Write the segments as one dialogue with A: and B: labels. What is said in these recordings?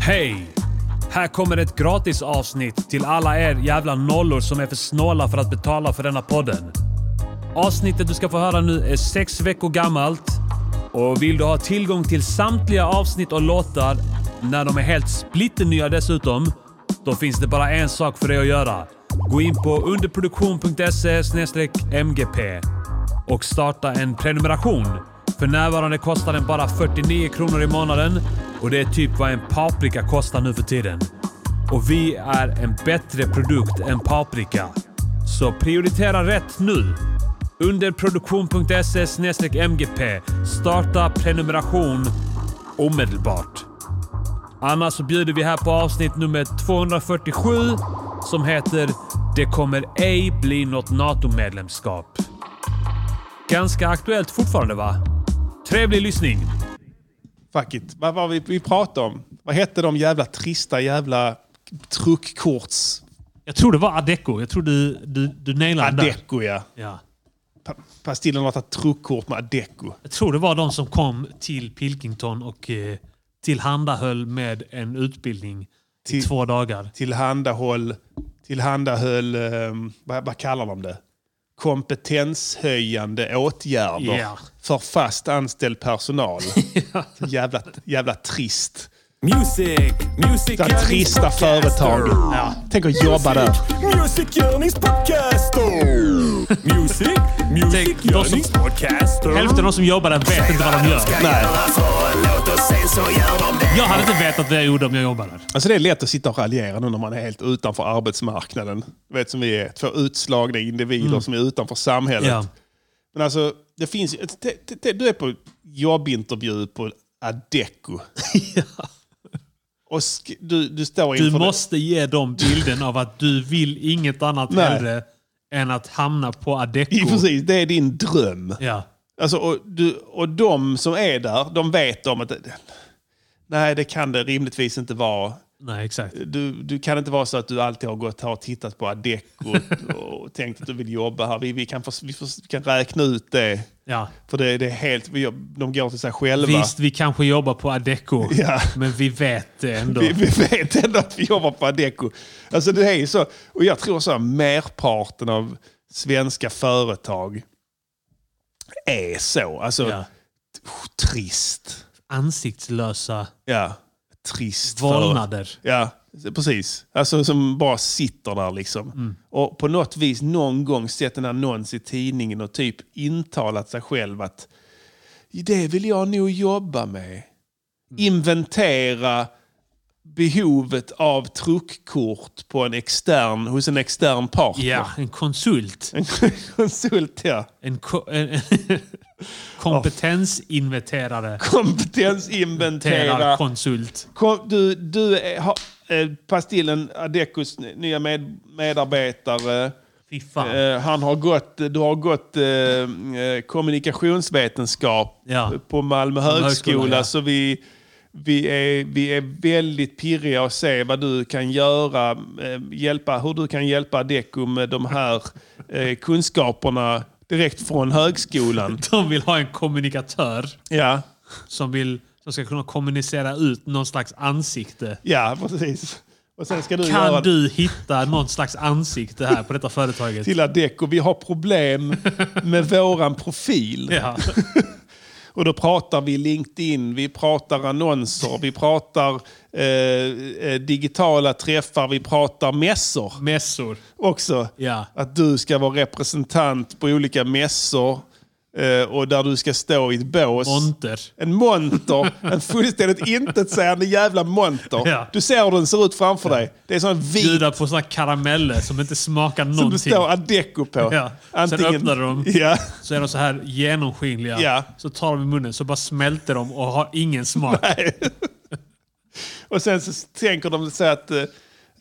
A: Hej! Här kommer ett gratis avsnitt till alla er jävla nollor som är för snåla för att betala för denna podden. Avsnittet du ska få höra nu är sex veckor gammalt och vill du ha tillgång till samtliga avsnitt och låtar när de är helt splitternya dessutom, då finns det bara en sak för dig att göra. Gå in på underproduktion.se mgp och starta en prenumeration. För närvarande kostar den bara 49 kronor i månaden och det är typ vad en paprika kostar nu för tiden. Och vi är en bättre produkt än paprika. Så prioritera rätt nu! Underproduktion.se mgp. Starta prenumeration omedelbart. Annars så bjuder vi här på avsnitt nummer 247 som heter “Det kommer ej bli något NATO-medlemskap”. Ganska aktuellt fortfarande va? Trevlig lyssning!
B: Fuck it. Vad var vi, vi pratade om? Vad hette de jävla trista jävla truckkorts...
C: Jag tror det var Adecco. Jag tror du, du, du nailade den där.
B: Adecco ja.
C: Ja.
B: Pa- Pastillen har tagit truckkort med Adecco.
C: Jag tror det var de som kom till Pilkington och eh, tillhandahöll med en utbildning i
B: Till-
C: två dagar.
B: Tillhandahåll... Tillhandahöll... ehm, vad, vad kallar de det? Kompetenshöjande åtgärder
C: Ja.
B: för fast anställd personal. jävla, jävla trist.
D: Music, music
B: Jävla trista företag. Tänk att jobba där.
D: Music, music,
C: Tänk, de som-
D: görningspodcaster.
C: Hälften av de som jobbar där vet inte vad de gör.
B: Nej.
C: Jag hade inte vetat vad jag gjorde om jag jobbade där.
B: Alltså det är lätt att sitta och raljera nu när man är helt utanför arbetsmarknaden. Du vet som vi är, två utslagna individer som är utanför samhället.
C: Mm. Ja.
B: Men alltså, det finns ju- det, det, det, Du är på jobbintervju på Adecco. Och sk, du, du står
C: Du
B: inför...
C: måste ge dem bilden av att du vill inget annat
B: Nej.
C: hellre än att hamna på
B: det, Ja,
C: Adecco.
B: precis, det är din dröm.
C: Ja.
B: Alltså, och, du, och de som är där, de vet om att... Nej, det kan det rimligtvis inte vara.
C: Nej, exakt.
B: du, du kan inte vara så att du alltid har gått här och tittat på Adecco och, och tänkt att du vill jobba här. Vi, vi, kan, förs- vi, förs- vi kan räkna ut det.
C: Ja.
B: För det, det är helt, vi, de går till sig själva.
C: Visst, vi kanske jobbar på Adecco,
B: Ja.
C: men vi vet det ändå.
B: Vi, vi vet ändå att vi jobbar på Adecco. Alltså det är ju så. Och jag tror så här, merparten av svenska företag är så. Alltså
C: Ja.
B: trist.
C: Ansiktslösa
B: Ja. Trist. företag.
C: vålnader.
B: Ja, precis. Alltså som bara sitter där liksom. Och på något vis någon gång sett en annons i tidningen och typ intalat sig själv att det vill jag nog jobba med. Inventera behovet av truckkort på en extern, hos en extern partner.
C: Ja, en konsult.
B: En konsult, ja.
C: En, ko- en, en kompetensinventerare.
B: Kompetensinventera.
C: Konsult.
B: Kom, du, du är, har, eh, Pastillen Adecos nya med, medarbetare.
C: Fy fan.
B: Eh, han har gått, du har gått eh, eh, kommunikationsvetenskap
C: Ja.
B: på Malmö högskola.
C: högskola, ja.
B: Så vi, vi, är, vi är väldigt pirriga att se vad du kan göra. Eh, hjälpa, hur du kan hjälpa Adecco med de här eh, kunskaperna direkt från högskolan.
C: De vill ha en kommunikatör
B: Ja,
C: som, vill, som ska kunna kommunicera ut någon slags ansikte.
B: ja precis. Och sen ska du göra
C: Kan du hitta någon slags ansikte här på detta företaget?
B: till Adecco. Vi har problem med våran profil.
C: Ja.
B: Och då pratar vi LinkedIn, vi pratar annonser, vi pratar eh, eh, digitala träffar, vi pratar mässor
C: Mässor.
B: också.
C: Ja.
B: Att du ska vara representant på olika mässor eh, och där du ska stå i ett bås.
C: Monter.
B: en monter, en fullständigt intetsägande jävla monter.
C: Ja.
B: Du ser hur den ser ut framför dig. Det är sån vit
C: Bjuda på såna karameller som inte smakar
B: som det
C: någonting.
B: står adecco på.
C: Ja. Sen öppnar de.
B: Ja.
C: Så är de så här genomskinliga.
B: Ja.
C: Så tar de i munnen så bara smälter de och har ingen smak.
B: Och sen så tänker de sig att eh,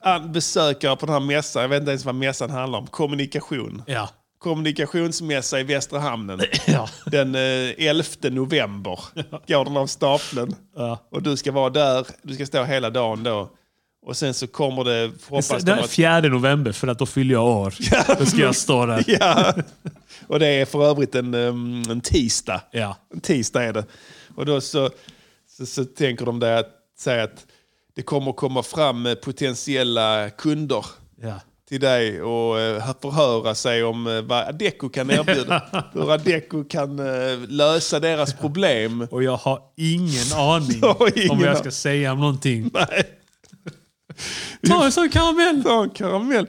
B: an- besökare på den här mässan, jag vet inte ens vad mässan handlar om, kommunikation.
C: Ja.
B: Kommunikationsmässa i Västra Hamnen.
C: Ja.
B: Den eh, 11 november går den av stapeln. Och du ska vara där, du ska stå hela dagen då. Och sen så kommer det, hoppas
C: Det
B: de
C: är
B: att...
C: 4 november för att då fyller jag år. Då ska jag stå där.
B: Ja. Och det är för övrigt en, um, en tisdag.
C: Ja.
B: En tisdag är det. Och då så, så, så tänker de där att säga att det kommer komma fram eh, potentiella kunder
C: Ja.
B: till dig och eh, förhöra sig om eh, vad Adecco kan erbjuda. Hur Adecco kan eh, lösa deras problem.
C: Och jag har ingen aning
B: Jag har ingen
C: om vad jag
B: aning.
C: ska säga om någonting.
B: Nej.
C: Ta en sån karamell!
B: Ta en karamell.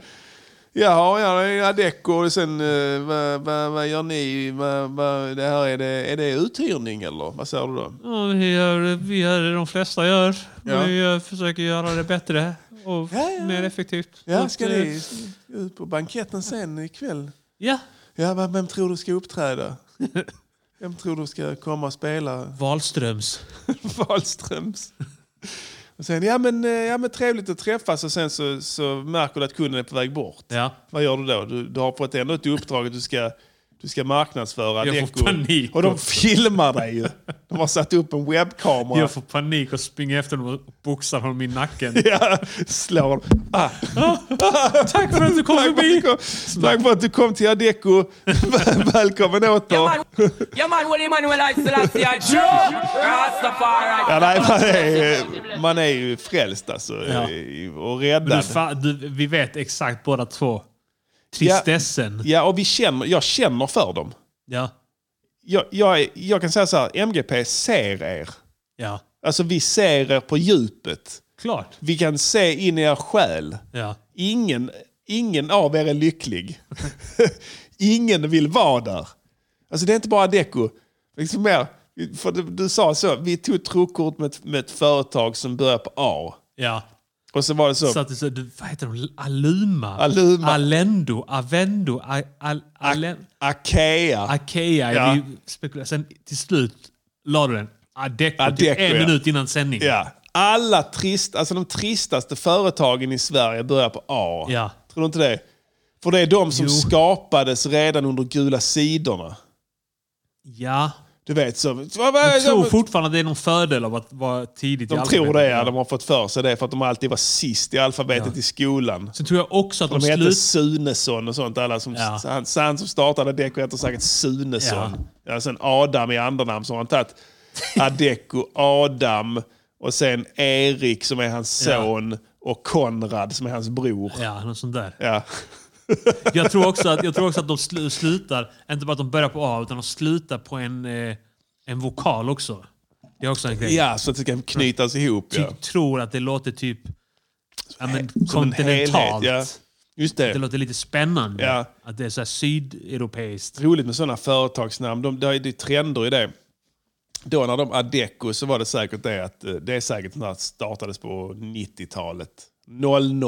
B: Jaha, ja, det är Adecco och sen eh, vad, vad, vad gör ni? Vad, vad, det här, är, det, är det uthyrning eller? Vad säger du då?
C: Ja, vi, gör, vi gör det de flesta gör.
B: Ja.
C: Vi gör, försöker göra det bättre och
B: Ja, ja.
C: mer effektivt.
B: Ja,
C: Och,
B: ska
C: eh,
B: ni ut på banketten sen ikväll?
C: Ja.
B: Ja, men vem tror du ska uppträda? Vem tror du ska komma och spela
C: Wahlströms.
B: Wahlströms? Och sen, ja men, eh, ja men trevligt att träffas och sen så, så märker du att kunden är på väg bort.
C: Ja.
B: Vad gör du då? Du, du har fått ändå ett uppdrag att du ska, du ska
C: Jag
B: marknadsföra
C: får
B: Adecco.
C: panik.
B: Och de filmar dig ju. De har satt upp en webbkamera.
C: Jag får panik och springer efter dem och boxar honom i nacken.
B: Ja, slår. Ah,
C: Tack för att du kom
B: tack, för att du
C: förbi!
B: kom, tack för att du kom till Adecco. Väl- Välkommen åter.
E: man, yeah, man, when Emmanuel I Selassie I Joe Rastafari.
B: Ja, nej, man, är, man är ju frälst alltså.
C: Ja.
B: Och
C: Du,
B: räddad.
C: fa- du, vi vet exakt båda två. Tristessen.
B: Ja, och vi känner, jag känner för dem.
C: Ja.
B: Jag, jag, är- jag kan säga så här, MGP ser er.
C: Ja.
B: Alltså vi ser er på djupet.
C: Klart.
B: Vi kan se in i er själ.
C: Ja.
B: Ingen, ingen av er är lycklig. ingen vill vara där. Alltså det är inte bara Deco. Liksom mer, för du, du sa så, vi tog ett trokort med, ett- med ett företag som börjar på A.
C: Ja.
B: Och så var det så,
C: Så att du, så, du, vad heter de? Aluma?
B: Aluma.
C: Alendo? Avendo? A, al, Alen-
B: Akea.
C: Akea?
B: Ja.
C: Vi spekulerar. Sen till slut la du den. Adeco,
B: Adecco,
C: typ en
B: ja.
C: minut innan sändning.
B: Ja. Alla trist, alltså de tristaste företagen i Sverige börjar på A.
C: Ja.
B: Tror du inte det? För det är de som
C: Jo.
B: skapades redan under gula sidorna.
C: ja.
B: Du vet så... Jag
C: Jag tror fortfarande att det är någon fördel av att vara tidigt i
B: De
C: alfabetet.
B: tror det, ja. De har fått för sig det för att de alltid var sist i alfabetet
C: Ja.
B: i skolan.
C: Sen tror jag också att de,
B: De hette
C: slut...
B: Sunesson och sånt. Alla som,
C: Ja.
B: han, han som startade Adecco heter säkert Sunesson. Ja. sen Adam i andernamn så har han tagit Adecco, Adam och sen Erik som är hans
C: Ja.
B: son och Konrad som är hans bror.
C: Ja, något sånt där.
B: Ja.
C: Jag tror också att, jag tror också att de slu- slutar, inte bara att de börjar på A, utan de slutar på en, eh, en vokal också. Det är också en grej.
B: ja, så att det ska knytas ihop.
C: Ty-
B: Ja.
C: Tror att det låter typ ja, men,
B: Som en helhet,
C: kontinentalt.
B: Ja. Just det.
C: Det låter lite spännande.
B: Ja.
C: Att det är så här sydeuropeiskt.
B: roligt med sådana företagsnamn. De, det är ju trender i det. Då när de Adecco så var det säkert det att eh, det är säkert när det startades på 90-talet. 00,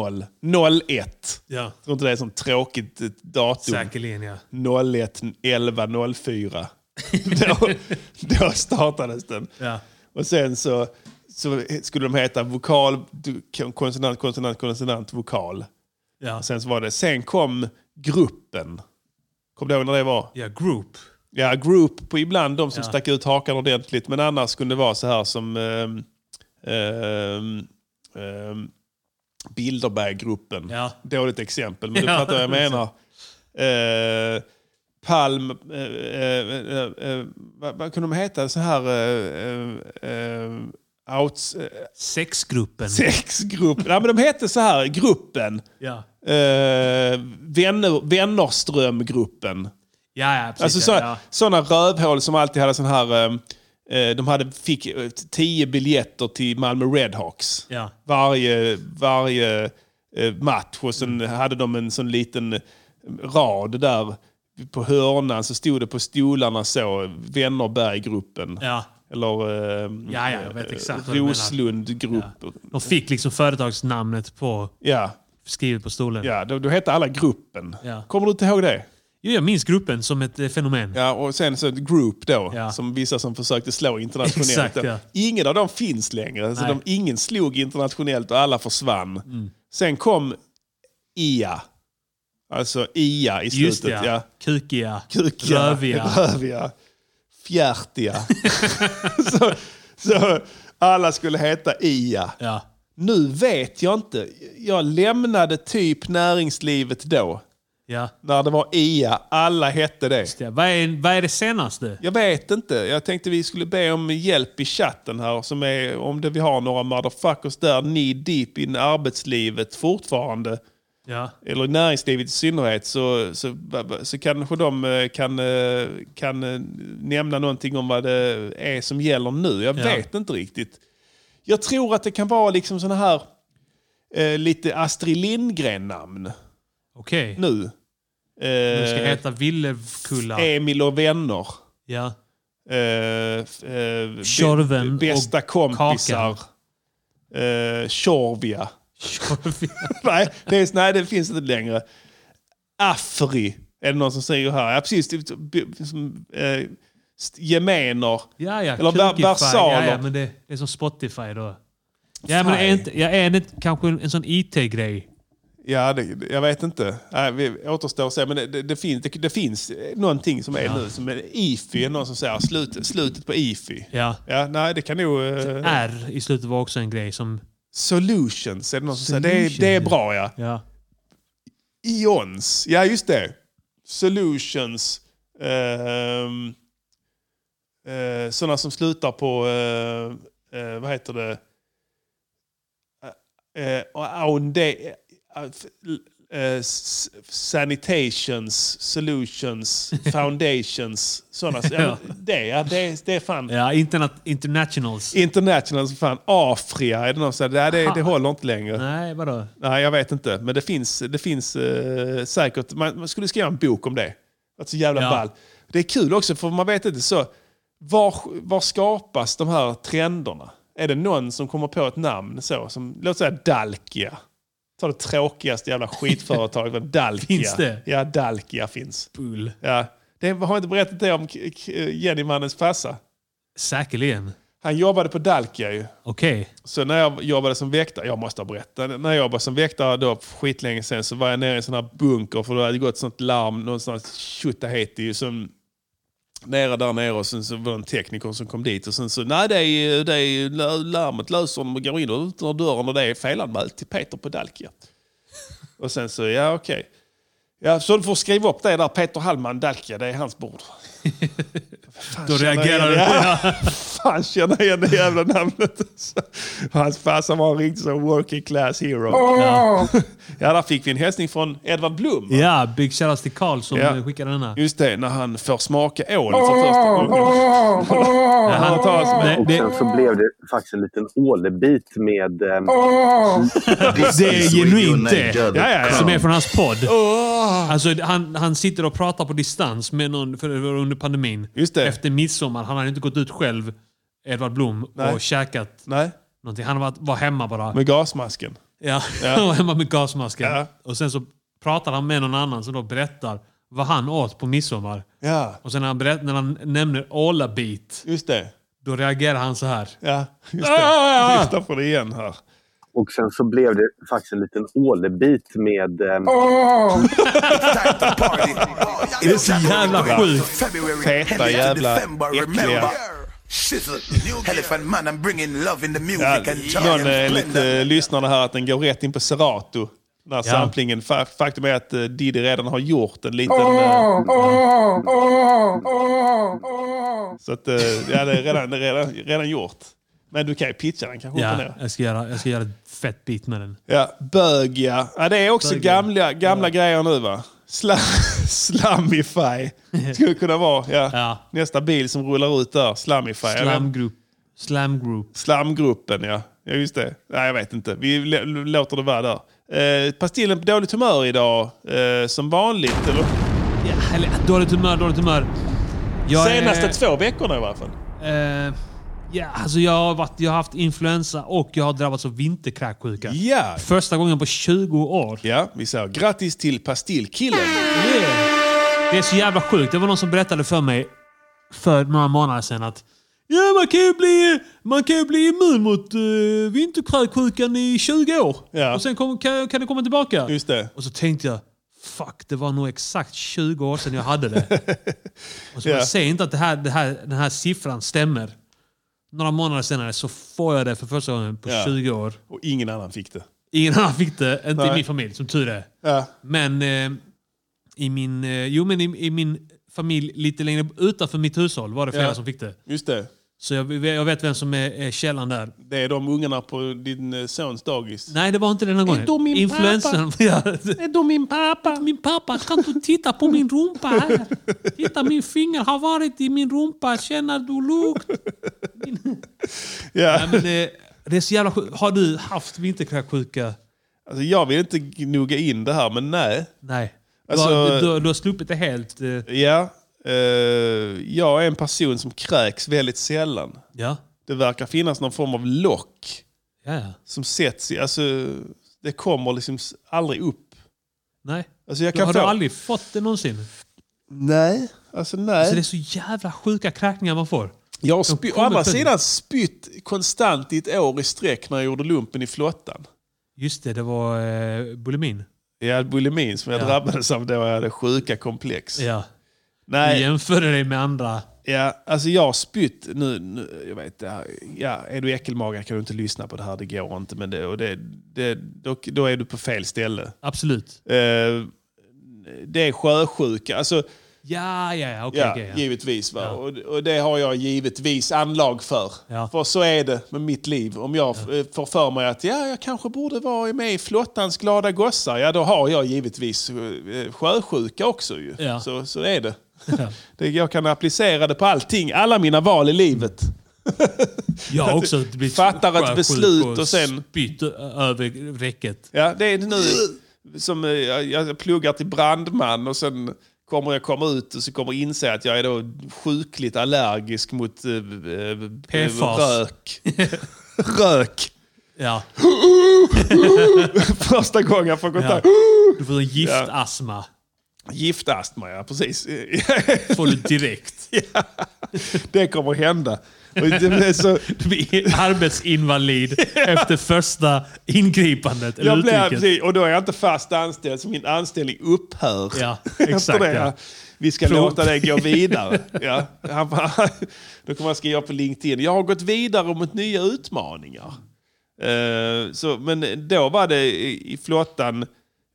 B: 01.
C: Ja.
B: Jag tror inte det är ett sånt tråkigt eh, datum.
C: Säkerligen ja.
B: 01, 11, 04. då, då startades den.
C: Ja.
B: Och sen så, så skulle de heta vokal, du- konsonant, konsonant, konsonant, vokal.
C: Ja,
B: Och sen så var det, sen kom gruppen. Kommer du ihåg när det var?
C: ja group.
B: Ja, group på ibland de som
C: Ja.
B: stack ut hakan ordentligt. Men annars kunde det vara så här som ehm, ehm, ehm, Bilderberggruppen.
C: Ja.
B: Dåligt exempel, men du
C: Ja,
B: fattar vad jag menar. Eh, Palm... eh, eh, eh, eh, vad, vad kunde de heta? Så här... eh, eh, eh, outs, eh,
C: Sexgruppen.
B: sexgruppen. Nej, men de hette så här, gruppen.
C: ja.
B: Eh, vänner, Vännerströmgruppen.
C: Ja, ja, precis.
B: Alltså
C: ja,
B: så,
C: ja.
B: sådana rövhål som alltid hade sån här... eh, eh, De hade, fick eh, tio biljetter till Malmö Redhawks.
C: Ja.
B: Varje, varje eh, match. Och sen hade de en sån liten eh, rad där på hörnan. Så stod det på stolarna så, Vännerberggruppen.
C: Ja.
B: Eller eh,
C: Ja, ja, jag vet exakt vad du menar.
B: Roslundgruppen.
C: De fick liksom företagsnamnet på,
B: Ja.
C: skrivet på stolen.
B: Ja, då, då hette alla gruppen.
C: Ja.
B: Kommer du inte ihåg det?
C: Jo, jag minns gruppen som ett eh, fenomen.
B: Ja, och sen så group då,
C: Ja.
B: som vissa som försökte slå internationellt.
C: Exakt, ja.
B: Ingen av dem finns längre. Så
C: Nej. Mm.
B: de, ingen slog internationellt och alla försvann. Sen kom IA. Alltså IA i
C: Just
B: slutet.
C: det, ja. Kukiga.
B: Kukiga,
C: Röviga.
B: röviga, fjärtiga. så, så alla skulle heta IA.
C: Ja.
B: Nu vet jag inte. Jag lämnade typ näringslivet då.
C: Ja.
B: När det var IA. Alla hette det.
C: Ja, Vad, är, vad är det senaste?
B: Jag vet inte. Jag tänkte vi skulle be om hjälp i chatten här. Som är, om det, vi har några motherfuckers där knee deep in arbetslivet fortfarande.
C: Ja.
B: Eller i näringslivet i synnerhet. Så, så, så kanske de eh, kan, eh, kan eh, nämna någonting om vad det är som gäller nu. Jag
C: Ja.
B: vet inte riktigt. Jag tror att det kan vara liksom sådana här eh, lite Astrid Lindgren-namn
C: Okej.
B: nu. Eh,
C: Du ska heta Villekulla.
B: Emil och vänner.
C: Ja.
B: Eh, f- eh, b-
C: Tjorven
B: bästa
C: och
B: kompisar. Eh, Tjorvia. nej, det är, nej, det finns inte längre. Afri är det någon som säger här. Ja, precis. Typ, b- som, eh, st- gemener.
C: Ja, ja.
B: Eller ver-
C: Kukify.
B: versaler.
C: Ja, ja, men det, det är som Spotify då. Ja, men är inte, ja, är det inte kanske en, en sån IT-grej?
B: Ja, det, det- jag vet inte. Nej, vi återstår att se. Men det, det, det, finns, det, det finns någonting som är nu. Som är IFI. är Någon som säger slut, slutet på IFI.
C: Ja.
B: Ja, nej, det kan nog... eh,
C: R i slutet var också en grej som...
B: Solutions är det någon som säger. Det är,
C: Solution,
B: det är
C: ja.
B: bra ja.
C: Ja.
B: Ions, ja just det. Solutions. Ehm, eh, sådana som slutar på, eh, eh, vad heter det? Eh, och aunde, eh, f- eh, s- sanitations, solutions, foundations. Sådana. ja. men Det, ja, det, det är fan.
C: Ja, interna- internationals.
B: International som fan. Afria är det någon som säger. Det, det, det håller inte längre.
C: Nej, vadå?
B: Nej, jag vet inte. Men det finns, det finns eh, säkert... Man, man skulle skriva en bok om det. Att så jävla
C: Ja.
B: ball. Det är kul också, för man vet inte så... Var, var skapas de här trenderna? Är det någon som kommer på ett namn så? Som, låt säga Dalkia. Ta det tråkigaste jävla skitföretaget. men Dalkia.
C: Finns det?
B: Ja, Dalkia finns.
C: Bull.
B: Ja. Det, har jag inte berättat det om K- K- Jennymannens farsa?
C: Säkerligen.
B: Han jobbade på Dalkia ju.
C: Okej.
B: Så när jag jobbade som väktare, jag måste ha berättat, när jag jobbade som väktare då för skitlänge sen så var jag nere i en sån här bunker för då hade det gått sånt larm någonstans, Tjotahejti, som nere där nere och sen så var det en tekniker som kom dit och sen så, nej det är, ju- det är ju lö- larmet löser de och går in och ut genom dörren och det är felanmält till Peter på Dalkia. Och sen så, ja okej. Ja, så du får skriva upp det där, Peter Hallman Dalkia, det är hans bord. Fan,
C: Då
B: känner jag
C: reagerar du.
B: igen- Ja
C: Ja.
B: fan känner igen det jävla namnet. Hans farsa var en riktig sån working class hero. Ja, där fick vi en hälsning från Edvard Blom. va?
C: ja, big shoutout till Karl som
B: Ja.
C: eh, skickade denna.
B: Just det, när han får smaka ål för första gången.
C: Ja, han,
B: tar oss med.
C: det,
F: Och sen
C: det,
F: så blev det faktiskt en liten ålebit med... Eh,
C: det är genuint det.
B: Ja, ja,
C: Som
B: ja.
C: är från hans podd. Alltså, han, han sitter och pratar på distans med någon för, det var under pandemin.
B: Just det.
C: Efter midsommar. Han hade inte gått ut själv, Edvard Blom,
B: Nej.
C: och käkat
B: Nej,
C: någonting. Han var, var hemma bara.
B: med gasmasken.
C: Ja. Han var hemma med gasmasken.
B: Ja.
C: Och sen så pratar han med någon annan som då berättar vad han åt på midsommar.
B: Ja,
C: Och sen när han, berätt, när han nämner ålabit,
B: just det.
C: då reagerar han så här.
B: Ja, just
C: Ah!
B: det. Vi lyfter på det igen här.
F: och sen så blev det faktiskt en liten ålebit med... Eh,
G: Det är så
C: jävla sjukt.
B: Feta jävla äckliga.
G: Elephant man, I'm bringing love in the music
B: Ja,
G: and joy
B: någon
G: and
B: eh,
G: splendor.
B: lite lyssnarna här att den går rätt in på Serato. Den här samplingen. Fa- Faktum är att eh, Diddy redan har gjort en liten... eh, Så att, eh, ja, det är redan, det är redan, redan gjort. Men du kan ju pitcha den kanske. upp och
C: Ja,
B: ner.
C: jag ska göra, jag ska göra ett fett bit med den.
B: Ja, bög ja. ja. Det är också
C: Bög, ja.
B: gamla, gamla grejer nu va? Sla, slamify skulle kunna vara ja.
C: Ja.
B: nästa bil som rullar ut där. Slamify. Jag vet-
C: Slam group. Slam group.
B: Slamgruppen, ja. Ja, just det. Nej, jag vet inte. Vi lä- låter det vara där. Eh, pastillen på dåligt humör idag, eh, som vanligt. Eller?
C: Ja, eller, dåligt humör, dåligt humör. Jag är-
B: Senaste två veckorna i varje fall.
C: Eh, ja, alltså jag, har varit, jag har haft influensa och jag har drabbats av vinterkräksjuka.
B: Ja.
C: Första gången på 20 år.
B: Ja, vi säger grattis till pastillkillen.
C: Det är så jävla sjukt. Det var någon som berättade för mig för några månader sedan att ja, man, kan ju bli, man kan ju bli immun mot uh, vinterkräksjukan i 20 år.
B: Ja.
C: Och sen kom, kan, kan det komma tillbaka.
B: Just det.
C: Och så tänkte jag, fuck, det var nog exakt 20 år sedan jag hade det. och så
B: Ja.
C: jag säger inte att det här, det här, den här siffran stämmer. Några månader senare så får jag det för första gången på
B: Ja.
C: 20 år.
B: Och ingen annan fick det.
C: Ingen annan fick det, inte
B: Nej.
C: i min familj, som tur är.
B: Ja.
C: Men eh, i min, eh, jo, men i, i min familj lite längre utanför mitt hushåll var det flera
B: Ja.
C: som fick det.
B: Just det.
C: Så jag, jag vet vem som är, är källan där.
B: Det är de ungarna på din eh, sons dagis.
C: Nej, det var inte denna gången.
B: då min
C: Influensan. Ja.
B: Är du min pappa?
C: Min pappa, kan du titta på min rumpa här? Titta, min finger har varit i min rumpa. Känner du lukt?
B: Ja.
C: Nej, men det, det är så jävla sjukt. Har du haft vinterkräksjuka?
B: Alltså, jag vill inte gnugga in det här, men nej.
C: Nej.
B: Alltså-
C: du, har, du, du har sluppit det helt. eh,
B: Ja, eh, jag är en person som kräks väldigt sällan.
C: Ja.
B: Det verkar finnas någon form av lock
C: Ja, ja.
B: som sätts i... Alltså, det kommer liksom s- aldrig upp.
C: Nej.
B: Alltså, jag
C: Du,
B: kan
C: har
B: få...
C: du aldrig fått det någonsin?
B: Nej. Alltså, nej.
C: Så det är så jävla sjuka kräkningar man får.
B: Jag har spy- å
C: kommer
B: andra
C: på-
B: sidan spytt konstant i ett år i sträck när jag gjorde lumpen i flottan.
C: Just det, det var eh, bulimin.
B: Jag hade bulimin som jag
C: Ja.
B: drabbades av då jag hade sjuka komplex.
C: Ja. Du
B: Nej,
C: jämförde dig med andra.
B: ja, alltså jag har spytt nu, nu jag vet, det här, ja, är du äckelmagad kan du inte lyssna på det här, det går inte. Men det, och det, det, då, då är du på fel ställe.
C: Absolut.
B: Eh, det är sjösjuka, alltså,
C: Ja, ja, ja. Okej,
B: ja,
C: okej. ja.
B: givetvis. Va?
C: Ja.
B: Och, och det har jag givetvis anlag för.
C: Ja.
B: För så är det med mitt liv. Om jag ja. får för mig att ja, jag kanske borde vara med i flottans glada gossar, ja då har jag givetvis eh, sjösjuka också. Ju.
C: Ja.
B: Så, så är det.
C: Ja.
B: det. Jag kan applicera det på allting, alla mina val i livet.
C: Jag har också blivit
B: Fattar ett
C: sjuk
B: beslut och sen-
C: spytt ö- över räcket.
B: Ja, det är nu som eh, jag, jag pluggar till brandman och sen kommer jag komma ut och så kommer jag inse att jag är då sjukligt allergisk mot eh, eh,
C: PFAS.
B: rök. rök.
C: Ja.
B: Första gången jag får
C: ja.
B: kontakt.
C: Du får en giftasma.
B: Giftastma, ja precis.
C: Får du direkt.
B: det kommer hända. Och det blir så,
C: Du blir arbetsinvalid efter första ingripandet. Eller
B: jag blir,
C: uttrycket.
B: precis, och då är jag inte fast anställd, så min anställning upphör.
C: Ja,
B: Efter
C: exakt,
B: det,
C: ja.
B: Vi ska
C: Förlåt.
B: låta det gå vidare. Ja. Han bara, då kommer han skriva på LinkedIn. Jag har gått vidare mot nya utmaningar. Eh, så, men då var det i, i flottan.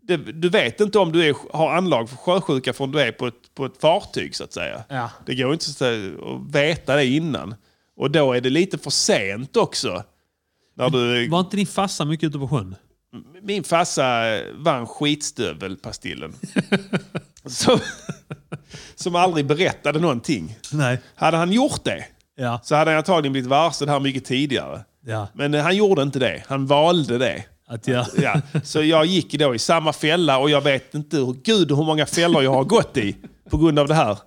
B: Det, du vet inte om du är, har anlag för sjösjuka förrän du är på ett, på ett fartyg så att säga.
C: Ja.
B: Det går inte så att, att veta det innan. Och då är det lite för sent också. När du,
C: Var inte din farsa mycket ute på sjön?
B: min farsa eh, vann skitstövelpastillen. som, som aldrig berättade någonting.
C: Nej.
B: Hade han gjort det
C: Ja.
B: så hade han antagligen blivit varse det här mycket tidigare.
C: Ja.
B: Men eh, han gjorde inte det. Han valde det.
C: Att jag...
B: Ja, så jag gick då i samma fälla och jag vet inte hur, gud hur många fällor jag har gått i på grund av det här.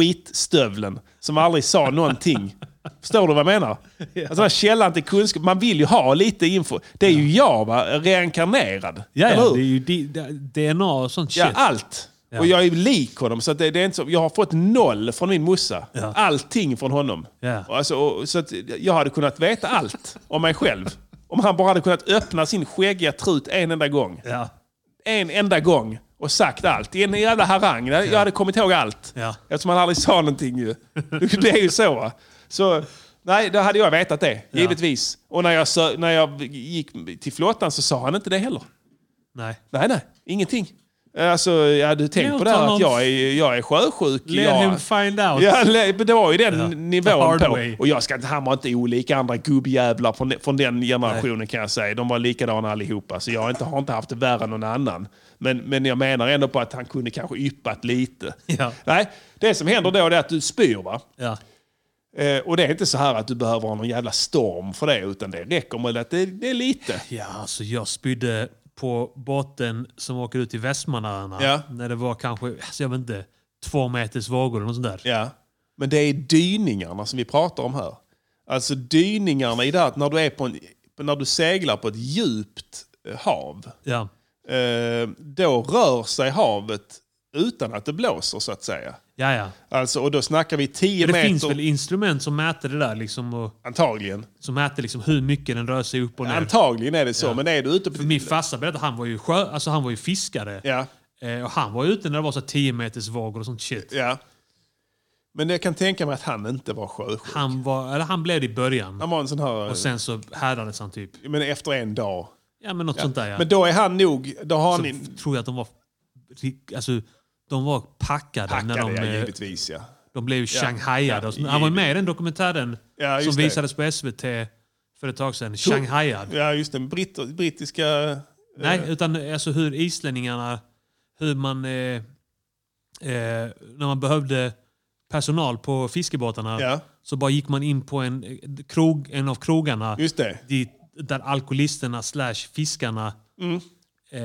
B: Skitstövlen som aldrig sa någonting. Förstår du vad jag menar? Alltså den här källan till kunskap. Man vill ju ha lite info. Det är ju jag va? Reinkarnerad.
C: Ja,
B: Eller
C: ja,
B: hur?
C: det är ju di- det- DNA och sånt shit.
B: Ja, Ah. allt.
C: Ja.
B: Och jag är lik honom. Så att det, det är inte så, jag har fått noll från min morsa. Allting från honom.
C: Ja.
B: Och Alltså, och, så att jag hade kunnat veta allt om mig själv. Om han bara hade kunnat öppna sin skäggiga trut en enda gång.
C: ja.
B: En enda gång. Och sagt allt. I en jävla harang. Jag hade kommit ihåg allt.
C: Ja.
B: Eftersom han aldrig sa någonting ju. Det är ju så. va? Så nej, då hade jag vetat det. Givetvis. Och när jag, sö- när jag gick till flottan så sa han inte det heller.
C: Nej.
B: Nej, nej. Ingenting. Alltså, ja, du tänk
C: Jag
B: på det här
C: tar
B: att
C: någon-
B: jag är, jag är sjösjuk.
C: Let
B: jag...
C: him find out.
B: Ja, le- men det var ju den
C: Ja. The
B: nivån
C: hard
B: på.
C: way.
B: Och jag ska inte, han var inte olik andra gubbjävlar från, från den generationen kan jag säga. De var likadana allihopa. Så jag har inte, har inte haft det värre än någon annan. Men, men jag menar ändå på att han kunde kanske yppat lite.
C: Ja.
B: Nej, det som händer då det är att du spyr va?
C: Ja.
B: Eh, och det är inte så här att du behöver ha någon jävla storm för det. Utan det räcker med att det, det är lite.
C: ja, alltså jag spydde på båten som åker ut till Västmanöarna.
B: Ja.
C: När det var kanske, alltså jag vet inte, två meters vågor eller något sånt där.
B: Ja. Men det är dyningarna som vi pratar om här. Alltså dyningarna i det här att när du, är på en, när du seglar på ett djupt eh, hav.
C: Ja.
B: Eh, då rör sig havet utan att det blåser så att säga.
C: Ja, ja.
B: Alltså, och då snackar vi 10
C: Det
B: meter
C: finns väl instrument som mäter det där? Liksom, och,
B: antagligen.
C: som mäter liksom hur mycket den rör sig upp och ner.
B: Antagligen är det så, men är du ute på...
C: För Min farsa berättade han var ju sjö, alltså han var ju fiskare.
B: Ja,
C: Eh, och han var ute när det var så 10 meters vågor och sånt shit.
B: ja. Men jag kan tänka mig att han inte var sjösjuk.
C: Han, var, eller han blev det i början.
B: Han var en sån här...
C: Och sen så härdades han typ.
B: Men efter en dag.
C: Ja men något sånt där ja.
B: Men då är han nog... Då har han...
C: så tror jag att de var ri- alltså, De var packade, när de,
B: Hackade jag
C: eh,
B: givetvis, ja.
C: de blev shanghaiade.
B: ja,
C: och så- Han var ju med i den dokumentären
B: Ja,
C: som
B: just det.
C: visades på SVT för ett tag sedan. Shanghaiad.
B: Ja, just den britt, brittiska...
C: Nej, utan alltså hur islänningarna, hur man, eh, eh, när man behövde personal på fiskebåtarna
B: Ja.
C: så bara gick man in på en, eh, krog, en av krogarna
B: Just det.
C: dit, där alkoholisterna slash fiskarna eh,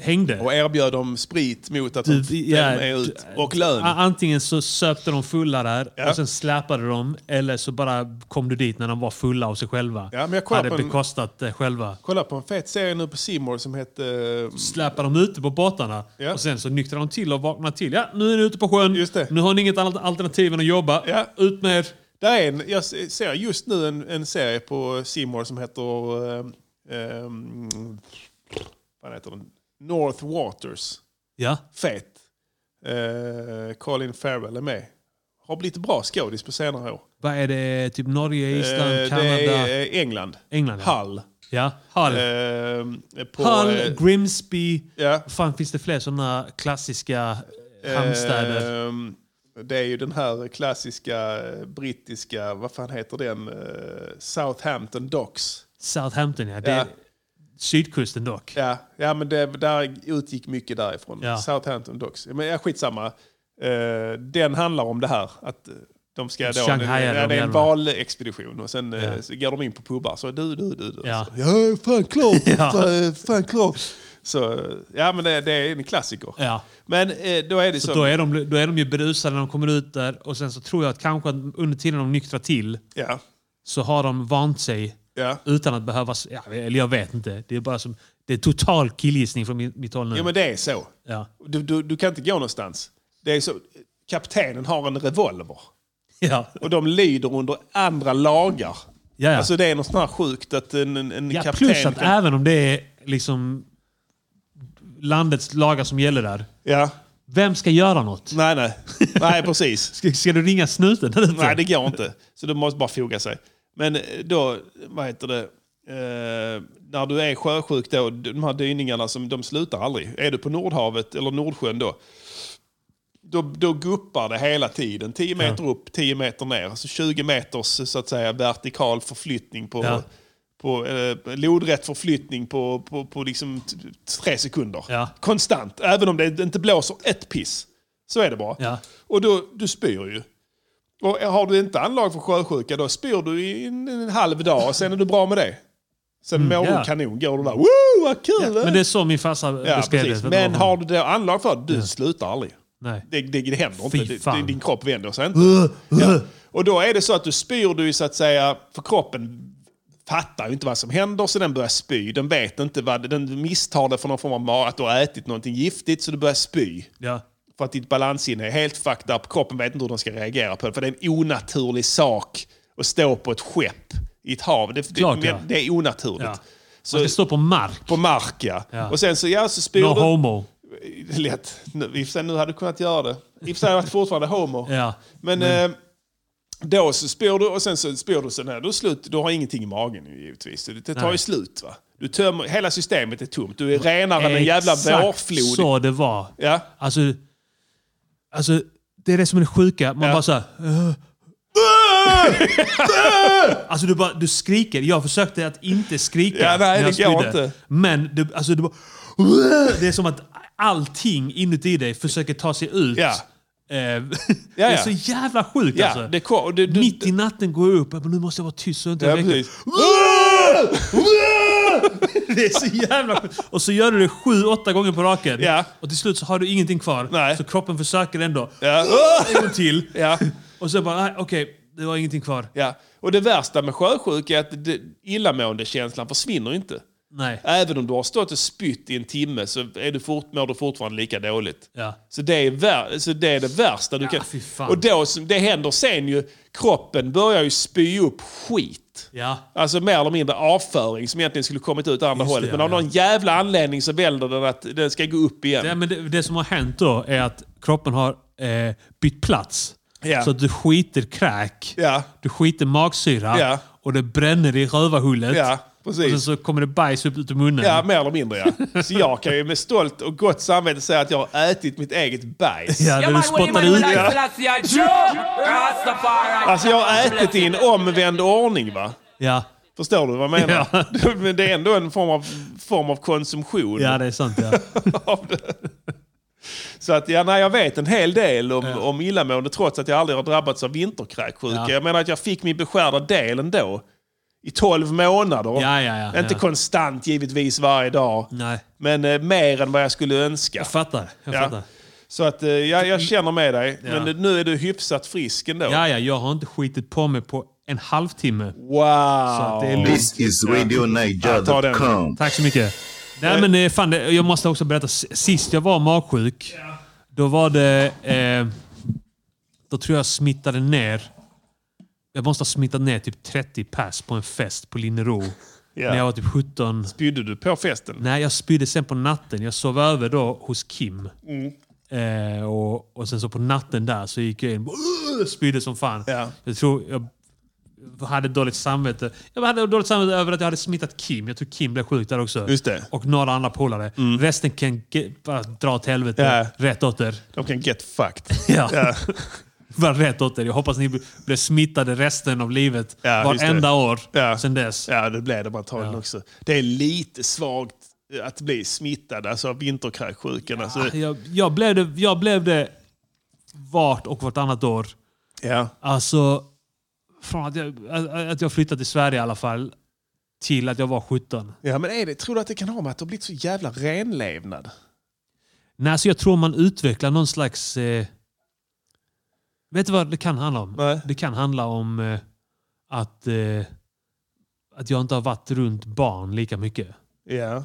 C: hängde.
B: Mm. Och erbjöd dem sprit mot att de
C: Du- ja,
B: är ut.
C: du- Ah,
B: Och lön.
C: a- Antingen så söpte de fulla där
B: Ja.
C: och sen släpade de eller så bara kom du dit när de var fulla av sig själva.
B: Ja, men jag kollar
C: Hade
B: på en-
C: bekostat det själva.
B: Kolla på en fet serie nu på Simor som hette... eh,
C: släpar de ute på båtarna
B: Ja.
C: och sen så nyktrar de till och vaknar till. Ja, nu är ni ute på sjön.
B: Just det.
C: Nu har ni inget annat alternativ än att jobba.
B: Ja.
C: Ut med er.
B: Där är en, jag ser just nu en, en serie på Simor som heter... eh, eh, vad heter den? North Waters.
C: Ja.
B: Fet. Eh, Colin Farrell är med. Har blivit bra skådis på senare år.
C: Vad är det? Typ Norge, Island,
B: Eh, det
C: Kanada?
B: är eh, England.
C: England, ja.
B: Hull.
C: Ja. Hull.
B: Eh, på, eh,
C: Hull, Grimsby.
B: ja.
C: Fan, finns det fler sådana klassiska eh, hamnstäder?
B: Ehm, Det är ju den här klassiska eh, brittiska, vad fan heter den, Eh, Southampton Docks.
C: Southampton, ja. Det
B: Ja.
C: är sydkusten dock.
B: Ja, ja men det, där utgick mycket därifrån.
C: Ja.
B: Southampton Docks. Men ja, skitsamma. Eh, Den handlar om det här. Att eh, de ska då,
C: Shanghai
B: ja,
C: eller
B: det är en
C: jävla-
B: valexpedition och sen eh,
C: Ja.
B: så går de in på pubbar. Så du, du, du. du.
C: Ja.
B: Så, ja fan klart.
C: Ja.
B: Fan, fan klart. Så, ja men det, det är en klassiker.
C: Ja.
B: Men eh, då är det
C: Så
B: så.
C: då, är de, då är de ju berusade när de kommer ut där och sen så tror jag att kanske att under tiden de nyktrar till
B: ja,
C: så har de vant sig
B: ja.
C: utan att behöva... s- Ja, eller jag vet inte. Det är bara som... Det är total killgissning från min- mitt håll nu.
B: ja, men det är så.
C: ja.
B: Du, du, du kan inte gå någonstans. Det är så, kaptenen har en revolver.
C: Ja.
B: Och de lyder under andra lagar.
C: Ja, ja.
B: Alltså det är något sånt här sjukt att en, en, en
C: ja
B: kapten...
C: plus att
B: kan,
C: även om det är liksom landets lagar som gäller där.
B: ja.
C: Vem ska göra något?
B: Nej, nej. Nej, precis.
C: Ska, ska du ringa snuten där ute?
B: Nej, det går inte. Så du måste bara foga sig. Men eh, då, vad heter det? Eh, när du är sjösjuk då, de här dyningarna, som, de slutar aldrig. Är du på Nordhavet eller Nordsjön då, då, då guppar det hela tiden. 10 meter upp, 10 meter ner. Alltså 20 meters så att säga, vertikal förflyttning på,
C: Ja.
B: på eh, lodrätt förflyttning på, på, på liksom t- tre sekunder.
C: Ja.
B: Konstant, även om det inte blåser ett piss. Så är det bara.
C: Ja.
B: Och då, du spyr ju. Och har du inte anlag för sjösjuka då spyr du i en, en halv dag och sen är du bra med det. Sen mår
C: Mm, ja.
B: du kanon, går du där. Woo, vad kul! va?"
C: Men det är så min farsa
B: Ja,
C: beskrev
B: precis.
C: det.
B: Men har du då anlag för det, du slutar aldrig.
C: Nej.
B: Det, det, det händer
C: Fy
B: inte. Det,
C: fan. Uh,
B: det, din kropp vänder sig inte. Ja. Och då är det så att du spyr du ju så att säga, för kroppen fattar ju inte vad som händer så den börjar spy. Den vet inte vad, det- den misstar det för någon form av mat, att du har ätit någonting giftigt så du börjar spy.
C: Ja.
B: För att ditt balanssinne är helt fucked up. Kroppen vet inte hur den ska reagera på det. För det är en onaturlig sak att stå på ett skepp i ett hav. Det,
C: Klart,
B: det,
C: ja.
B: det är onaturligt.
C: Ja.
B: Så,
C: Man ska stå på mark.
B: På mark, ja.
C: Ja.
B: Och sen så, ja, så spyr
C: No
B: du...
C: homo.
B: Lätt. Nu, I och för sig, nu hade du kunnat göra det. I och för sig hade jag varit fortfarande homo.
C: Ja.
B: Men, Eh, då så spyr du och sen så spyr du så när du är slut, du har ingenting i magen ju givetvis. Så Det det tar ju
C: Nej. Mm.
B: slut. va. Du tömmer, hela systemet är tomt. Du är renare än en jävla
C: Exakt
B: vårflod.
C: så det var.
B: Ja.
C: Alltså, alltså, det är det som är det sjuka. Man
B: Ja.
C: bara såhär... äh." alltså du, bara, du skriker. Jag försökte att inte skrika
B: Ja, nej,
C: när jag
B: det går
C: spydde.
B: inte.
C: Men du, alltså, du bara... Det är som att allting inuti dig försöker ta sig ut.
B: Ja.
C: Eh, Det
B: ja.
C: är så jävla sjukt
B: Ja,
C: alltså.
B: det kom, du, du,
C: Mitt i natten går jag upp men nu måste jag vara tyst så jag inte
B: Ja,
C: väcker.
B: precis.
C: Det är så jävla sjukt. Och så gör du det sju, åtta gånger på raken.
B: Ja.
C: Och till slut så har du ingenting kvar.
B: Nej.
C: Så kroppen försöker ändå.
B: Ja.
C: En gång till.
B: Ja.
C: Och så bara, nej okej, det var ingenting kvar.
B: Ja. Och det värsta med sjösjuka är att det- illamående-känslan försvinner inte.
C: Nej.
B: Även om du har stått och spytt i en timme så är du fort, mår du fortfarande lika dåligt.
C: Ja.
B: Så, det är vär, så det är det värsta du kan...
C: fy fan.
B: Och då, som- det händer sen ju, kroppen börjar ju spy upp skit.
C: Ja.
B: Alltså mer eller mindre avföring som egentligen skulle kommit ut andra
C: Just det,
B: hållet. men
C: ja,
B: av någon jävla anledning så väljer den att den ska gå upp igen.
C: Det, men det, det som har hänt då är att kroppen har eh, bytt plats.
B: Ja.
C: Så att du skiter kräk,
B: Ja.
C: du skiter magsyra
B: Ja.
C: och det bränner i rövarhullet.
B: Ja. precis.
C: Och sen så kommer det bajs upp ut ur munnen.
B: Ja, mer eller mindre ja. Så jag kan ju med stolt och gott samvete säga att jag har ätit mitt eget bajs.
C: Ja,
E: Your
C: när du
E: man Willie
C: spottar ut
E: Manuel
C: det.
E: I Selassie I Joe Rastafari.
B: Alltså jag har ätit i en omvänd ordning va.
C: Ja.
B: Förstår du vad jag menar?
C: Ja.
B: Men det är ändå en form av, form av konsumtion.
C: ja, det är sant. Ja.
B: av det. Så att, ja, nej, jag vet en hel del om, om illamående trots att jag aldrig har drabbats av vinterkräksjuka.
C: Ja.
B: Jag menar att jag fick min beskärda del ändå. I 12 månader.
C: Ja, ja, ja,
B: Inte
C: ja.
B: konstant givetvis varje dag.
C: Nej,
B: Men eh, mer än vad jag skulle önska.
C: jag fattar. Jag
B: Ja.
C: fattar.
B: Så att, eh, ja, jag känner med dig.
C: Ja.
B: Men nu är du hyfsat frisk ändå.
C: Ja, ja, jag har inte skitit på mig på en halvtimme.
B: Wow!
C: Så att det är lugnt.
H: This is RadioNiger.com.
C: Tack så mycket. Nej, men eh, fan, det- jag måste också berätta. S- Sist jag var magsjuk, då var det... Eh, då tror jag smittade ner... Jag måste ha smittat ner typ 30 pers på en fest på Linnero.
B: Ja.
C: När jag var typ 17.
B: Spydde du på festen?
C: Nej, jag spydde sen på natten. Jag sov över då hos Kim.
B: Mm.
C: Eh, och, och sen så på natten där så gick jag in och spydde som fan.
B: Ja.
C: Jag tror jag hade dåligt samvete. Jag hade dåligt samvete över att jag hade smittat Kim. Jag tror Kim blev sjuk där också.
B: Just det. Mm.
C: Och några andra polare. Resten kan ge- bara dra åt helvete.
B: Ja.
C: Rätt åt er.
B: De kan get fucked.
C: Ja.
B: Ja.
C: Bara rätt åt er. Jag hoppas ni bl- blev smittade resten av livet.
B: Ja, just det.
C: varenda år
B: Ja.
C: sen dess.
B: Ja, det blev det antagligen
C: Ja.
B: också. Det är lite svagt eh, att bli smittad alltså, av vinterkräksjukan. Ja. Alltså,
C: Jag, jag, blev det, jag blev det vart och vartannat år.
B: ja.
C: Alltså, från att jag, att- att jag flyttade till Sverige i alla fall, till att jag var 17.
B: ja, men är det, tror du att det kan ha med att det har blivit så jävla renlevnad?
C: Nej, så jag tror man utvecklar någon slags... Eh, vet du vad det kan handla om?
B: Nej.
C: Det kan handla om eh, att, eh, att jag inte har varit runt barn lika mycket.
B: Ja,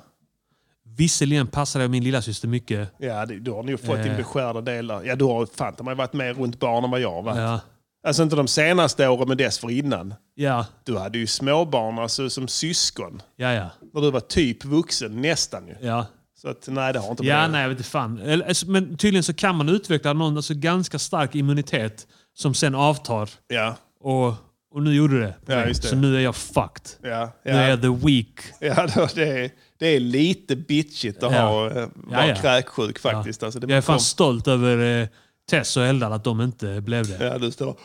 C: Visserligen passade jag min lilla syster mycket.
B: ja det, du har nog fått din
C: Eh.
B: beskärda delar. Ja, du har fan man varit mer runt barn än vad jag har varit.
C: Ja,
B: Alltså inte de senaste åren, men dessförinnan.
C: ja,
B: Du hade ju småbarn alltså, som syskon.
C: ja. ja,
B: När du var typ vuxen, nästan ju.
C: ja.
B: Så att, nej, det har inte
C: Ja,
B: blivit.
C: nej, jag vet inte fan. Eller, alltså, Men tydligen så kan man utveckla någon alltså, ganska stark immunitet som sen avtar.
B: Ja,
C: Och, och nu gjorde det.
B: Ja, just det.
C: Så nu är jag fucked.
B: ja,
C: Nu är
B: ja.
C: jag the weak.
B: Ja, då, det, är, det är lite bitchigt att
C: Ja.
B: ha, eh, vara
C: Ja, ja.
B: kräksjuk faktiskt. Alltså, det
C: Jag är fan
B: kom-
C: stolt över eh, Tess och Eldar att de inte blev det.
B: Ja, du står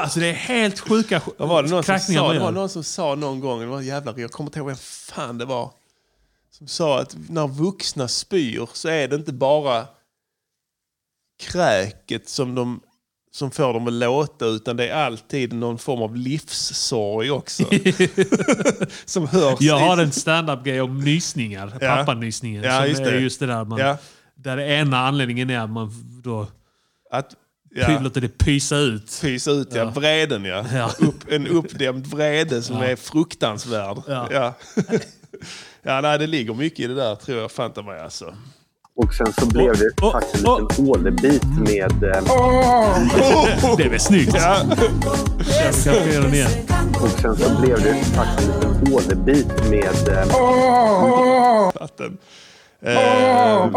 C: Alltså det är helt sjuka sj-
B: Vad var det någon som
C: kräkningar
B: sa?
C: man
B: Det var
C: gör.
B: någon som sa någon gång, det var en jävla, jag kommer inte ihåg vem fan det var, som sa att när vuxna spyr så är det inte bara kräket som, de, som får dem att låta utan det är alltid någon form av livssorg också. som hörs.
C: Jag
B: i-
C: har en stand-up-grej om nysningar.
B: Ja.
C: Pappanysningen.
B: Ja,
C: som
B: just
C: är
B: det.
C: just det där man...
B: Ja.
C: Där det ena anledningen är att man då
B: Att,
C: ja.
B: ja,
C: låter det pysa ut.
B: pysa ut, ja. Vreden, ja.
C: Ja.
B: Upp, en uppdämd vrede som är fruktansvärd.
C: Ja.
B: Ja. ja, nej, det ligger mycket i det där tror jag, fanta mig alltså.
F: Och sen så blev det
C: Åh,
F: faktiskt
C: åh,
F: en liten ålebit med... eh,
C: Det är väl snyggt?
B: Ja.
C: Jag kanske gör den igen.
F: Och sen så blev det faktiskt en liten ålebit med... eh,
B: vatten. Eh,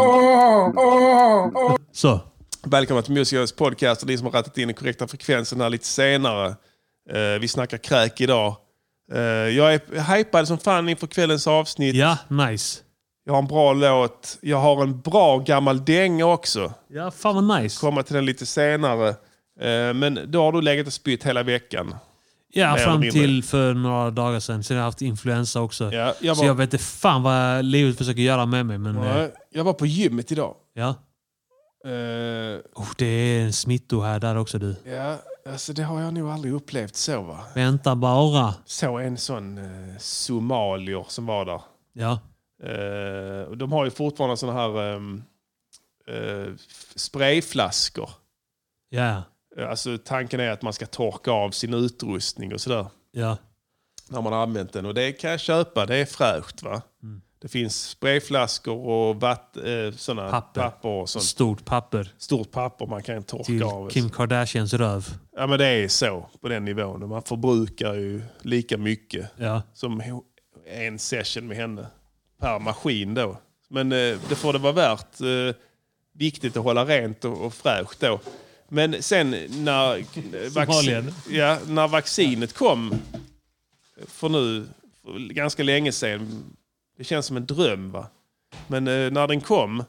C: Så.
B: välkomna till Musikens podcast och ni som har rattat in den korrekta frekvensen här lite senare. Eh, vi snackar kräk idag. Eh, jag är hypad som fan inför kvällens avsnitt.
C: Ja, nice.
B: Jag har en bra låt. Jag har en bra gammal dänga också.
C: Ja, fan vad nice.
B: Komma till den lite senare. Eh, men då har du legat och spytt hela veckan.
C: Ja,
B: eller
C: fram
B: mindre.
C: till för några dagar sedan. Sen har jag haft influensa också.
B: Ja, jag
C: Så
B: var-
C: jag vet inte fan vad livet försöker göra med mig. Men, eh,
B: Nej, Jag var på gymmet idag.
C: ja.
B: Eh,
C: oh, det är en smittohärdare också du.
B: ja, alltså det har jag nog aldrig upplevt så va.
C: Vänta bara.
B: Så en sån eh, somalier som var där.
C: Ja.
B: Eh, och de har ju fortfarande såna här ehm, eh, f- sprayflaskor.
C: Ja.
B: Eh, Alltså tanken är att man ska torka av sin utrustning och sådär.
C: Ja.
B: När man har använt den. Och det kan jag köpa, det är fräscht va.
C: Mm.
B: Det finns sprayflaskor och vatt, eh, såna
C: Papper.
B: papper. och sånt.
C: Stort papper
B: Stort papper man kan torka
C: till
B: av.
C: Kim Kardashians röv.
B: Ja men det är så på den nivån. Och Man förbrukar ju lika mycket
C: Ja.
B: som ho- en session med henne per maskin då. Men eh, det får det vara värt. Eh, viktigt att hålla rent och, och fräscht då. Men sen när, vaccin,
C: Somalien.
B: ja, när vaccinet kom, för nu för ganska länge sedan, det känns som en dröm va? Men eh, när den kom,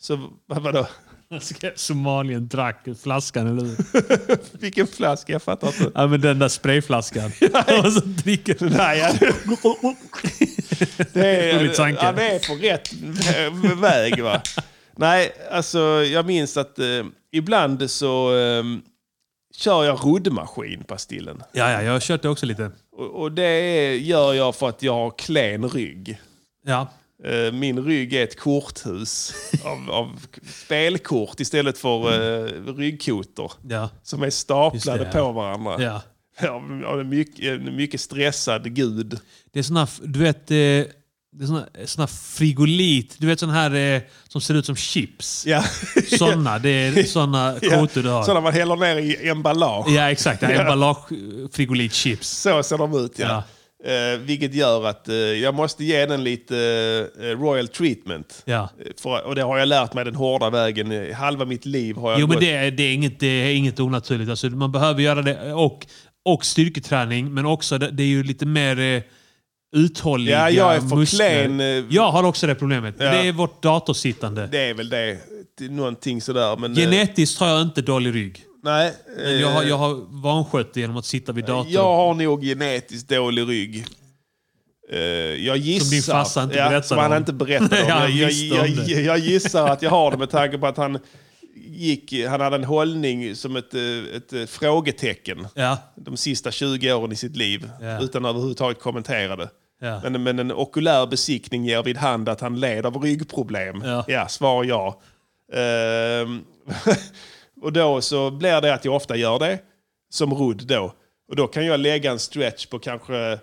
B: så vad, vadå?
C: Somalien drack flaskan, eller hur?
B: Vilken flaska, jag fattar inte.
C: Ja, men den där sprayflaskan. Och så dricker den där.
B: Nej, ja, det,
C: Rolig
B: är,
C: tanke.
B: ja, det Eh, är på rätt väg va? Nej, alltså jag minns att eh, ibland så eh, kör jag roddmaskin, Pastillen.
C: Ja, ja, jag har kört det också lite.
B: Och, och det är- gör jag för att jag har klen rygg.
C: Ja.
B: Eh, Min rygg är ett korthus av, av spelkort istället för eh, ryggkotor.
C: Mm. Ja.
B: Som är
C: Just
B: staplade
C: det, ja.
B: på varandra.
C: ja.
B: Av- Av en mycket, en mycket stressad gud.
C: Det är såna, f- du vet, eh, det är såna, eh, såna frigolit. Du vet sån här eh, som ser ut som chips.
B: Ja.
C: Såna, det är såna
B: Ja,
C: kvoter du har.
B: Sådana man häller ner i emballage.
C: Ja, exakt. Ja.
B: Ja.
C: Emballage eh, frigolit chips.
B: Så ser de ut ja.
C: Ja.
B: Eh, vilket gör att eh, jag måste ge den lite eh, royal treatment.
C: Ja.
B: Eh, För, och det har jag lärt mig den hårda vägen. Eh, Halva mitt liv har jag
C: Jo, men
B: gått
C: det är, det är inget, det är inget onaturligt. Alltså, man behöver göra det. eh, Och, och styrketräning, men också det, det är ju lite mer eh, uthålliga
B: Ja, jag är för
C: muskler.
B: klen, eh.
C: Jag har också det problemet.
B: Ja.
C: Det är vårt datorsittande.
B: Det är väl det. Det är Någonting sådär. Men, eh,
C: Genetiskt har jag inte dålig rygg.
B: nej, eh,
C: Jag har, jag har vanskött det genom att sitta vid datorn.
B: jag har nog genetiskt dålig rygg. Eh, jag gissar...
C: Som din farsa inte
B: ja,
C: berättade
B: som han
C: om.
B: inte berättade om.
C: Ja, han
B: jag,
C: visste
B: jag,
C: om det.
B: jag, jag gissar att jag har det med tanke på att han gick... Han hade en hållning som ett, eh, ett, eh, frågetecken.
C: Ja,
B: De sista 20 åren i sitt liv.
C: Ja.
B: Utan överhuvudtaget kommentera det.
C: ja.
B: Men, men en okulär besiktning ger vid hand att han led av ryggproblem.
C: Ja.
B: svar ja. Ehm, och då så blir det att jag ofta gör det, som rodd då. Och då kan jag lägga en stretch på kanske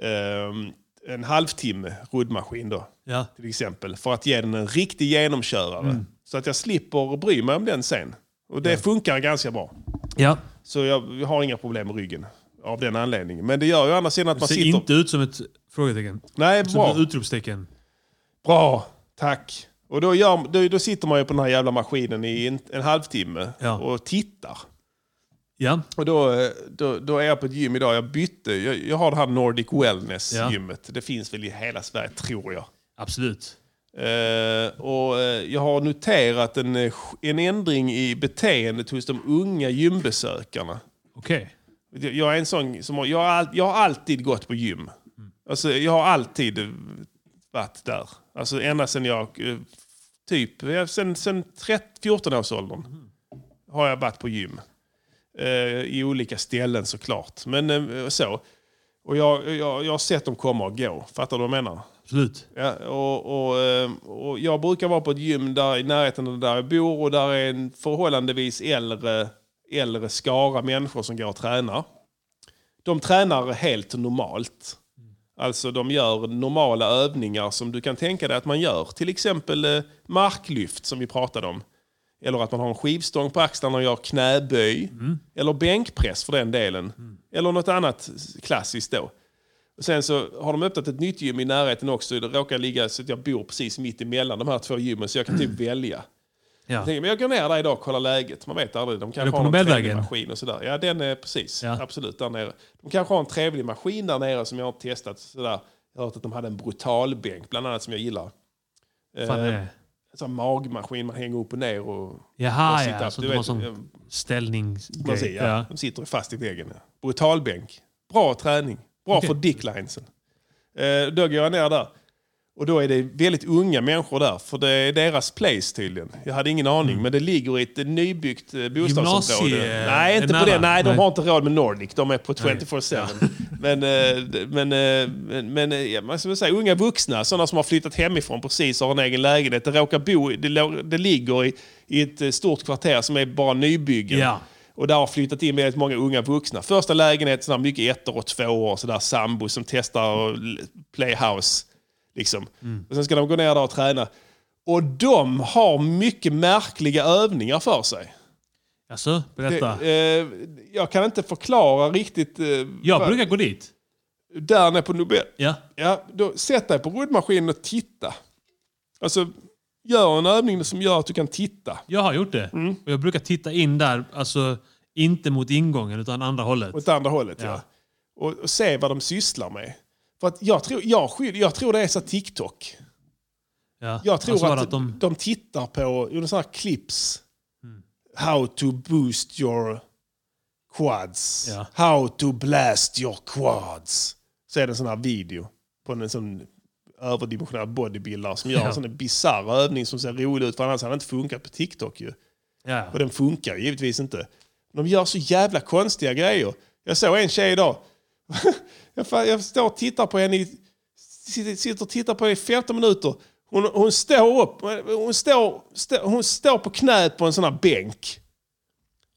B: ehm, en halvtimme roddmaskin då,
C: ja.
B: till exempel. För att ge den en riktig genomkörare.
C: Mm.
B: Så att jag slipper bry mig om den sen. Och det funkar ganska bra.
C: ja.
B: Så jag jag har inga problem med ryggen av den anledningen. Men det gör ju å andra sidan att
C: Det
B: man
C: ser
B: sitter...
C: inte ut som ett frågetecken.
B: Nej,
C: Som
B: bra.
C: ett utropstecken.
B: Bra, tack. Och då, gör, då, då sitter man ju på den här jävla maskinen i en, en halvtimme
C: Ja.
B: och tittar.
C: Ja.
B: Och då, eh, då, då är jag på ett gym idag, jag bytte, jag, jag har det här Nordic
C: Ja.
B: Wellness-gymmet. Det finns väl i hela Sverige, tror jag.
C: Absolut.
B: Eh, och eh, jag har noterat en, eh, en ändring i beteendet hos de unga gymbesökarna.
C: Okej.
B: Jag jag är en sån som har, jag, har, all- jag har alltid gått på gym. Alltså, jag har alltid eh, varit där. Alltså ända sedan jag, eh, typ, eh, sen, sen 14-årsåldern har jag varit på gym. Eh, I olika ställen såklart. Men eh, så. Och jag, jag, jag har sett dem komma och gå. Fattar du vad jag menar?
C: Absolut.
B: Ja, och, och, eh, och jag brukar vara på ett gym där i närheten av där jag bor och där är en förhållandevis äldre, äldre skara människor som går och tränar. De tränar helt normalt. Alltså de gör normala övningar som du kan tänka dig att man gör. Till exempel eh, marklyft som vi pratade om. Eller att man har en skivstång på axlarna och gör knäböj. Eller bänkpress för den delen. Eller något annat klassiskt då. Och sen så har de öppnat ett nytt gym i närheten också. Det råkar ligga så att jag bor precis mitt emellan de här två gymmen så jag kan typ välja.
C: Ja.
B: Jag tänker, men jag går ner där idag och kollar läget. Man vet aldrig. De
C: det
B: kanske
C: på
B: har någon
C: Nobelvägen?
B: trevlig maskin och sådär. Ja, den är precis.
C: Ja.
B: Absolut, där nere. De kanske har en trevlig maskin där nere som jag har testat. Sådär. Jag har hört att de hade en brutal bänk, bland annat, som jag gillar.
C: Fan, det är.
B: Eh, en sån här magmaskin man hänger upp och ner. Och,
C: Jaha,
B: och
C: ja.
B: sit-up.
C: Så
B: Du
C: det var
B: vet, eh,
C: sån ställning...
B: Precis, ja.
C: ja.
B: De sitter fast i väggen. Ja. Brutalbänk. Bra träning. Bra för dicklinesen. Eh, då går jag ner där. Och då är det väldigt unga människor där, för det är deras place tydligen. Jag hade ingen aning, men det ligger i ett eh, nybyggt eh, bostadsområde.
C: Mm. Gymnasie-
B: nej, inte på
C: nära.
B: det. Nej, de
C: Nej.
B: har inte råd med Nordic. De är på 24-7. Men, eh, d- men, eh, men, men eh, ja, man ska väl säga, unga vuxna, sådana som har flyttat hemifrån precis och har en egen lägenhet. Det, råkar bo, i- det, lå- det ligger i, i ett eh, stort kvarter som är bara nybyggen.
C: Ja.
B: Och där har flyttat in väldigt många unga vuxna. Första lägenheten, sådär mycket ettor och tvåor, sådär sambo som testar och l- playhouse. Liksom. Och sen ska de gå ner där och träna. Och de har mycket märkliga övningar för sig.
C: Alltså, berätta.
B: Eh, eh, jag kan inte förklara riktigt. Eh,
C: Jag
B: vad-
C: brukar gå dit.
B: Där nere på Nobel.
C: Ja.
B: Ja, då sätt dig på roddmaskinen och titta. Alltså, Gör en övning som gör att du kan titta.
C: Jag har gjort det.
B: Mm.
C: Och jag brukar titta in där, alltså inte mot ingången utan andra hållet.
B: Åt andra hållet, ja.
C: Ja.
B: Och, och se vad de sysslar med. För att jag, tror, jag, skyll, jag tror det är så TikTok.
C: Ja.
B: Jag tror
C: Alltså bara
B: att, de...
C: de... Mm.
B: tittar på jo, sådana här clips. How to boost your quads.
C: Ja.
B: How to blast your quads. Så är det en sån här video på en sån överdimensionerad bodybuilder som gör
C: Ja.
B: en sån där bisarr övning som ser rolig ut för annars hade den inte funkat på TikTok ju.
C: Ja.
B: Och den funkar ju givetvis inte. De gör så jävla konstiga grejer. Jag såg en tjej idag. jag, fa- jag står och tittar på henne i, sitter, sitter och tittar på henne i 15 minuter. Hon, hon står upp. Hon står, stå, hon står på knät på en sån här bänk.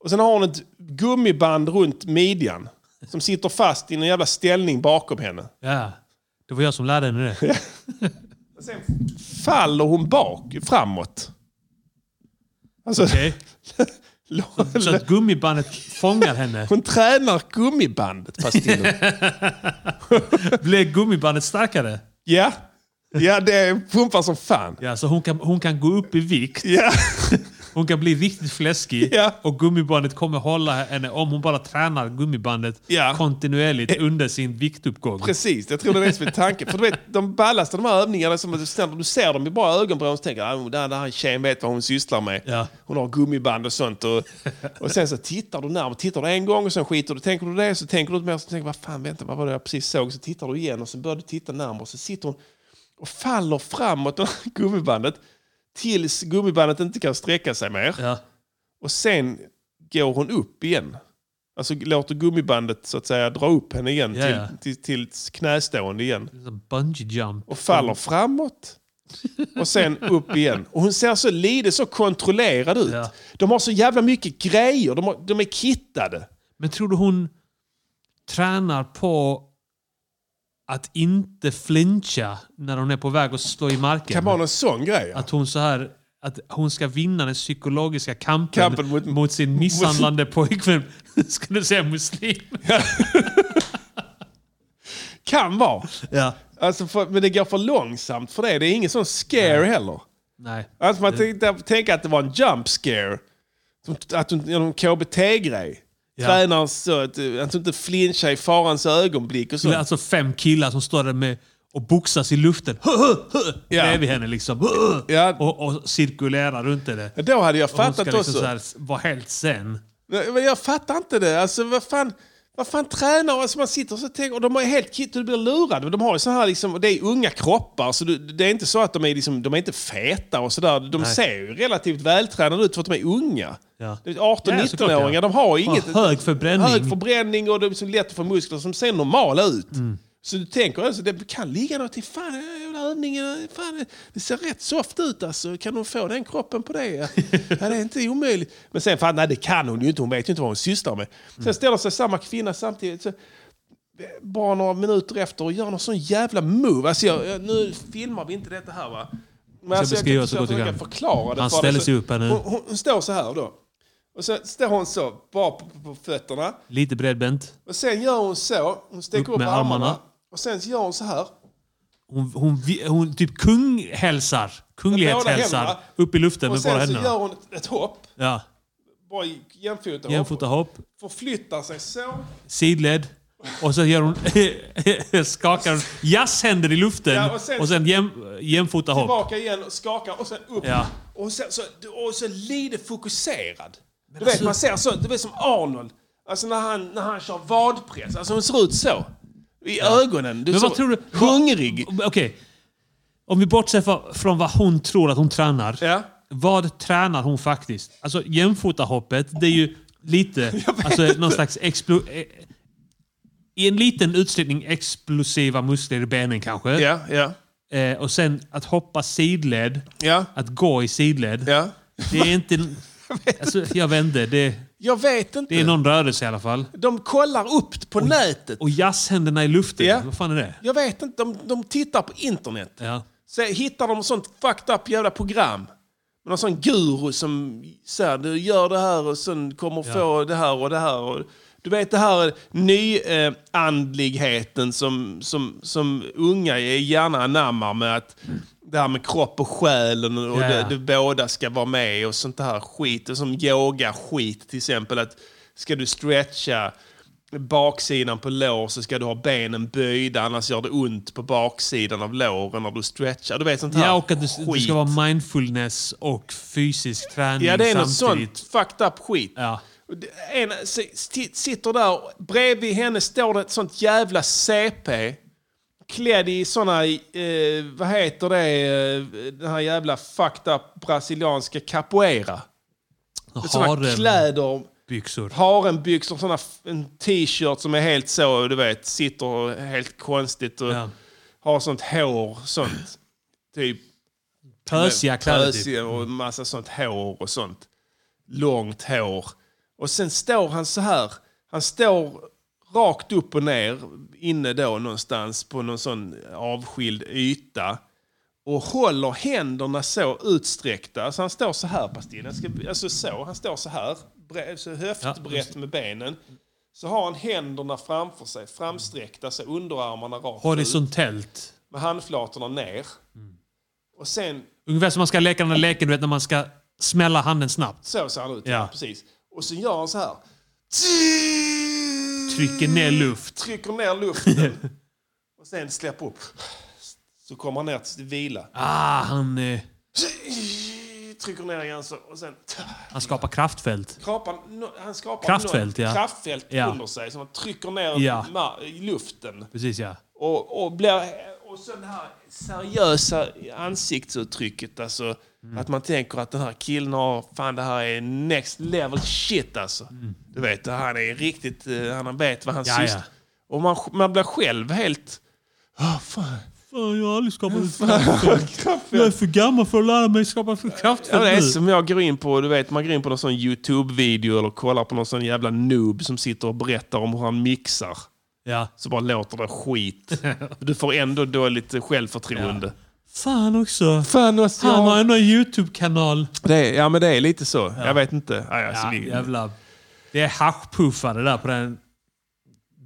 B: Och sen har hon ett gummiband runt midjan. Som sitter fast i en jävla ställning bakom henne.
C: ja. Det var jag som lärde henne det.
B: Och sen faller hon bak, framåt. Alltså,
C: Okej? Så att gummibandet fångar henne.
B: Hon tränar gummibandet, Pastillo.
C: Blev gummibandet starkare?
B: ja. ja, det pumpar som fan.
C: Ja, så hon kan, hon kan gå upp i vikt,
B: Ja.
C: hon kan bli riktigt fläskig
B: Ja.
C: och gummibandet kommer hålla henne om hon bara tränar gummibandet
B: Ja. Eh.
C: kontinuerligt under sin viktuppgång.
B: Precis, jag tror det är det som är tanken. För du vet, de ballaste de här övningarna, som du, ser- du ser dem i bara ögonbrån och så tänker ah, den här tjejen vet vad hon sysslar med.
C: Ja.
B: Hon har gummiband och sånt. Och, och sen så tittar du närmare, tittar du en gång och sen skiter du. Tänker du det så tänker du inte mer, så tänker du, vad fan vänta, vad var det jag precis såg? Så tittar du igen och så börjar du titta närmare och så sitter hon och faller framåt det här gummibandet tills gummibandet inte kan sträcka sig mer.
C: Ja.
B: Och sen går hon upp igen. Alltså låter gummibandet så att säga dra upp henne igen
C: Ja, ja.
B: till, till, till knästående igen.
C: Som Bungee jump.
B: Och faller framåt. Och sen upp igen. Och hon ser så lite så kontrollerad ut.
C: Ja.
B: De har så jävla mycket grejer. De, har, de är kittade.
C: Men tror du hon tränar på att inte flincha när hon är på väg att slå i marken?
B: Kan vara någon sån grej. ja.
C: Att hon så här att hon ska vinna den psykologiska kampen,
B: Kampen mot-
C: mot, sin misshandlande pojkvän. Ska du säga muslim?
B: Kan vara.
C: Ja.
B: Alltså för, men det går för långsamt för det. Det är ingen sån scare heller.
C: Nej.
B: Alltså man tänkte, tänka att det var en jump scare. Som- Att hon, en KBT-grej.
C: Ja.
B: Tränaren så eh, att, att du inte flinchar i farans ögonblick och så.
C: Det är alltså fem killar som står där med och boxas i luften.
B: Ja.
C: Bredvid henne liksom. Hö, hö.
B: Ja.
C: Och, och cirkulerar runt henne.
B: Men Då hade jag
C: Och hon ska
B: fattat
C: liksom
B: också.
C: så här vara helt sen.
B: Nej, Men jag fattar inte det. Alltså vad fan, vad fan tränar alltså, man sitter och så tänker, och de är helt kitt och du blir lurad. De har ju så här liksom, och det är unga kroppar så du, det är inte så att de är, liksom, de är inte feta och sådär. De ser ju relativt vältränade ut för att de är unga.
C: Ja.
B: Det är
C: Ja,
B: 18-19-åringar,
C: såklart, ja.
B: de har ju
C: Har
B: inget...
C: hög förbränning.
B: Hög förbränning och det är liksom lätt att få muskler som ser normala ut.
C: Mm.
B: Så du tänker alltså, det kan ligga något i fan, den här jävla övningen, fan, det ser rätt soft ut alltså. Kan hon få den kroppen på det? Ja, det är inte omöjligt. Men sen, fan, nej det kan hon ju inte, hon vet ju inte vad hon sysslar med. Sen
C: Mm.
B: ställer sig samma kvinna samtidigt, så, bara några minuter efter, och gör någon sån jävla move. Alltså, jag, jag, nu filmar vi inte detta här va? Men alltså,
C: beskriva
B: kan
C: så gott jag
B: försöka
C: kan.
B: förklara det
C: Han
B: för dig.
C: ställer
B: Så-
C: sig upp här nu.
B: Hon, hon, hon står så här då. Och så står hon så, bara på, på, på fötterna.
C: Lite bredbent.
B: Och sen gör hon så, hon sticker
C: Upp
B: upp,
C: med
B: armarna.
C: armarna.
B: Och sen gör hon så här.
C: Hon, hon, vi- hon typ kunghälsar. Kunglighetshälsar.
B: händerna.
C: Upp i luften
B: Och
C: med båda
B: sen så gör
C: händerna.
B: hon ett, ett hopp.
C: Ja.
B: Bara i jämfota hopp.
C: Jämfotahopp.
B: Förflyttar sig så.
C: Sidled. Och så gör hon... skakar hon jazzhänder i luften.
B: Ja, och
C: och
B: sen-
C: sen, jäm, jämfotahopp.
B: Tillbaka igen och skakar och sen upp.
C: Ja.
B: Och, sen, så, och så lite fokuserad. Du vet, man ser så. Du vet som Arnold. Alltså när han, när han kör vadpress. Alltså hon ser ut så. I ögonen. Du
C: Men
B: ser
C: vad tror du?
B: Hungrig.
C: Okej. Om vi bortser fra- från vad hon tror att hon tränar.
B: Ja.
C: Vad tränar hon faktiskt? Alltså jämfotahoppet, det är ju lite... Alltså någon slags explo... eh, I en liten utsträckning explosiva muskler i benen kanske.
B: Ja, ja,
C: Eh, och sen att hoppa sidled,
B: ja,
C: att gå i sidled.
B: ja.
C: Det är inte... Alltså, jag vet inte. Det,
B: Jag vet inte.
C: det är någon rörelse i alla fall.
B: De kollar upp på nätet.
C: Och jazzhänderna i luften.
B: Ja.
C: Vad fan är det?
B: Jag vet inte, de, de tittar på internet.
C: Ja.
B: Så hittar de sånt fucked up jävla program. Med någon sån guru som säger du gör det här och sen kommer få det här och det här. Och, du vet det här nyandligheten eh, andligheten som, som, som unga gärna anammar med att det här med kropp och själen och
C: Ja, ja.
B: det, det båda ska vara med och sånt här skit. Och som yoga-skit till exempel. att Ska du stretcha baksidan på lår så ska du ha benen böjda annars gör det ont på baksidan av låren när du stretchar. Du vet sånt här
C: Ja, och att du, du
B: skit.
C: ska vara mindfulness och fysisk träning
B: Ja, det är något
C: samtidigt.
B: sånt fucked up skit.
C: Ja.
B: Och det- En s- sti- sitter där, och bredvid henne står det ett sånt jävla CP. Klädd i såna, eh, vad heter det, eh, den här jävla fucked up brasilianska capoeira. Såna
C: Harembyxor.
B: kläder, harembyxor, såna f- en t-shirt som är helt så, du vet, sitter helt konstigt och
C: Ja.
B: har sånt hår, sånt. Typ
C: Pösiga kläder typ.
B: Pösiga och massa sånt hår och sånt. Långt hår. Och sen står han så här. Han står rakt upp och ner inne då någonstans på någon sån avskild yta. Och håller händerna så utsträckta. Så han står så här Bastin. Jag ska, alltså så. Han står så här. bre- Så höftbrett med benen. Så har han händerna framför sig, framsträckta, så underarmarna rakt ut.
C: Horisontellt.
B: Med handflatorna ner.
C: Mm.
B: Och sen
C: Ungefär som man ska leka den där leken du vet när man ska smälla handen snabbt.
B: Så ser han ut,
C: Ja.
B: ja. precis. Och så gör han så här.
C: Trycker ner luft.
B: Trycker ner luften. och sen släpper upp. Så kommer han ner till vila.
C: Ah, han, eh,
B: Trycker ner igen så, och sen...
C: han skapar kraftfält.
B: Skrapar, nå- han skapar
C: Kraftfält,
B: något
C: ja.
B: kraftfält
C: Ja.
B: under sig som han trycker ner
C: Ja.
B: ma- i luften.
C: Precis ja.
B: Och, och blir... Och så det här seriösa ansiktsuttrycket. Alltså,
C: Mm.
B: Att man tänker att den här killen har... Fan, det här är next level shit alltså. Du vet, han är riktigt... eh, Han vet vad han
C: Mm. Ja,
B: sysslar... Och man, man blir själv helt... "Ah, fan.
C: Fan, jag har aldrig skapat ett kraftfält. Jag är för gammal för att lära mig skapa ett
B: Ja,
C: kraftfält
B: det är
C: nu.
B: som jag går in på, du vet, man går in på någon sån YouTube-video eller kollar på någon sån jävla noob som sitter och berättar om hur han mixar.
C: Ja.
B: Så bara låter det skit. Du får ändå dåligt självförtroende.
C: Fan också.
B: Fan, alltså,
C: Han har ändå en YouTube-kanal.
B: Det är, ja, men det är lite så. Jag vet inte. Aj, alltså,
C: Ja,
B: vi,
C: Ah, jävla. Det är haschpuffar det där på den,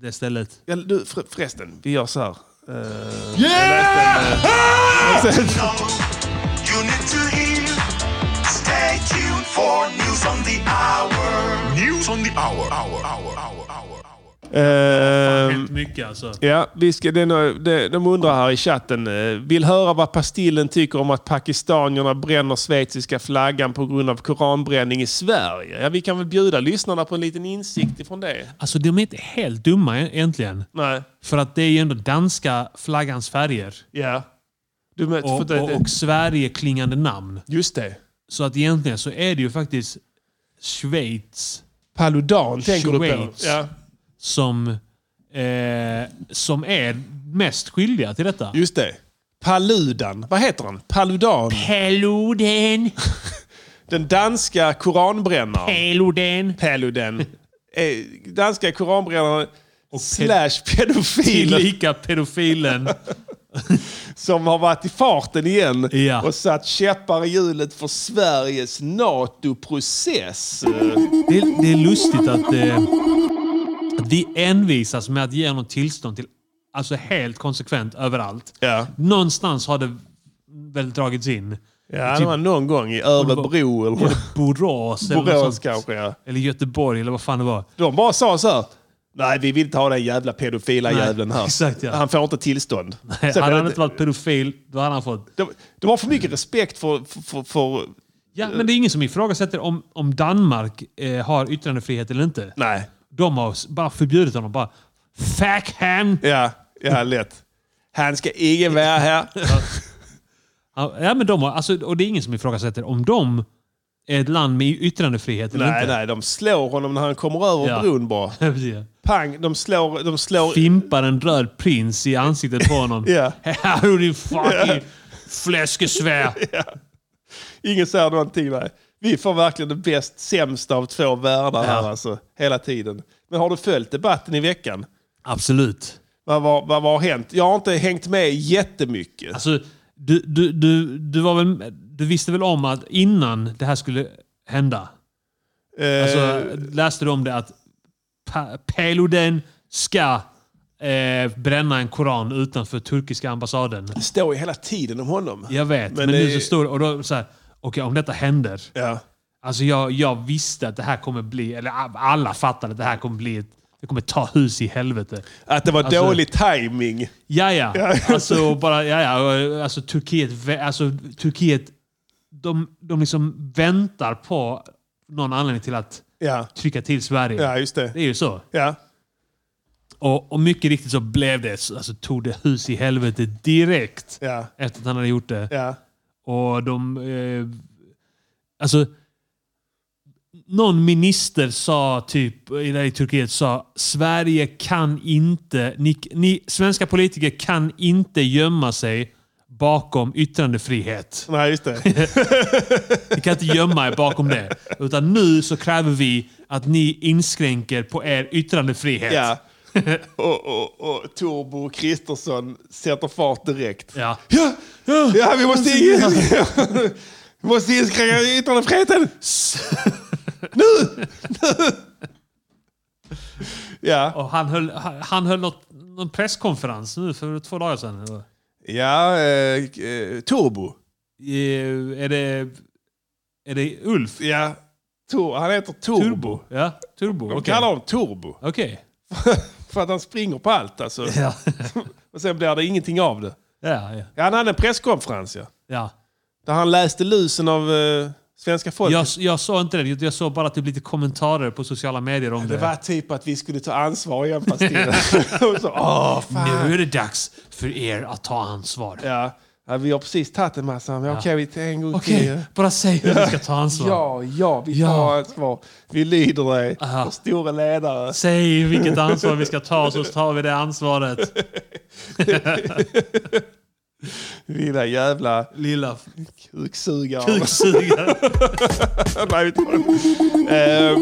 C: det stället.
B: Ja, du, för, förresten, vi gör så här. Eh,
G: You need to hear. Stay tuned for news on the hour. News on the hour. Hour. Hour. Hour. Hour. hour.
B: Ehm,
C: Helt mycket alltså.
B: ja, vi ska, det är nog- det, de undrar här i chatten. eh, vill höra vad Pastillen tycker om att pakistanierna bränner schweiziska flaggan på grund av koranbränning i Sverige. Ja, vi kan väl bjuda lyssnarna på en liten insikt ifrån det.
C: Alltså de är inte helt dumma e- egentligen.
B: Nej.
C: För att det är ju ändå danska flaggans färger.
B: Ja. Du möt, för
C: Och,
B: det,
C: och, och Sverige-klingande namn.
B: just det.
C: Så att egentligen så är det ju faktiskt Schweiz
B: Paludan tänker du på.
C: Schweiz.
B: Ja,
C: som, eh, som är mest skyldiga till detta.
B: just det. Paludan. Vad heter han? Paludan.
C: Peloden,
B: Den danska koranbrännaren.
C: Peloden.
B: Paludan. Eh, Danska koranbrännaren slash pedofilen
C: Tillika pedofilen.
B: som har varit i farten igen
C: Ja.
B: och satt käppar i hjulet för Sveriges NATO-process.
C: Det, det är lustigt att, eh, att vi envisas med att ge något tillstånd till alltså helt konsekvent överallt.
B: Ja.
C: Någonstans har det väl dragits in.
B: Ja, det var någon gång i Örebro Typ eller
C: Borås eller, något
B: Borås
C: sånt.
B: kanske. Ja.
C: eller Göteborg eller vad fan det var.
B: De bara sa så här. Nej, vi vill inte ha den jävla pedofila
C: Nej,
B: jäveln här.
C: exakt, ja.
B: Han får inte tillstånd. Så
C: hade
B: det-
C: han inte varit pedofil, då hade han fått...
B: de, de har för mycket respekt för... för, för, för
C: Ja, men det är ingen som ifrågasätter om, om Danmark eh, har yttrandefrihet eller inte.
B: nej.
C: De har s- bara förbjudit honom. Bara, Fuck him!
B: Ja, ja, lätt. Han ska ingen vara här.
C: Ja, ja, men de har, alltså, och det är ingen som ifrågasätter om de är ett land med yttrandefrihet eller
B: Nej,
C: inte.
B: nej, de slår honom när han kommer över
C: Ja.
B: bron bara.
C: Precis.
B: Pang, de slår... De slår
C: Fimpar en röd prins i ansiktet på honom.
B: Ja.
C: Här har du din fucking fläskesvär.
B: ingen säger någonting, nej. Vi får verkligen det bäst sämsta av två världar här alltså. Hela tiden. Men har du följt debatten i veckan?
C: Absolut.
B: Vad, vad, vad, vad har hänt? Jag har inte hängt med jättemycket.
C: Alltså, du, du, du, du, var väl, du visste väl om att innan det här skulle hända alltså,
B: Eh,
C: så läste du om det att pa- Peloden ska eh, bränna en koran utanför turkiska ambassaden.
B: Det står ju hela tiden om honom.
C: Jag vet, men,
B: Men det
C: nu
B: är-
C: så står det... Och då så här, okej, om detta händer.
B: Ja.
C: Alltså jag, jag visste att det här kommer bli... Eller alla fattade att det här kommer bli ett... Det kommer ta hus i helvete.
B: Att det var
C: Alltså-
B: dålig timing.
C: Ja, ja. Alltså, bara, ja, ja. Alltså, Turkiet, vä- alltså, Turkiet de, de liksom väntar på någon anledning till att
B: Ja,
C: trycka till Sverige.
B: ja just det.
C: Det är ju så.
B: Ja.
C: Och, och mycket riktigt så blev det, alltså tog det hus i helvete direkt
B: Ja.
C: efter att han hade gjort det.
B: Ja.
C: Och de... Eh, alltså... Någon minister sa typ, i där i Turkiet sa Sverige kan inte, ni, ni, svenska politiker kan inte gömma sig bakom yttrandefrihet.
B: Nej, just det.
C: Ni kan inte gömma er bakom det. Utan nu så kräver vi att ni inskränker på er yttrandefrihet.
B: Ja. Och, och, och Torbo Kristersson sätter fart direkt.
C: Ja.
B: Ja,
C: Ja.
B: ja vi måste, vi måste inskränka yttrandefriheten! Nu! Ja,
C: Och han höll, han, han höll något, någon presskonferens nu för två dagar sedan.
B: ja eh, eh, Turbo.
C: Eh, Är det, är det Ulf?
B: Ja, Tur- han heter Turbo.
C: Turbo? Ja, turbo.
B: De
C: Okej.
B: kallar honom Turbo.
C: Okej.
B: För att han springer på allt alltså.
C: Ja.
B: Och sen blir det ingenting av det.
C: ja, ja,
B: Ja, han hade en presskonferens ja.
C: ja.
B: Där han läste lusen av eh, svenska folket.
C: Jag, jag såg inte det. Jag såg bara att det blev lite kommentarer på sociala medier om det.
B: Det var typ att vi skulle ta ansvar igen fast det- Och så, åh fan.
C: Nu är det dags för er att ta ansvar.
B: Ja. ja, vi har precis tagit en massa, men okej vi tar en gång
C: Okej,
B: till.
C: bara säg hur ni ska ta ansvar.
B: Ja, ja, vi
C: Ja.
B: tar ansvar. Vi lyder dig,
C: Aha.
B: vår stora ledare.
C: Säg vilket ansvar vi ska ta, så tar vi det ansvaret.
B: Lilla jävla
C: Lilla
B: kuksugare.
C: kuksugare.
B: Nej, vi tar den. Eh,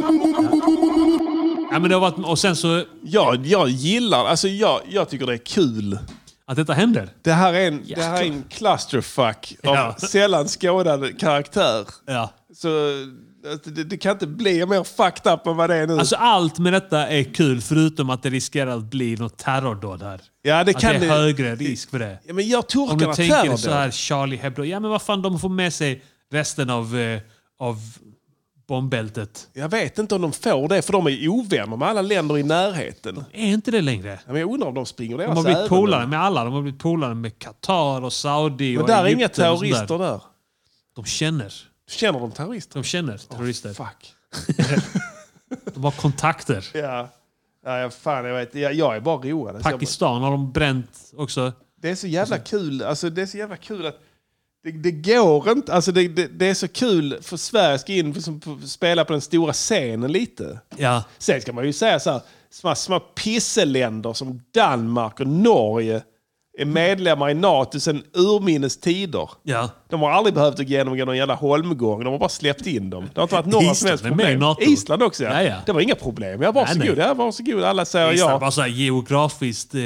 C: ja, men det har varit, och sen så,
B: ja, jag gillar, alltså jag, jag tycker det är kul.
C: att detta händer.
B: Det här är en, det här är en clusterfuck av
C: Ja.
B: sällan skådad karaktär.
C: Ja.
B: Så alltså, det, det kan inte bli mer fucked up än vad det är nu.
C: Alltså allt med detta är kul, förutom att det riskerar att bli något terrordåd här.
B: ja, det
C: Att
B: kan
C: det är
B: det-
C: högre risk för det.
B: Ja, men jag
C: Om du
B: torkar
C: tänker så
B: terror
C: här
B: då.
C: Charlie Hebdo. Ja men vad fan, de får med sig resten av, eh, av bombbältet.
B: Jag vet inte om de får det, för de är ovänner med alla länder i närheten.
C: Är inte det längre?
B: Ja, men jag undrar om de springer deras
C: De har blivit
B: ärenden.
C: polare med alla. De har blivit polare med Qatar och Saudi
B: Men
C: och
B: där är
C: Egypten
B: inga
C: och sånt
B: terrorister
C: Där.
B: där.
C: De känner.
B: Känner de terrorister?
C: De känner terrorister.
B: Fuck.
C: de har kontakter.
B: Ja. Ja, ja, fan jag vet. Jag, jag är bara road. Alltså, jag-
C: Pakistan har de bränt också.
B: Det är så jävla kul. Alltså, det är så jävla kul att det, det går inte. Alltså, det, det, det är så kul för Sverige ska in och spela på den stora scenen lite.
C: Ja.
B: Sen ska man ju säga så här, små, små pisseländer som Danmark och Norge är medlemmar i NATO sedan urminnes tider.
C: Ja.
B: De har aldrig behövt att genomgå någon jävla holmgång. De har bara släppt in dem. Det har inte varit några som
C: Island
B: helst
C: är med i
B: problem.
C: NATO.
B: Island också ja.
C: Ja, ja.
B: Det var inga problem. Jag
C: Nej,
B: varsågod.
C: nej.
B: Ja, varsågod. Alla säger
C: Island
B: ja.
C: var så här geografiskt eh,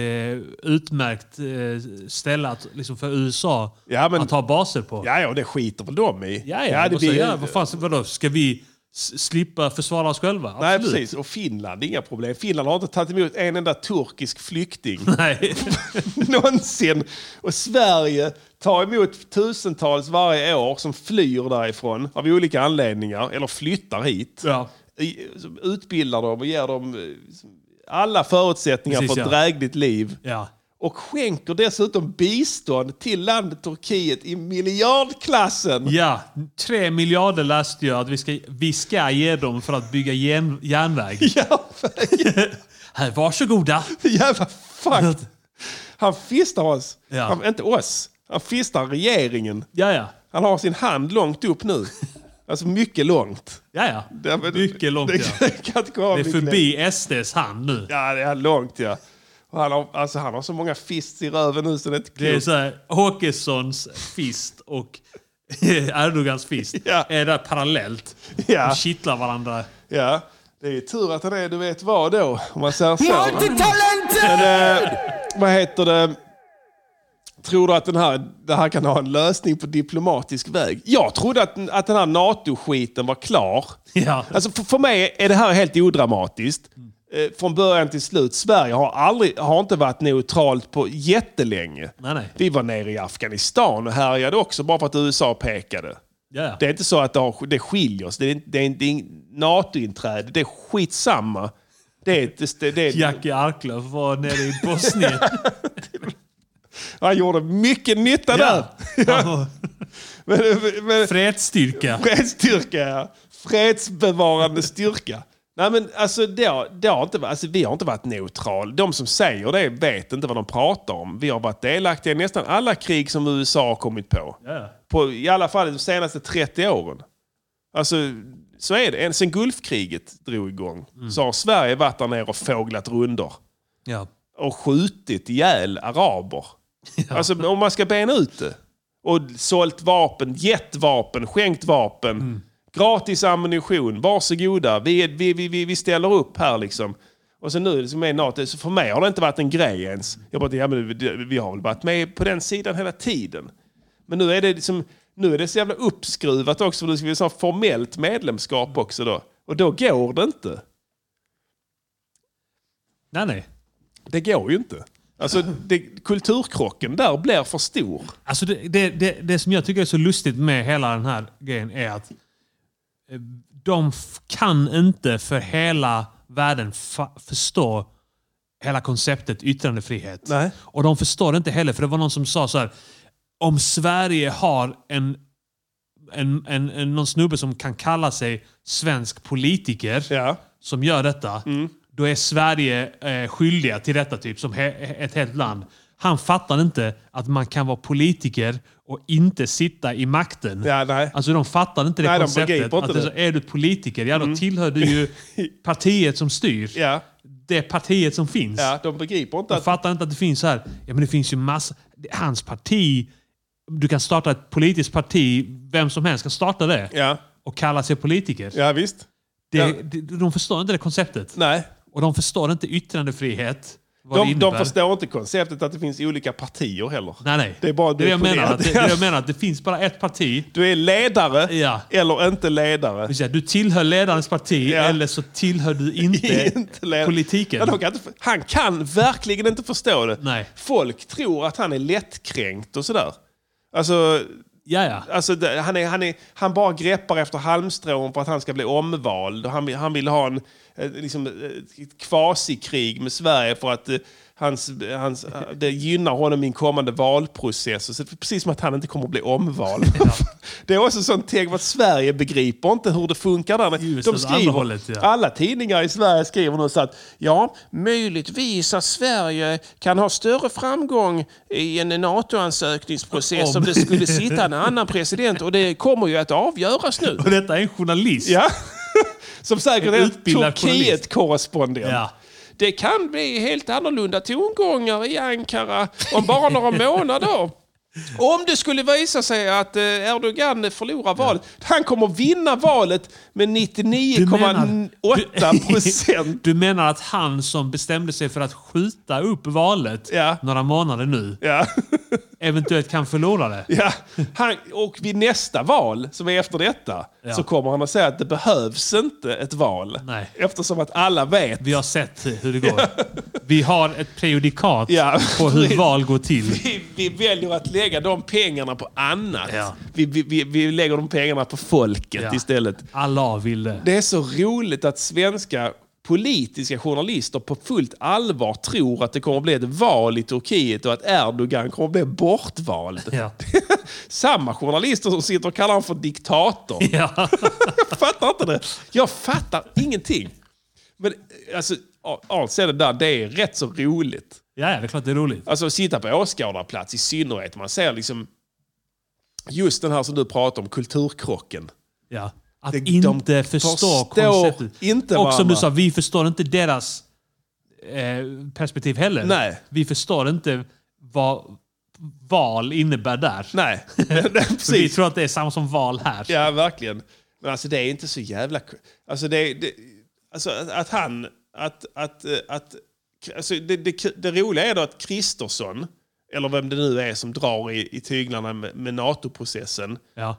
C: utmärkt eh, ställe att, liksom för USA
B: Ja, men-
C: att ha baser på.
B: Ja, ja, och det skiter väl de i.
C: Ja, ja.
B: det
C: det blir...
B: blir-
C: ja vad fan, vadå? Ska vi s- slippa försvara oss själva?
B: Nej,
C: Absolut.
B: precis. Och Finland, inga problem. Finland har inte tagit emot en enda turkisk flykting
C: Nej.
B: någonsin. Och Sverige tar emot tusentals varje år som flyr därifrån av olika anledningar, eller flyttar hit.
C: ja.
B: I- som Utbildar dem och ger dem eh, som- alla förutsättningar
C: Precis,
B: för ett
C: ja.
B: drägligt liv.
C: ja.
B: Och skänker dessutom bistånd till landet Turkiet i miljardklassen.
C: Ja, tre miljarder läste jag att vi ska, vi ska ge dem för att bygga järn, järnväg.
B: Järnvägen.
C: Här, varsågoda.
B: Jävla fuck. Han fistar oss.
C: Ja.
B: Han, inte oss. Han fistar regeringen.
C: Ja, ja.
B: Han har sin hand långt upp nu. Alltså mycket långt.
C: ja,
B: Det-
C: ja. Mycket långt
B: det,
C: ja.
B: Det kan inte komma
C: Det är
B: mycket
C: förbi
B: längre.
C: SDs hand nu.
B: Ja, det är långt ja. Och han, har, alltså, han har så många fists i röven nu så det är inte
C: Det är
B: klokt.
C: så här, Håkessons fist och Erdogans fist
B: Ja.
C: är där parallellt.
B: Ja.
C: De kittlar varandra.
B: Ja. Det är ju tur att han är du vet vad då. Om man säger så.
E: Multitalented!
B: Men, eh, vad heter det? Tror du att den här, det här kan ha en lösning på diplomatisk väg? Jag trodde att, att den här NATO-skiten var klar.
C: Ja. Mm.
B: Alltså för, för mig är det här helt odramatiskt. eh, från början till slut. Sverige har, aldrig, har inte varit neutralt på jättelänge.
C: Nej, nej.
B: Vi var nere i Afghanistan och härjade också bara för att USA pekade.
C: Ja, ja.
B: Det är inte så att det, har, det skiljer oss. Det är, det är, det är NATO-inträde. Det är skitsamma. Det är, ett- det, det, är,
C: Jackie Arklöf var nere i Bosnien.
B: han gjorde mycket nytta där.
C: Han var
B: Men, men,
C: Fredsstyrka.
B: fredsstyrka, ja. Fredsbevarande styrka. Nej men alltså, det har, det har inte, varit- alltså vi har inte varit neutral. De som säger det vet inte vad de pratar om. Vi har varit delaktiga i nästan alla krig som USA har kommit på.
C: Ja.
B: på I alla fall de senaste 30 åren. Alltså, så är det. Än Sen Gulfkriget drog igång så har Sverige varit där nere och fåglat runder
C: Ja.
B: och skjutit ihjäl araber. Alltså om man ska bena ut det. Och sålt vapen, gett vapen, skänkt vapen. Gratis ammunition, varsågoda. Vi, vi, vi, vi, vi ställer upp här liksom. Och sen nu liksom med NATO, så för mig har det inte varit en grej ens. Jag bara, ja, men vi- vi har väl varit med på den sidan hela tiden. Men nu är det liksom, nu är det så jävla uppskruvat också. För nu ska vi ha formellt medlemskap också då. Och då går det inte.
C: Nej, nej.
B: Det går ju inte. Alltså, det, kulturkrocken där blir för stor.
C: Alltså det, det, det, det som jag tycker är så lustigt med hela den här grejen är att eh, de f- kan inte för hela världen fa- förstå hela konceptet yttrandefrihet.
B: Nej.
C: Och de förstår det inte heller, för det var någon som sa så här. Om Sverige har en, en, en, en någon snubbe som kan kalla sig svensk politiker
B: Ja. Mm.
C: som gör detta, då är Sverige eh, skyldiga till detta, typ, som he- ett helt land. Han fattar inte att man kan vara politiker och inte sitta i makten.
B: Ja, nej.
C: Alltså de fattar inte det
B: Nej, de
C: konceptet.
B: begriper inte
C: att det. är
B: det.
C: så, Är du politiker, ja då tillhör du ju partiet som styr.
B: Mm. Ja.
C: Det partiet som finns.
B: Ja, de begriper inte
C: Jag
B: att...
C: fattar inte att det finns så här. Ja, men det finns ju massa... det- Hans parti... Du kan starta ett politiskt parti. Vem som helst kan starta det.
B: Ja,
C: Och kalla sig politiker.
B: ja visst.
C: Det,
B: Ja.
C: det, de förstår inte det konceptet.
B: Nej.
C: Och de förstår inte yttrandefrihet. Vad det
B: De,
C: innebär.
B: de förstår inte konceptet att det finns olika partier heller.
C: Nej, nej.
B: Det är bara
C: det jag menar.
B: definierat.
C: Att det, det jag menar att det finns bara ett parti.
B: Du är ledare
C: Ja.
B: eller inte ledare.
C: Det vill säga, Du tillhör ledarens parti
B: Ja.
C: eller så tillhör du inte,
B: Inte ledare.
C: politiken.
B: Ja, de kan inte, han kan verkligen inte förstå det.
C: Nej.
B: Folk tror att han är lättkränkt och sådär. Alltså,
C: Ja, ja.
B: Alltså, det, han, är, han, är, han bara greppar efter halmstrån för att han ska bli omvald. Och han, vill- han vill ha en, eh, liksom, eh, ett kvasikrig med Sverige för att eh, hans, hans, eh, det gynnar honom i en kommande valprocess. Och Så det är precis som att han inte kommer att bli omvald. det är också sånt tänk att Sverige begriper inte hur det funkar där. Men
C: Just
B: de
C: åt andra
B: skriver,
C: hållet, ja.
B: Alla tidningar i Sverige skriver nu så att ja, möjligtvis att Sverige kan ha större framgång i en NATO-ansökningsprocess om det skulle sitta en annan president och det kommer ju att avgöras nu.
C: Och detta är en journalist.
B: Ja. Som säkert
C: En
B: är
C: utbildad
B: Turkiet-korrespondent.
C: Ja.
B: Det kan bli helt annorlunda tongångar i Ankara om bara några månader. Om det skulle visa sig att eh, Erdogan förlorar valet. Han kommer vinna valet med
C: Du menar-
B: 99,8 procent.
C: Du menar att han som bestämde sig för att skjuta upp valet
B: Ja.
C: några månader nu
B: Ja.
C: eventuellt kan förlora det?
B: Ja. Han, och vid nästa val, som är efter detta,
C: Ja.
B: så kommer han att säga att det behövs inte ett val.
C: Nej.
B: Eftersom att alla vet.
C: Vi har sett hur det går. Vi har ett prejudikat
B: Ja.
C: på hur val går till.
B: vi, vi väljer att lägga de pengarna på annat.
C: Ja.
B: Vi, vi, vi, vi lägger de pengarna på folket
C: Ja.
B: istället.
C: Allah ville.
B: Det är så roligt att svenska politiska journalister på fullt allvar tror att det kommer att bli ett val i Turkiet och att Erdogan kommer att bli bortvald.
C: Ja.
B: Samma journalister som sitter och kallar honom för diktator.
C: Ja.
B: Jag fattar inte det. Jag fattar ingenting. Men alltså, all- allt det där, det är rätt så roligt.
C: ja, ja, det är klart det är roligt.
B: Alltså att sitta på åskådarplats i synnerhet. Man ser liksom just den här som du pratar om, kulturkrocken.
C: Ja. Att
B: Det- de
C: inte förstå
B: förstår
C: konceptet.
B: inte
C: och som
B: varandra.
C: du sa, vi förstår inte deras eh, perspektiv heller.
B: Nej.
C: Vi förstår inte vad val innebär där.
B: Nej, precis.
C: För vi tror att det är samma som val här.
B: Ja, verkligen. Men alltså det är inte så jävla... Alltså det, det alltså att, att han... Att, att, att, alltså det, det, det roliga är då att Kristersson, eller vem det nu är som drar i, i tyglarna med, med NATO-processen,
C: Ja.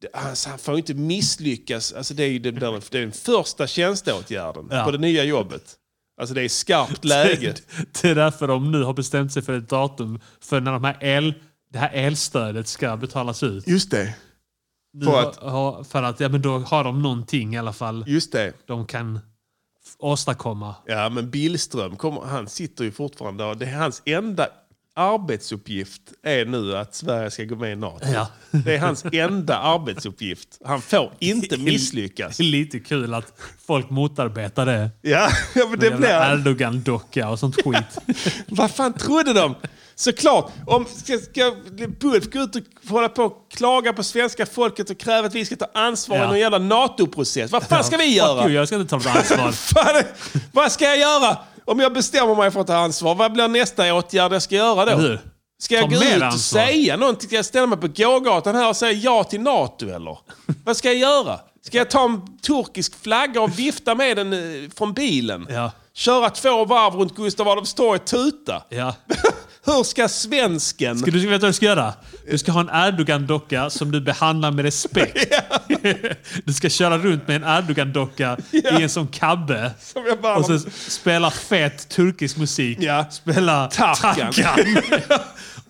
B: det- alltså han får ju inte misslyckas. Alltså det är ju den, där, det är den första tjänsteåtgärden
C: Ja.
B: på det nya jobbet. Alltså det är skarpt läge.
C: Det är därför de nu har bestämt sig för ett datum för när de här el, det här elstödet ska betalas ut.
B: Just det.
C: Nu
B: för
C: har-
B: att-
C: har- för att ja, men då har de någonting i alla fall
B: Just det.
C: de kan f- åstadkomma.
B: Ja, men Billström, kommer, han sitter ju fortfarande och det är hans enda arbetsuppgift är nu att Sverige ska gå med i NATO.
C: Ja.
B: Det är hans enda arbetsuppgift. Han får inte misslyckas.
C: Det är lite kul att folk motarbetar det.
B: Ja, ja men det
C: Jävla
B: blir...
C: Erdogan-docka och sånt skit.
B: Vad fan trodde de? Såklart, om ska, ska Bulf gå ut och hålla på och klaga på svenska folket och kräva att vi ska ta ansvar
C: Ja.
B: i någon jävla NATO-process. Vad fan ska vi göra?
C: Fuck you, jag ska inte ta något ansvar.
B: Fan, vad ska jag göra? Om jag bestämmer mig för att ta ansvar, vad blir nästa åtgärd jag ska göra då?
C: Hur?
B: Ska jag
C: Ta
B: gå ut
C: mer
B: och
C: ansvar.
B: säga någonting? Ska jag ställa mig på gågatan här och säga ja till NATO eller? Vad ska jag göra? Ska jag ta en turkisk flagga och vifta med den eh, från bilen?
C: Ja.
B: Köra två varv runt Gustav Adolfs torg och tuta?
C: Ja.
B: Hur ska svensken...
C: Ska du ska veta vad du ska göra? Du ska ha en Erdogan-docka som du behandlar med respekt. Du ska köra runt med en Erdogan-docka
B: Ja.
C: i en sån kabbe.
B: Som jag bara-
C: Och så spela fet turkisk musik.
B: Ja.
C: Spela
B: Tarkan.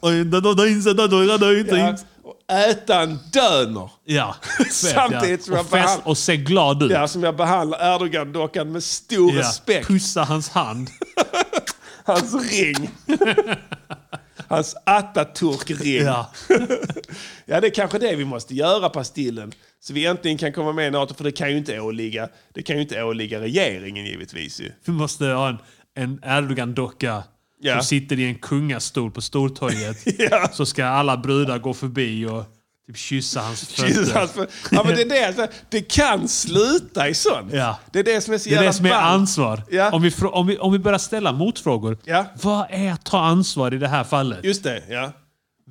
C: Och då- då- då inser- då- då- då- då- då-
B: Ja, och äta en döner?
C: Ja. Fet, ja.
B: Samtidigt som jag
C: och, fest,
B: behand-
C: och se glad ut.
B: Ja, som jag behandlar Erdogan-dockan med stor
C: Ja.
B: respekt.
C: Pussa hans hand.
B: Hans ring. Hans Atatürk-ring.
C: Ja.
B: Ja, det är kanske det vi måste göra, Pastillen. Så vi äntligen kan komma med i NATO, för det kan ju inte åligga, det kan ju inte åligga regeringen givetvis. Ju.
C: Vi måste ha en, en Erdogan-docka
B: Ja.
C: som sitter i en kungastol på Stortorget.
B: Ja.
C: Så ska alla brudar gå förbi och typ kyssa hans
B: Jesus,
C: fötter.
B: alltså, ja, men det, är det, alltså, det kan sluta i sånt.
C: Ja.
B: Det är det som är så
C: Det är
B: jävla
C: det som är
B: ballt.
C: ansvar.
B: Ja.
C: Om, vi, frå- om, vi, om vi börjar ställa motfrågor.
B: Ja.
C: Vad är att ta ansvar i det här fallet?
B: Just det, ja.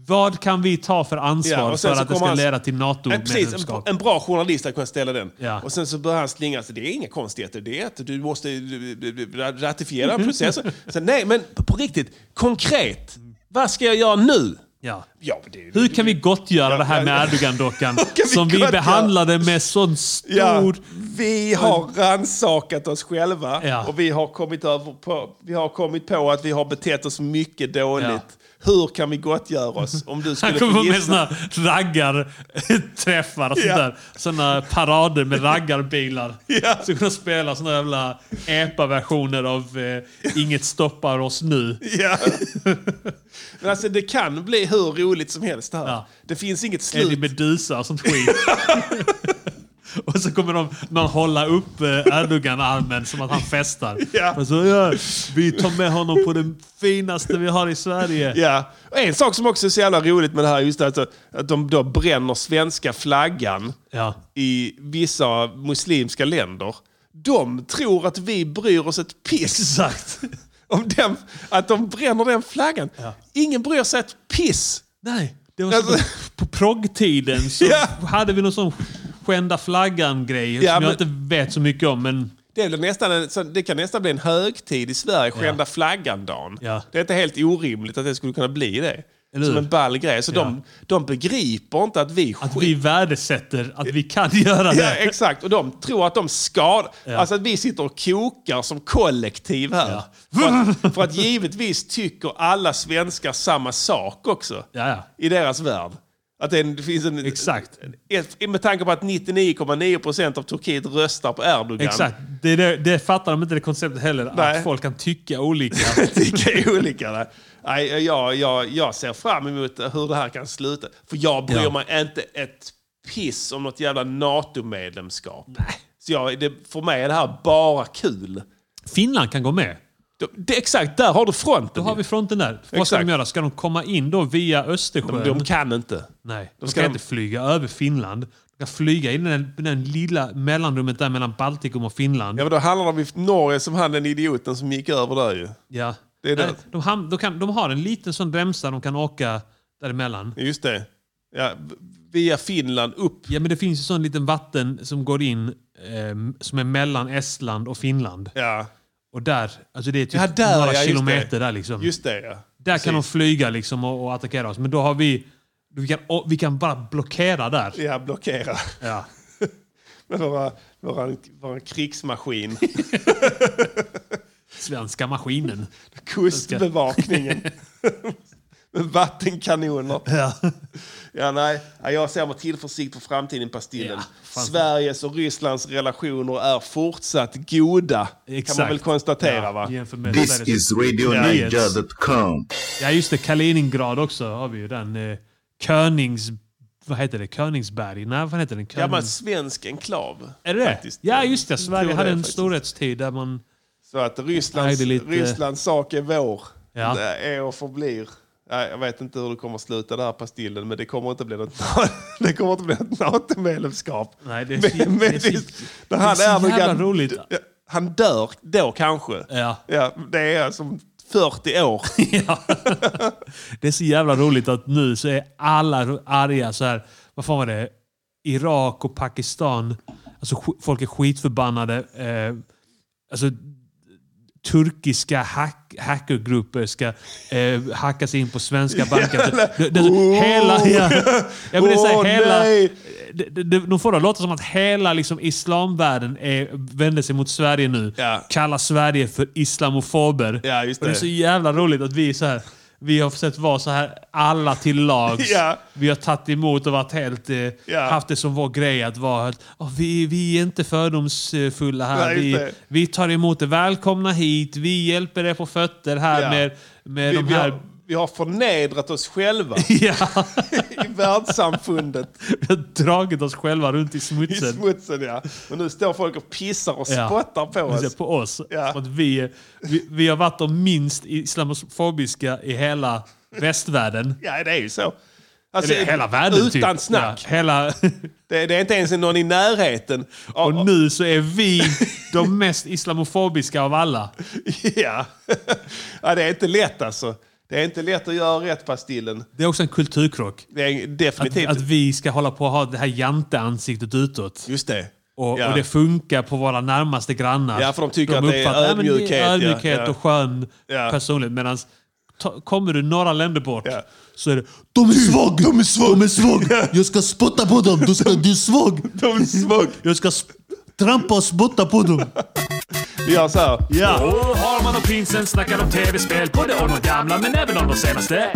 C: Vad kan vi ta för ansvar
B: Ja, och sen
C: för
B: så
C: att det
B: kommer
C: ska
B: han-
C: leda till
B: En, precis, en,
C: NATO-medlemskap?
B: en bra journalist har kunnat ställa den.
C: Ja.
B: Och sen så börjar han slingra sig. Det är inga konstigheter. Det är att du måste eh, du, du, du, ratifiera en process. Sen, nej, men på, på riktigt. Konkret. Vad ska jag göra nu?
C: Ja.
B: Ja, men det,
C: Hur kan vi gottgöra det här
B: ja,
C: med
B: ja.
C: Erdogan-dockan
B: kan vi
C: som vi
B: gottgöra?
C: behandlade med sån stor...
B: Ja, vi har ransakat oss själva
C: Ja.
B: och vi har, kommit över på, vi har kommit på att vi har betett oss mycket dåligt. Hur kan vi gottgöra oss? Om du
C: Han
B: skulle
C: kommer
B: få
C: med
B: gissa.
C: såna raggarträffar och sånt
B: Ja.
C: där. Såna parader med raggarbilar.
B: Ja.
C: Så kunna spela såna jävla epa-versioner av eh, Inget stoppar oss nu.
B: Ja. Men alltså det kan bli hur roligt som helst det här.
C: Ja.
B: Det finns inget
C: Eddie
B: slut.
C: Meduza och sånt skit. och så kommer de, någon hålla upp eh, Erdogan-armen som att han festar.
B: Ja.
C: Och så, ja, vi tar med honom på det finaste vi har i Sverige.
B: Ja. Och en sak som också är så jävla roligt med det här är just att, att de då bränner svenska flaggan
C: Ja.
B: i vissa muslimska länder. De tror att vi bryr oss ett piss.
C: Exakt.
B: Om den, att de bränner den flaggan. Ingen bryr sig ett piss.
C: Nej, det var så
B: Alltså-
C: på, på proggtiden så
B: Ja.
C: hade vi någon sån skända flaggan-grej som
B: Ja, men-
C: jag inte vet så mycket om. Men
B: Det, är väl nästan en, så det kan nästan bli en högtid i Sverige, skända flaggan-dagen.
C: Ja.
B: Det är inte helt orimligt att det skulle kunna bli det.
C: Eller
B: Som
C: hur?
B: en ball grej. Så de, de begriper inte att vi
C: att
B: skit-
C: vi värdesätter att vi kan göra
B: Ja,
C: det.
B: exakt. Och de tror att de skadar... Alltså att vi sitter och kokar som kollektiv här. För, att, för att givetvis tycker alla svenskar samma sak också.
C: Ja, ja.
B: I deras värld. Att det är en- det finns en,
C: Exakt.
B: Ett- Med tanke på att 99,9% av Turkiet röstar på Erdogan.
C: Exakt. Det, det, det fattar de inte det konceptet heller.
B: Nej.
C: Att folk kan tycka olika.
B: Det är olika. där. Nej, jag, jag, jag ser fram emot hur det här kan sluta. För jag bryr
C: Ja.
B: mig inte ett piss om något jävla NATO-medlemskap. Så jag, det, för mig är det här bara kul.
C: Finland kan gå med.
B: Det, det, exakt, där har du
C: Då
B: fronten.
C: har vi fronten där. Vad ska de
B: Exakt.
C: göra? Ska de komma in då via Östersjön?
B: de kan inte.
C: Nej, de
B: ska
C: ska
B: de-
C: inte flyga över Finland. De ska flyga in i den, den lilla mellanrummet där mellan Baltikum och Finland.
B: Ja, men då handlar det om Norge som han den idioten som gick över där ju.
C: Ja.
B: Det är
C: Nej,
B: det.
C: De, ham- de, kan, de har en liten sån remsa de kan åka däremellan.
B: Just det. Ja, v- via Finland upp.
C: Ja, men det finns ju sån liten vatten som går in eh, som är mellan Estland och Finland.
B: Ja,
C: Och där, alltså det är typ
B: Ja, där,
C: några
B: ja, just
C: kilometer
B: det.
C: där liksom.
B: just det ja.
C: där kan de
B: precis.
C: flyga liksom och, och attackera oss. Men då har vi... Vi kan, och, vi kan bara blockera där.
B: Ja, blockera.
C: Ja.
B: Med våra, våra, våra krigsmaskin.
C: Svenska maskinen.
B: Kustbevakningen. Med vattenkanoner.
C: Ja.
B: Ja, nej. Ja, Jag ser med tillförsikt på framtiden Pastillen.
C: Ja, fan.
B: Sveriges och Rysslands relationer är fortsatt goda. Kan man väl konstatera
C: ja,
B: va?
C: jämför med
H: This
C: Sveriges-
H: is RadioNiger.com.
C: Ja, just det. Kaliningrad också har vi ju. Den eh, Könings... Vad heter det? Königsberg? Nej, vad heter den?
B: Ja, men
C: Könings-
B: svensk enklav.
C: är det det?
B: faktiskt.
C: Ja, just det.
B: Jag
C: Sverige
B: tror
C: hade
B: det,
C: en
B: faktiskt.
C: storhetstid där man...
B: Så att
C: Nej,
B: Rysslands,
C: det är lite-
B: Rysslands sak är vår.
C: Ja.
B: Det är och förblir. Nej, Jag vet inte hur det kommer sluta där Pastillen, men det kommer inte bli något, det kommer inte bli något NATO-medlemskap.
C: Nej, det är så-
B: Men- men
C: det är så-
B: visst, när
C: det är
B: han
C: så
B: är
C: jävla
B: Erdogan-
C: roligt.
B: Ja, Han dör då kanske.
C: Ja.
B: Ja, det är som 40 år.
C: Ja. Det är så jävla roligt att nu så är alla ro- arga så här. Vad fan var det? Irak och Pakistan. Alltså sk- folk är skitförbannade. Eh, alltså turkiska hack, hackergrupper ska eh, hacka sig in på svenska banker. Det, det,
B: Oh.
C: hela... Ja, jag vill säga
B: Åh,
C: hela...
B: nej.
C: Det- det- det- De får det att låta som att hela liksom, islamvärlden är, vänder sig mot Sverige nu.
B: Ja.
C: Kallar Sverige för islamofober.
B: Ja, just
C: Och det är
B: det.
C: så jävla roligt att vi är så här. Vi har försökt vara så här alla till lags.
B: Ja.
C: Vi har tagit emot och varit helt, eh,
B: Ja.
C: haft det som vår grej att vara att "Åh, vi, vi är inte fördomsfulla här.
B: Nej, just
C: vi,
B: det.
C: vi tar emot er. Välkomna hit. Vi hjälper er på fötter här
B: Ja.
C: med, med
B: Vi,
C: de
B: vi,
C: här...
B: har, vi har förnedrat oss själva
C: Ja.
B: i världssamfundet.
C: vi har dragit oss själva runt i
B: I
C: smutsen.
B: smutsen, ja. Och nu står folk och pissar och
C: Ja.
B: spottar på
C: Precis,
B: oss.
C: På oss.
B: Ja.
C: Som Att vi, är- vi, vi har varit de minst islamofobiska i hela västvärlden.
B: Ja, det är ju så. Alltså,
C: Eller hela världen
B: Utan
C: typ.
B: snack.
C: Ja, hela,
B: Det, det är inte ens någon i närheten. av-
C: och nu så är vi de mest islamofobiska av alla.
B: Ja. ja, det är inte lätt alltså. Det är inte lätt att göra rätt, Pastillen.
C: Det är också en kulturkrock.
B: Det är
C: Att,
B: definitivt...
C: att vi ska hålla på och ha det här janteansiktet utåt.
B: just det.
C: Och,
B: ja.
C: och det funkar på våra närmaste grannar.
B: Ja, för de tycker att det är
C: "Nej, men ni
B: ödmjukhet, ja,
C: ödmjukhet
B: ja.
C: och skön
B: Ja.
C: personlighet. Medan ta- kommer du några länder bort
B: Ja.
C: så är det De är svag! De är svag! De är svag! Jag ska spotta på dem! Du, ska, du är svag!
B: De är svag.
C: Jag ska sp- trampa och spotta på dem!
B: Vi gör så här.
C: Ja!
A: Och Harman och Pinsen snackar om tv-spel, både om de gamla men även om de senaste.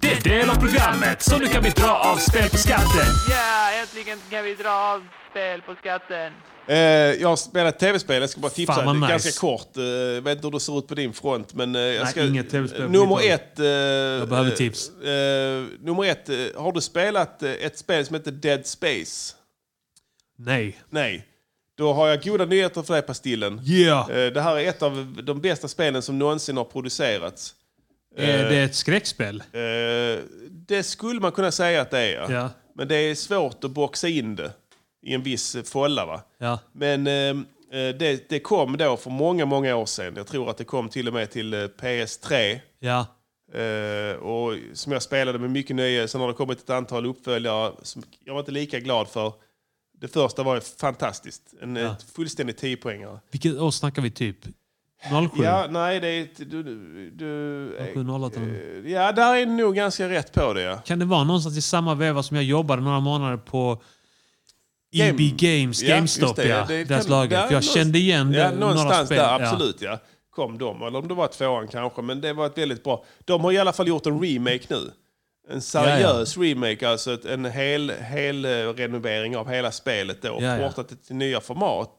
A: Det är del av programmet, så nu kan vi dra av spel på skatten.
I: Ja, äntligen kan vi dra av spel på skatten.
B: Eh, jag har spelat tv-spel, jag ska bara tipsa.
C: Fan, vad
B: Det är
C: nice.
B: Ganska kort. Eh, Jag vet inte hur det ser ut på din front. Men eh, jag
C: Nej,
B: ska,
C: inget TV-spel på
B: Nummer
C: mitt håll.
B: ett... eh, jag
C: behöver tips.
B: nummer ett. eh, Har du spelat eh, ett spel som heter Dead Space?
C: Nej.
B: Nej. Då har jag goda nyheter för dig, Pastillen.
C: Yeah!
B: Eh, det här är ett av de bästa spelen som någonsin har producerats.
C: Är det ett skräckspel?
B: Eh, det skulle man kunna säga att det är, ja.
C: Ja.
B: Men det är svårt att boxa in det i en viss eh, fålla, va?
C: Ja.
B: Men ehm, eh, det, det kom då för många, många år sedan. Jag tror att det kom till och med till eh, PS3.
C: Ja.
B: eh, och som jag spelade med mycket nöje. Sen har det kommit ett antal uppföljare som jag var inte lika glad för. Det första var ju fantastiskt. En ja. fullständig 10-poängare.
C: Vilket år snackar vi typ? 07?
B: Ja, nej, det är... ett- Du, du, du, eh,
C: 07, 08?
B: ja, där är du nog ganska rätt på det. Ja.
C: Kan det vara någonstans i samma veva som jag jobbade några månader på EB
B: Game-
C: Games,
B: Ja,
C: GameStop,
B: just det.
C: ja.
B: Det kan-
C: deras lager. För
B: där
C: jag
B: någonstans-
C: kände igen
B: Ja,
C: det, några
B: någonstans
C: spel.
B: där, absolut ja. Kom de, eller om det var tvåan kanske. Men det var ett väldigt bra. De har i alla fall gjort en remake nu. En seriös remake, alltså ett, en hel, hel eh, renovering av hela spelet då. Och
C: Ja, ja.
B: portat det till nya format.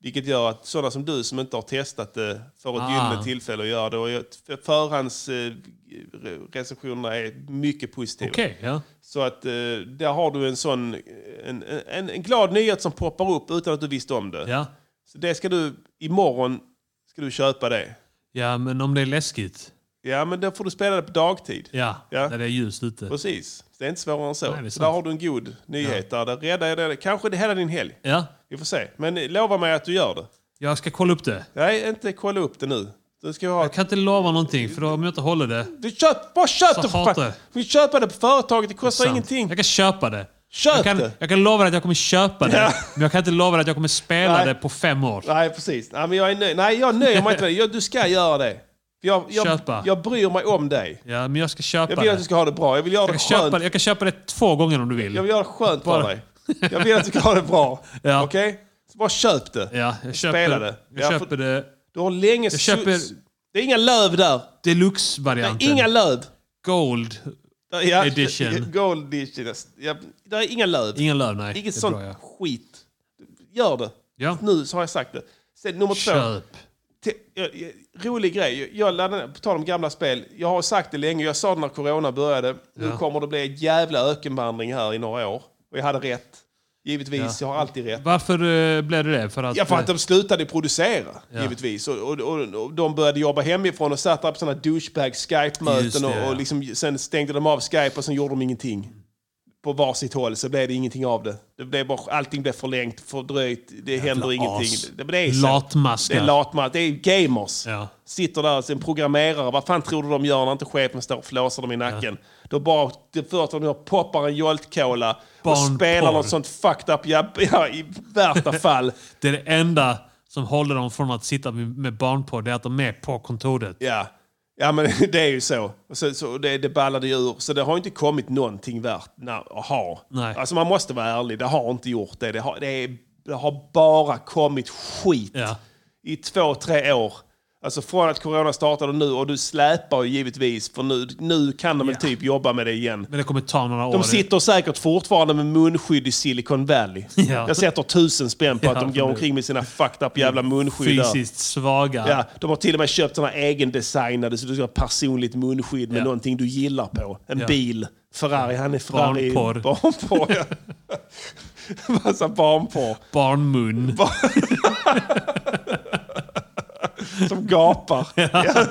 B: Vilket gör att sådana som du som inte har testat det får ett
C: Ah.
B: gyllene tillfälle att göra det. Och jag- för- förhandsrecensionerna är mycket positiva.
C: Okej, ja.
B: Så att eh, där har du en sån en, en, en glad nyhet som poppar upp utan att du visste om det.
C: ja.
B: Så det ska du, imorgon ska du köpa det.
C: Ja, men om det är läskigt.
B: Ja, men då får du spela det på dagtid.
C: Ja,
B: Ja.
C: när det är ljust ute.
B: Precis, det är inte svårare än så.
C: Nej, det är
B: så
C: sant.
B: där har du en god nyhet. Där, där räddar jag dig. Kanske det hela din helg.
C: Ja,
B: Vi får se. Men eh, lova mig att du gör det.
C: jag ska kolla upp det.
B: Nej, inte kolla upp det nu. Du ska ha...
C: Jag kan inte lova någonting, för om jag inte håller det...
B: Du köp, bara köp
C: Så
B: det!
C: hatar
B: För...
C: jag.
B: Vi köper det på företaget, det kostar
C: sant.
B: ingenting.
C: Jag kan köpa det.
B: Köp
C: jag kan,
B: det!
C: Jag kan lova dig att jag kommer köpa det,
B: Ja.
C: men jag kan inte lova dig att jag kommer spela
B: Nej.
C: det på fem år.
B: Nej, precis. Nej, men jag, är nöj... Nej, jag nöjer mig inte med det. Jag, du ska göra det. För Jag, jag,
C: Köpa.
B: jag bryr mig om dig.
C: Ja, men jag ska köpa
B: Jag vill att
C: det.
B: du ska ha det bra. Jag vill göra
C: Jag
B: det
C: kan, köpa,
B: skönt.
C: det. jag kan köpa det två gånger om du vill.
B: Jag vill göra det skönt
C: Bara-
B: för dig. Jag vill att du ska ha det bra.
C: Ja.
B: Okej? Så bara köp det.
C: Ja, jag köper,
B: Spela det.
C: Jag
B: Ja,
C: köper
B: för-
C: det.
B: Du har länge...
C: Jag köper-
B: Det är inga löv där.
C: Deluxe-varianten.
B: Inga löv.
C: Gold.
B: Där- Ja,
C: Edition.
B: Gold edition. Ja, där är inga löv.
C: Inga löv, nej.
B: Inget
C: Det är
B: sånt
C: bra, ja.
B: skit. Gör det.
C: Ja.
B: Nu så har jag sagt det. Sen nummer två.
C: Köp.
B: Te, jag- jag- rolig grej. Jag- Jag laddade, på tal om gamla spel. Jag har sagt det länge. Jag sa det när corona började. Nu
C: Ja.
B: kommer det bli en jävla ökenvandring här i några år. Och jag hade rätt. Givetvis, jag har alltid rätt.
C: Varför eh, blev det det? För att...
B: Ja, för att
C: eh,
B: de slutade producera,
C: Ja.
B: givetvis. Och, och, och, och de började jobba hemifrån och satt där på sådana douchebag
C: Just
B: Skype-möten.
C: det,
B: och,
C: ja.
B: och liksom, sen stängde de av Skype och sen gjorde de ingenting. På varsitt håll så blev det ingenting av det. det blev bara, allting blev förlängt, fördröjt, det händer
C: as.
B: ingenting. Det, men det är så.
C: Latmaskar.
B: Det är latmaskar. Det är gamers.
C: Ja.
B: Sitter där som programmerare. Vad fan tror du de gör när inte chefen står och flåsar dem i nacken? Då bara, det första de gör, poppar en joltkola och
C: Barnporr.
B: spelar något sånt fucked up, ja, ja, i värsta fall.
C: Det är det enda som håller dem från att sitta med med barnporr. Det är att de är på kontoret.
B: Ja, ja men det är ju så. Och så, så det, det ballade ju ur. Så det har inte kommit någonting värt na- att ha.
C: Nej.
B: Alltså man måste vara ärlig, det har inte gjort det. Det har, det är, det har bara kommit skit
C: Ja.
B: i två, tre år. Alltså från att corona startade nu, och du släpar ju givetvis, för nu, nu kan de väl typ jobba med det igen.
C: Men det kommer ta några år.
B: De sitter säkert fortfarande med munskydd i Silicon Valley.
C: Ja.
B: Jag sätter tusen spänn på
C: Ja,
B: att de
C: för
B: går
C: det.
B: omkring med sina fucked up jävla munskydd där.
C: Fysiskt svaga.
B: Ja, de har till och med köpt såna egendesignade, så du ska ha personligt munskydd med
C: Ja.
B: någonting du gillar på. En
C: Ja.
B: bil. Ferrari, han är Ferrari.
C: Barnporr.
B: Barnporr, ja. Massa barnporr.
C: Barnmun.
B: Som gapar. Ja.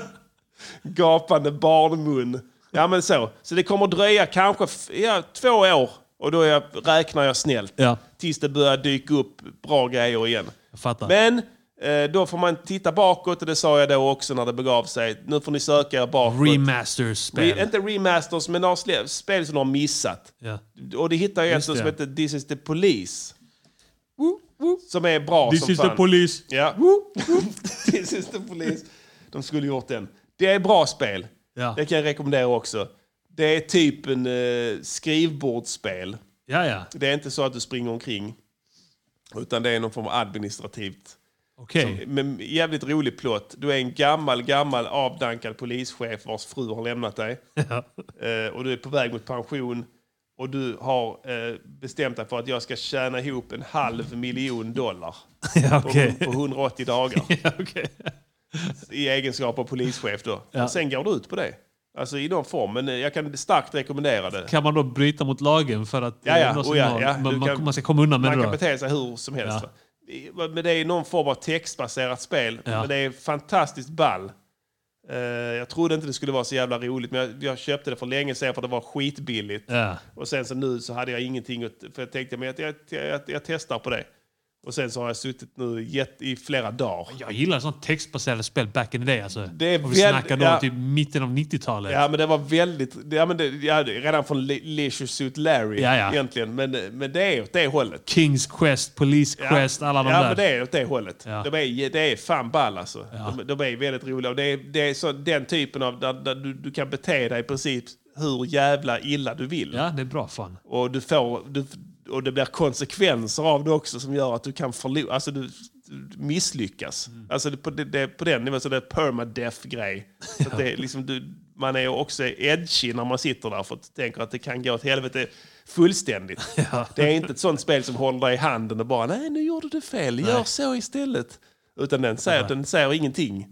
B: Gapande barnmun. Ja, men så. Så det kommer dröja kanske f- ja, två år. Och då är jag, räknar jag snällt.
C: Ja.
B: Tills det börjar dyka upp bra grejer igen.
C: Jag fattar.
B: Men eh, då får man titta bakåt, och det sa jag då också när det begav sig. Nu får ni söka er bakåt.
C: Remasters-spel.
B: Re, inte remasters, men har sle- spel som de har missat.
C: Ja.
B: Och det hittar jag ett
C: Just
B: som
C: det.
B: heter This is the police. Som är bra som fan.
C: police.
B: Ja. This is the police. De skulle gjort den. Det är bra spel.
C: Ja.
B: Det kan jag rekommendera också. Det är typ en eh, skrivbordsspel.
C: Ja, ja.
B: Det är inte så att du springer omkring. Utan det är någon form av administrativt.
C: Okej.
B: Men jävligt rolig plott. Du är en gammal, gammal avdankad polischef vars fru har lämnat dig. Eh, och du är på väg mot pension. Och du har eh, bestämt dig för att jag ska tjäna ihop en halv miljon dollar
C: Ja,
B: på,
C: okej.
B: på 180 dagar
C: Ja, okej.
B: i egenskap av polischef. Då.
C: Ja.
B: Och sen går du ut på det. Alltså i någon form. Men eh, jag kan starkt rekommendera det.
C: Kan man då bryta mot lagen för att
B: Ja, ja.
C: eh, någon som
B: Oh, ja,
C: har-
B: ja. Du
C: man,
B: kan-
C: man ska komma undan med
B: Man
C: det
B: kan
C: då?
B: bete sig hur som helst.
C: Ja.
B: va. Men det är någon form av textbaserat spel.
C: Ja.
B: Men det är fantastiskt ball. Eh, jag trodde inte det skulle vara så jävla roligt, men jag, jag köpte det för länge sedan för det var skitbilligt.
C: Ja.
B: Och sen så nu så hade jag ingenting, att- för jag tänkte men jag, jag, jag, jag testar på det. Och sen så har jag suttit nu jätte- i flera dagar.
C: Jag gillar sånt textbaserade spel back in the day alltså.
B: Det är
C: Och vi
B: väl-
C: snackar då
B: ja.
C: typ mitten av 90-talet.
B: Ja, men det var väldigt... Ja, men det, ja, det- redan från Le- Leisure Suit Larry
C: Ja, ja.
B: egentligen. Men, men det är åt det hållet.
C: Kings Quest, Police Quest, alla de
B: ja,
C: där.
B: men det är åt det hållet.
C: Ja.
B: De är, det är fan ball alltså. De, de är väldigt roliga. Och det, är, det är så, den typen av... Där, där du, du kan bete dig i princip hur jävla illa du vill.
C: Ja, det är bra fan.
B: Och, du får, du, och det blir konsekvenser av det också som gör att du kan förlora. Alltså du, du misslyckas. Alltså det, på, det, det, på den nivån så det är permadeath-grej. Så att det är liksom du, man är ju också edgy när man sitter där för att tänker att det kan gå åt helvete fullständigt. Det är inte ett sånt spel som håller dig i handen och bara nej nu gjorde du fel, gör så istället. Utan den säger, den säger ingenting.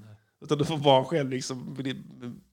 B: Utan du får bara själv liksom,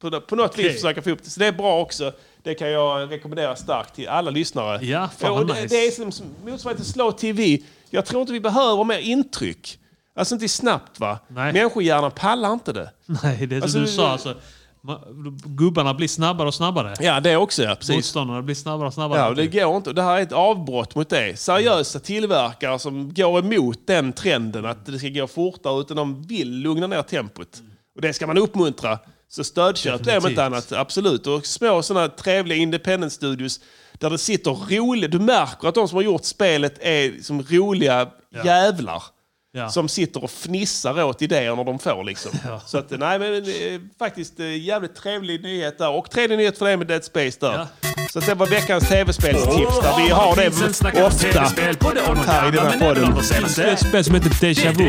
B: på, på något vis försöka få upp det. Så det är bra också. Det kan jag rekommendera starkt till alla lyssnare.
C: Ja, fan
B: och
C: vad
B: det,
C: nice.
B: det är som, som motsvarigheten till Slow TV. Jag tror inte vi behöver mer intryck. Alltså inte snabbt va?
C: Nej. Mm.
B: Människohjärnan pallar inte det.
C: Nej, det är som
B: Alltså,
C: du
B: det-
C: sa alltså. Ma- Gubbarna blir snabbare och snabbare.
B: Ja, det också ja. Precis.
C: Motståndarna blir snabbare och snabbare.
B: Ja, och det går inte. Och Det här är ett avbrott mot det. Seriösa
C: Mm.
B: tillverkare som går emot den trenden att det ska gå fortare utan de vill lugna ner tempot. Och det ska man uppmuntra. Så stödköp det om
C: Mm. Definitivt.
B: inte annat, absolut. Och små sådana trevliga independent studios där det sitter roliga... Du märker att de som har gjort spelet är som roliga jävlar.
C: Ja.
B: Som sitter och fnissar åt idéer när de får. Liksom. Så att, nej, men, eh, faktiskt eh, jävligt trevlig nyhet där. Och trevlig nyhet för dig med Dead Space där.
C: Ja.
B: Så det var veckans tv-spelstips där vi har det ofta här i den här podden.
C: Det är ett spel som heter Deja Vu.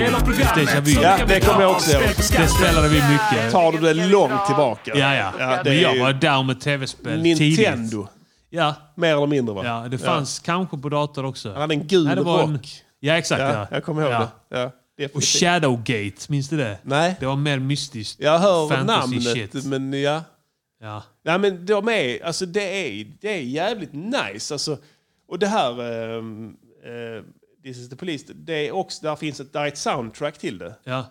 C: Deja Vu.
B: Ja, det kommer jag också ihåg.
C: Det spelade vi mycket.
B: Tar du det långt tillbaka?
C: Ja, ja.
B: ja det
C: Men
B: är
C: jag var
B: ju
C: down med tv-spel tidigt.
B: Nintendo.
C: Ja,
B: Mer eller mindre va?
C: ja, det fanns kanske på dator också.
B: Han hade en gul
C: Nej, det var en-
B: rock.
C: Ja, exakt.
B: Ja,
C: Ja,
B: jag kommer ihåg
C: Ja.
B: det. Ja,
C: Och
B: definitivt.
C: Shadowgate, minns du det?
B: Nej.
C: Det var mer mystiskt.
B: Jag hör
C: fantasy
B: namnet,
C: shit.
B: men ja.
C: Ja.
B: Nej men de är, alltså det är, det är jävligt nice. Alltså, och det här, ehm, eh, This is the police, det är också, där finns ett, där är ett soundtrack till det.
C: Ja.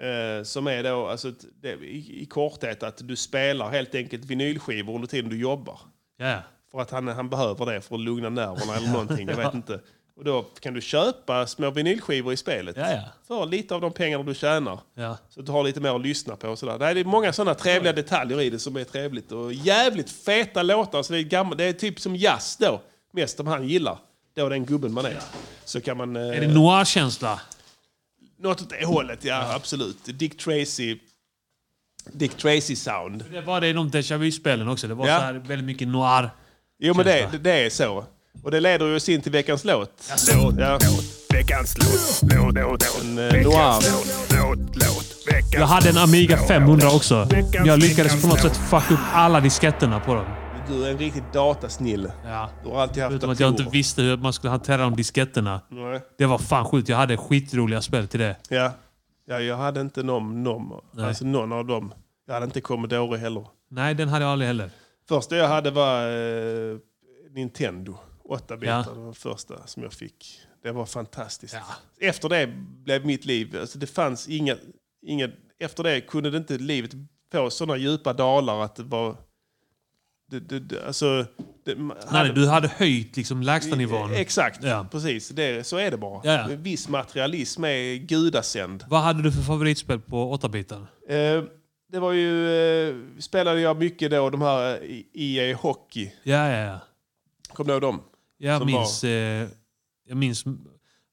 B: Eh, som är då, alltså, ett- det, i, i korthet att du spelar helt enkelt vinylskivor under tiden du jobbar.
C: Ja, ja.
B: För att han, han behöver det för att lugna nerverna eller någonting, jag vet inte. Och då kan du köpa små vinylskivor i spelet.
C: Ja, ja.
B: För lite av de pengarna du tjänar.
C: ja.
B: Så att du har lite mer att lyssna på och sådär. Nej, det är många sådana trevliga detaljer i det som är trevligt. Och jävligt feta låtar. Så det, är gammal, det är typ som jazz då. Mest om han gillar. Då den gubben man är. Så kan man...
C: Är
B: Eh,
C: det noir-känsla?
B: Något åt det hållet, ja, absolut. Dick Tracy... Dick Tracy-sound.
C: Det var det i de Deja Vu-spelen också. Det var
B: Ja.
C: så här väldigt mycket noir.
B: Jo, men det,
C: Känsla.
B: det, det är så. Och det leder ju oss in till veckans låt.
G: Låt,
B: Ja.
G: låt, veckans låt, låt, låt, låt.
B: En, eh,
G: Veckans
B: noir.
G: låt, låt, låt. Veckans
C: Jag hade en
G: låt,
C: Amiga
G: låt,
C: 500
G: låt.
C: också.
G: Veckans-
C: Jag lyckades på något
G: veckans
C: sätt fucka upp alla disketterna på dem.
B: Du är en riktig datasnille.
C: Ja.
B: Du har alltid haft
C: Förutom att jag inte
B: datorer.
C: visste hur man skulle hantera de disketterna.
B: Nej.
C: Det var fan sjukt. Jag hade skitroliga spel till det.
B: Ja. ja, jag hade inte någon, någon, alltså någon av dem. Jag hade inte Commodore heller.
C: Nej, den hade jag aldrig heller.
B: Första jag hade var eh, Nintendo. 8 bitar,
C: Ja.
B: det var den första som jag fick. Det var fantastiskt. Efter det blev mitt liv, alltså det fanns inga, inga, efter det kunde det inte livet få sådana djupa dalar att det var, det, det, det, alltså, det, man hade- Eh,
C: Nej, du hade höjt liksom lägstanivån.
B: Exakt,
C: Ja.
B: precis. Det, så är det bara.
C: Ja, ja.
B: En Viss materialism är gudasänd.
C: Vad hade du för favoritspel på 8-bitar?
B: Eh, det var ju, eh, spelade jag mycket då, de här eh, EA Hockey.
C: Ja, ja, ja.
B: Kommer du ihåg dem?
C: Jag
B: Som
C: minns, eh, jag minns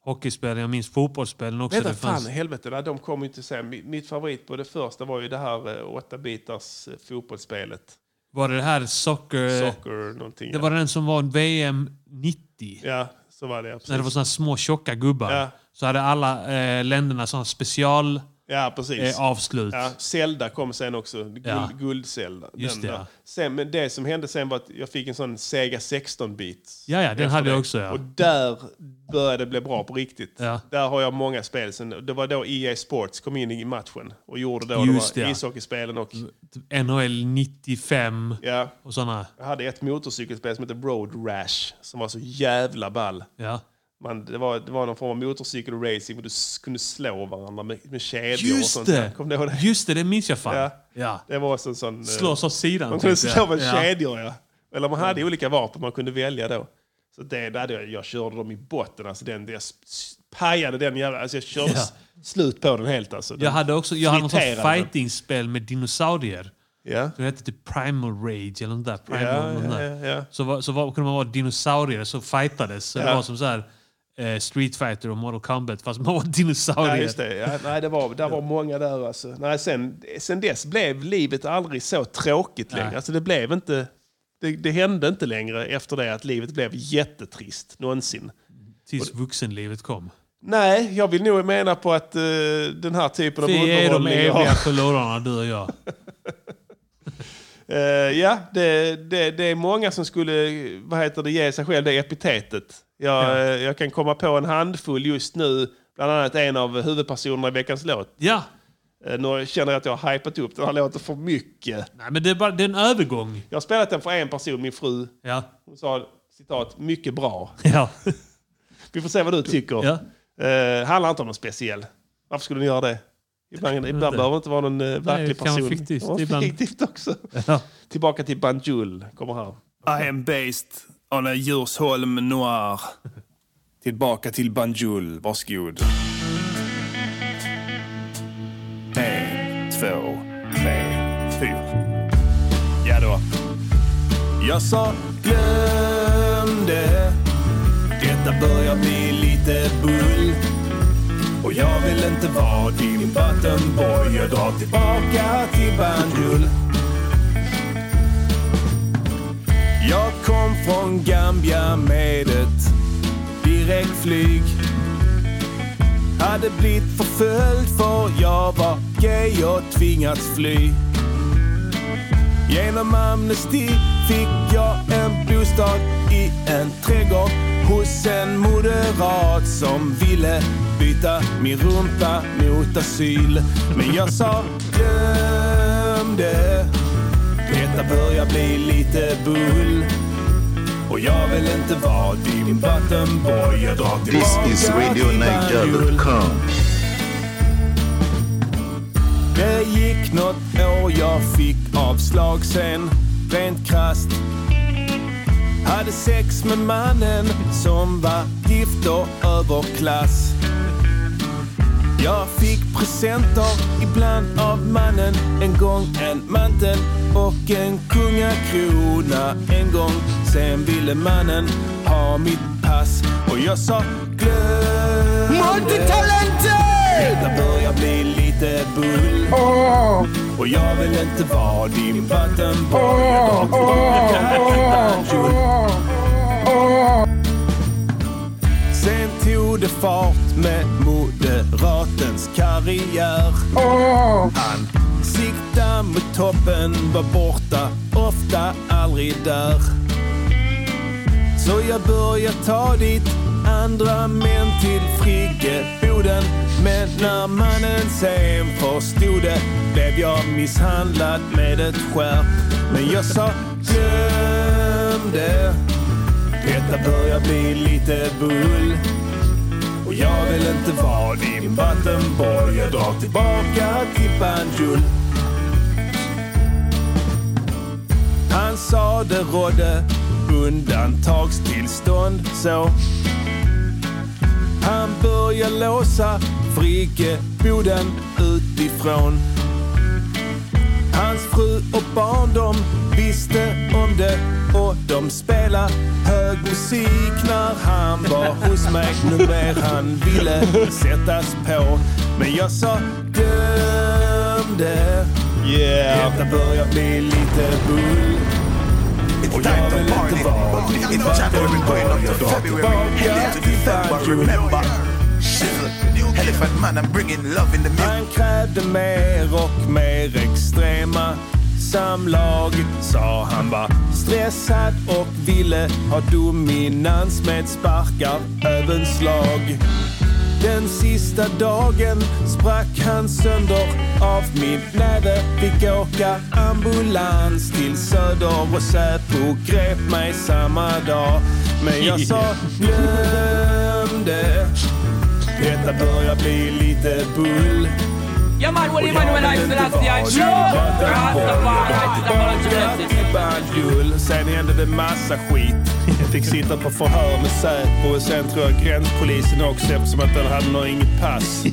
C: hockeyspelen, jag minns fotbollsspelen också.
B: Vänta,
C: Det fanns,
B: fan helvete. Nej, de kom ju inte sen. Mi- Mitt favorit på det första var ju det här eh, åtta bitars eh, fotbollsspelet.
C: var det det här soccer...
B: Soccer någonting.
C: Eh, Det var den som var VM 90.
B: Ja, så var det. Precis.
C: När det var såna små tjocka gubbar.
B: Ja.
C: Så hade alla eh, länderna såna special
B: Ja, precis.
C: eh, avslut.
B: Ja, Zelda kom sen också. Guld,
C: Ja.
B: Guld-Zelda.
C: Just det,
B: Den där.
C: ja.
B: Sen, men det som hände sen var att jag fick en sån Sega 16-bit.
C: Ja, ja, den
B: efter
C: hade jag
B: det.
C: också, ja.
B: Och där började det bli bra på riktigt.
C: Ja.
B: Där har jag många spel. Sen, det var då EA Sports kom in i matchen och gjorde då
C: Just
B: det var
C: det, ja.
B: ishockeyspelen och...
C: NHL 95
B: Ja,
C: och såna.
B: jag hade ett motorcykelspel som hette Road Rash som var så jävla ball.
C: Ja.
B: Man, det, var, det var någon form av motorcykelracing och du s- kunde slå varandra med, med kedjor och
C: Just
B: sånt.
C: det!
B: Kom du ihåg det?
C: Just det, det minns jag fan.
B: Ja.
C: Ja.
B: Det var också en sån... eh,
C: Slås åt sidan.
B: Man kunde
C: typ, ja.
B: slå med
C: Ja.
B: kedjor, ja. Eller man hade olika vapen man kunde välja då. Så det där, jag, jag körde dem i botten. Alltså den, jag s- s- pajade den jävla... Alltså jag körde
C: Ja.
B: s- slut på den helt alltså. Den,
C: Jag hade också jag hade något sånt
B: Friterade den.
C: fightingspel med dinosaurier.
B: Ja.
C: Det hette typ Primal Rage eller något där. Primal,
B: Ja,
C: något
B: ja,
C: där.
B: ja, ja.
C: Så, var, så var, kunde man vara dinosaurier så fightades. Så
B: Ja.
C: Det var som så här, eh, Street Fighter och Mortal Kombat fast man var dinosaurier.
B: Ja, just det. Ja, nej, det var, där var många där alltså. Nej, sen, sen dess blev livet aldrig så tråkigt längre. Alltså det blev inte... Det, det hände inte längre efter det att livet blev jättetrist någonsin.
C: Tills vuxenlivet kom.
B: Nej, jag vill nog mena på att eh, den här typen av
C: Vi är de
B: underhållning... har-
C: eviga förlorarna du och jag.
B: Eh, ja, det, det, det är många som skulle vad heter det, ge sig själv det epitetet. Jag, eh, jag kan komma på en handfull just nu, bland annat en av huvudpersonerna i veckans låt.
C: Ja,
B: Eh, nu känner jag att jag har hypat upp den här låten för mycket.
C: Nej, men det är, bara, det är en övergång.
B: Jag har spelat den för en person, min fru.
C: Ja.
B: Hon sa citat, mycket bra.
C: Ja.
B: Vi får se vad du tycker.
C: ja.
B: Eh, handlar inte om någon speciell. Varför skulle ni göra det? Ibland, ibland
C: inte.
B: behöver det inte vara någon eh, verklig
C: det kan vara
B: person.
C: fiktivt
B: Det kan vara
C: ibland.
B: fiktivt också.
C: ja.
B: Tillbaka till Banjul kommer här.
G: I am based on a Djursholm noir. Tillbaka till Banjul, varsågod. En, två, tre, fyra. Ja då. Jag sa glöm det. Detta börjar bli lite bull. Och jag vill inte vara din buttonboy. Jag drar tillbaka till Banjul.
D: Jag kom från Gambia med ett direktflyg. Hade blivit förföljd för jag var gay och tvingats fly. Genom amnesti fick jag en bostad i en trädgård hos en moderat som ville byta min rumpa mot asyl. Men jag sa glöm det. Detta börjar bli lite bull. Och jag vill inte vara din vattenboj. Jag drar
H: This
D: tillbaka
H: is RadioNiger.com.
D: Det gick något år, jag fick avslag sen, rent krasst. Hade sex med mannen som var gift och överklass. Jag fick presenter, ibland av mannen. En gång en mantel och en kungakrona. En gång sen ville mannen ha mitt pass. Och jag sa glöm Multitalenter! Detta börjar bli lite bull. Och jag vill inte vara din vattenboll. Jag drar tillbaka min kjol. Sen tog det fart med moderatens karriär. Han sikta mot toppen, var borta, ofta aldrig där. Så jag börjar ta dit andra män till friggeboden. Men när mannen sen förstod det blev jag misshandlad med ett skärp. Men jag sa glöm det. Detta börjar bli lite bull. Och jag vill inte vara din vattenboll. Jag drar tillbaka till Banjul. Han sa det rådde undantagstillstånd så han börjar låsa friggeboden utifrån. Hans fru och barn de visste om det och de spelar hög musik när han var hos mig. Nu mer han ville sättas på. Men jag sa glöm det.
B: Yeah.
D: Detta börjar bli lite bull. Och jag vill inte vara din vattenboll. Jag drar tillbaka till Banjul.
G: Elephant man, I'm bringing love in the music.
D: Han krävde mer och mer extrema samlag sa han var stressad och ville ha dominans med sparkar, även slag. Den sista dagen sprack han sönder av min näve. Fick åka ambulans till Söder och Säpo grep mig samma dag. Men jag sa glöm det. Detta börjar bli lite bull.
E: Yeah, man, what
D: Och
E: do you man when I
D: jag vill
E: still
D: inte
E: have
D: vara din
E: the Rastafari,
D: vattenboll. Banjul. Sen hände det massa skit. Jag fick sitta på förhör med Säpo och sen tror jag gränspolisen också eftersom att den hade nog inget pass.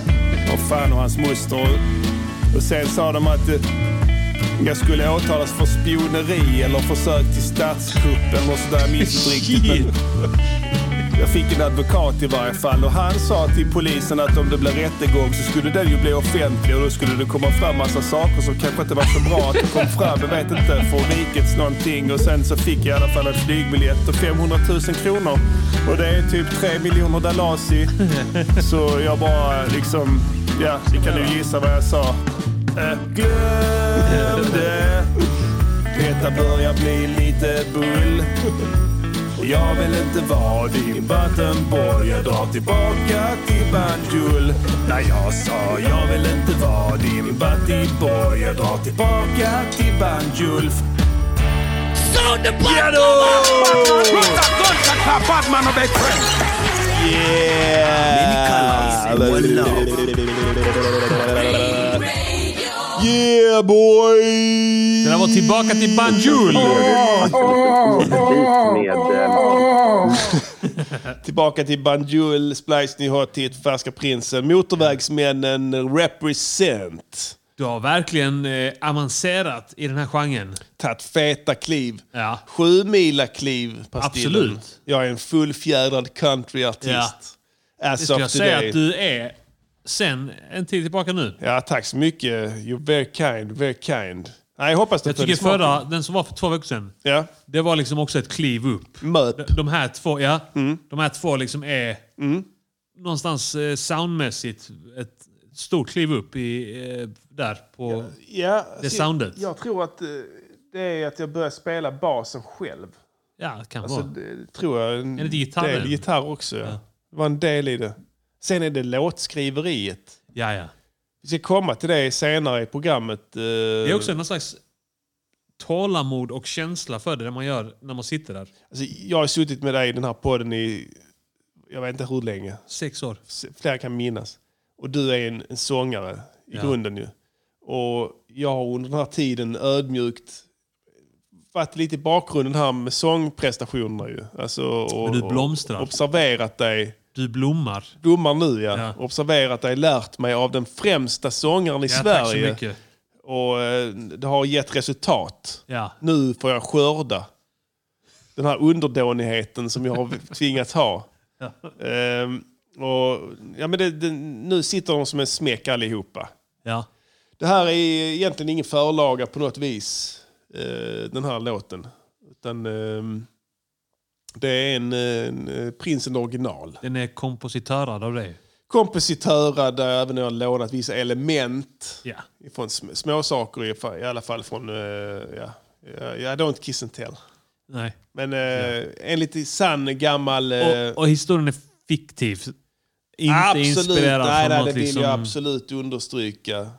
D: Och fan och hans moster. Och sen sa de att eh, jag skulle åtalas för spioneri eller försök till statskupp eller sådär. Jag minns inte riktigt. Men jag fick en advokat i varje fall och han sa till polisen att om det blev rättegång så skulle den ju bli offentlig och då skulle det komma fram massa saker som kanske inte var så bra att det kom fram. Jag vet inte, för rikets någonting. Och sen så fick jag i alla fall en flygbiljett och 500 000 kronor. Och det är typ 3 miljoner dalasi. Så jag bara liksom, ja, ni kan ju gissa vad jag sa. Eh, Glöm det. Detta börjar bli lite bull. Och jag vill inte vara din vattenboll. Jag drar tillbaka till Banjul. När jag sa jag vill inte vara din vattenboll. Jag drar tillbaka till Banjul.
B: Yeah boy!
C: Det där var tillbaka till Banjul.
F: Beat med... eh,
B: Tillbaka till Banjul, Splice New Hot Hit, Färska Prinsen, Motorvägsmännen, Represent.
C: Du har verkligen eh, avancerat i den här genren.
B: Tagit feta kliv.
C: Ja.
B: Sju mila kliv, Pastillen.
C: Absolut.
B: Jag är en fullfjädrad countryartist. As
C: Det
B: of
C: skulle jag
B: today.
C: säga att du är sen en tid tillbaka nu.
B: Ja, tack så mycket. You're very kind, very kind. Nej, jag hoppas det
C: Jag tycker förra, den som var för två veckor sedan,
B: Ja.
C: det var liksom också ett kliv upp.
B: Möp.
C: De- De här två, ja.
B: Mm.
C: De här två liksom är någonstans eh, soundmässigt ett stort kliv upp i, eh, där på...
B: Ja,
C: Det
B: alltså,
C: soundet.
B: Jag tror att eh, det är att jag börjar spela basen själv.
C: Ja, kan
B: Alltså,
C: vara.
B: det, tror jag. En
C: Är det gitarren?
B: del gitarr också. Ja. Det var en del i det. Sen är det låtskriveriet.
C: Ja, ja.
B: Vi ska komma till det senare i programmet. eh,
C: Det är också någon slags tålamod och känsla för det, det man gör när man sitter där.
B: alltså, jag har suttit med dig i den här podden i, jag vet inte hur länge.
C: Sex år.
B: S- Flera kan minnas. Och du är en, en sångare i
C: Ja.
B: grunden ju. Och jag har under den här tiden ödmjukt varit lite i bakgrunden här med sångprestationerna ju. Alltså, och,
C: Men du blomstrar.
B: Och observerat dig.
C: Du blommar.
B: Blommar nu ja.
C: Ja.
B: Observerat dig, lärt mig av den främsta sångaren i
C: Ja,
B: Sverige.
C: Tack så mycket.
B: Och eh, det har gett resultat.
C: Ja.
B: Nu får jag skörda den här underdånigheten som jag har tvingats ha. Ehm, och, ja, men det, det, nu sitter de som en smäck allihopa.
C: Ja.
B: Det här är egentligen ingen förlaga på något vis, eh, den här låten. Utan, ehm, det är en, eh, en eh, Prinsen original.
C: Den är kompositörad av dig.
B: Kompositörer där även jag har lånat vissa element
C: Ja.
B: från sm- småsaker i, fa- i alla fall från, eh, ja, ja, ja, don't kiss and tell.
C: Nej.
B: Men eh, enligt sann gammal... eh,
C: Och, och historien är fiktiv. Inte
B: absolut,
C: inspirerad
B: nej,
C: från
B: nej,
C: något
B: det vill
C: liksom,
B: jag absolut understryka.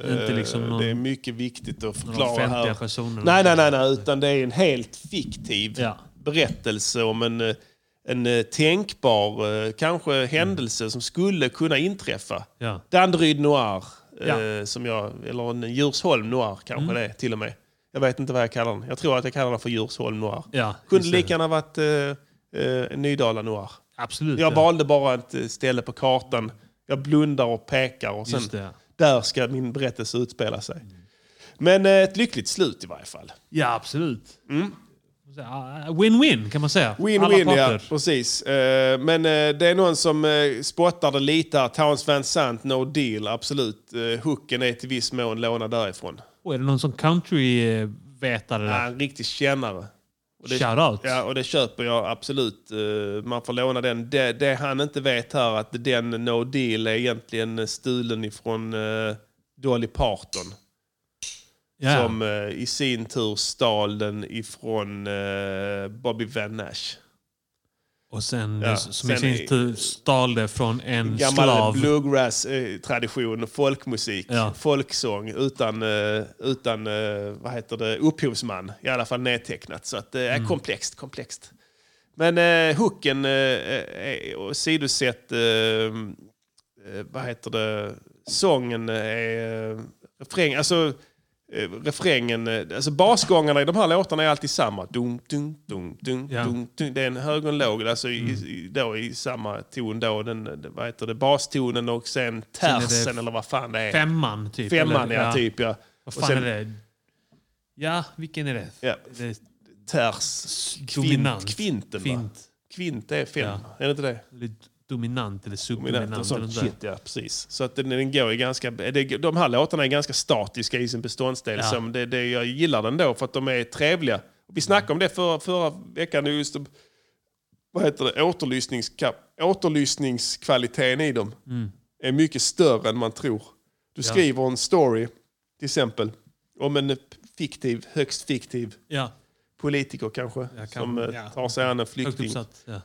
C: Inte
B: Eh,
C: liksom någon-
B: det är mycket viktigt att
C: några
B: förklara
C: offentliga
B: här.
C: personer.
B: Nej, nej, nej, nej, utan det är en helt fiktiv
C: Ja.
B: berättelse om en, eh, en eh, tänkbar eh, kanske händelse
C: Mm.
B: som skulle kunna inträffa.
C: Ja.
B: Danderyd Noir, eh,
C: Ja. Mm.
B: som jag, eller en Djursholm Noir kanske det är till och med. Jag vet inte vad jag kallar den. Jag tror att jag kallar den för Djursholm Noir.
C: Ja,
B: Kunde
C: just det.
B: lika gärna varit eh, eh, Nydala Noir.
C: Absolut.
B: Jag
C: ja.
B: valde bara ett eh, ställe på kartan. Jag blundar och pekar och
C: Just
B: sen
C: det.
B: där ska min berättelse utspela sig. Men eh, ett lyckligt slut i varje fall.
C: Ja, absolut. Så, ah, Win-win kan man säga. Alla
B: Mm. Win-win, ja.
C: parter.
B: Precis. Eh, Men eh, det är någon som eh, spottar det lite här. Towns Van Sant, No Deal, absolut. Eh, Hooken är till viss mån lånad därifrån.
C: Och är det någon sån country-vetare
B: Ja,
C: där?
B: en riktig kännare. Och det-
C: Shoutout.
B: Ja, och det köper jag absolut. Eh, Man får låna den. Det, det han inte vet här att den No Deal är egentligen stulen ifrån eh, Dolly Parton.
C: Ja.
B: Som eh, i sin tur stal den ifrån eh, Bobby Van Nash.
C: Och sen,
B: Ja,
C: som i
B: sen
C: sin
B: är-
C: tur stal det från en
B: Gammal
C: Mm, slav.
B: bluegrass-tradition, folkmusik,
C: Ja.
B: folksång utan, eh, utan eh, vad heter det, upphovsman. I alla fall nedtecknat. Så att det
C: Mm.
B: är komplext, komplext. Men eh, hooken eh, är åsidosatt, eh, eh, vad heter det, sången är eh, refräng, alltså eh, refrängen, eh, alltså basgångarna i de här låtarna är alltid samma. Dum, dum, dum, dum,
C: Ja. Mm.
B: dum, dum. Det är en hög och en låg, alltså i, i, då i samma ton då, den, den- vad heter det, bastonen och sen
C: är det
B: tersen eller vad fan det är.
C: Femman, typ.
B: Femman
C: eller-
B: ja, typ ja.
C: Vad
B: Och
C: fan
B: sen
C: är det? Ja, vilken är det?
B: Ja.
C: det är
B: ters, kvint,
C: Dominant.
B: kvinten va?
C: Kvint.
B: Kvint är fem,
C: Ja.
B: är det inte det?
C: Eller dominant eller
B: dominant
C: subdominant.
B: och
C: eller
B: sånt
C: nåt där.
B: shit. Ja, precis. Så att den, den går ju ganska... Det, de här låtarna är ganska statiska i sin beståndsdel.
C: Ja. Mm.
B: Som det, det, jag gillar den då för att de är trevliga. Vi snackade om det förra, förra veckan, just om- vad heter det, återlyssningskap, återlyssningskvaliteten i dem
C: Mm.
B: är mycket större än man tror. Du skriver en story, till exempel, om en fiktiv, högst fiktiv
C: Ja,
B: politiker kanske,
C: kan-
B: som eh,
C: ja.
B: tar sig an en
C: högt
B: flykting
C: uppsatt. Ja.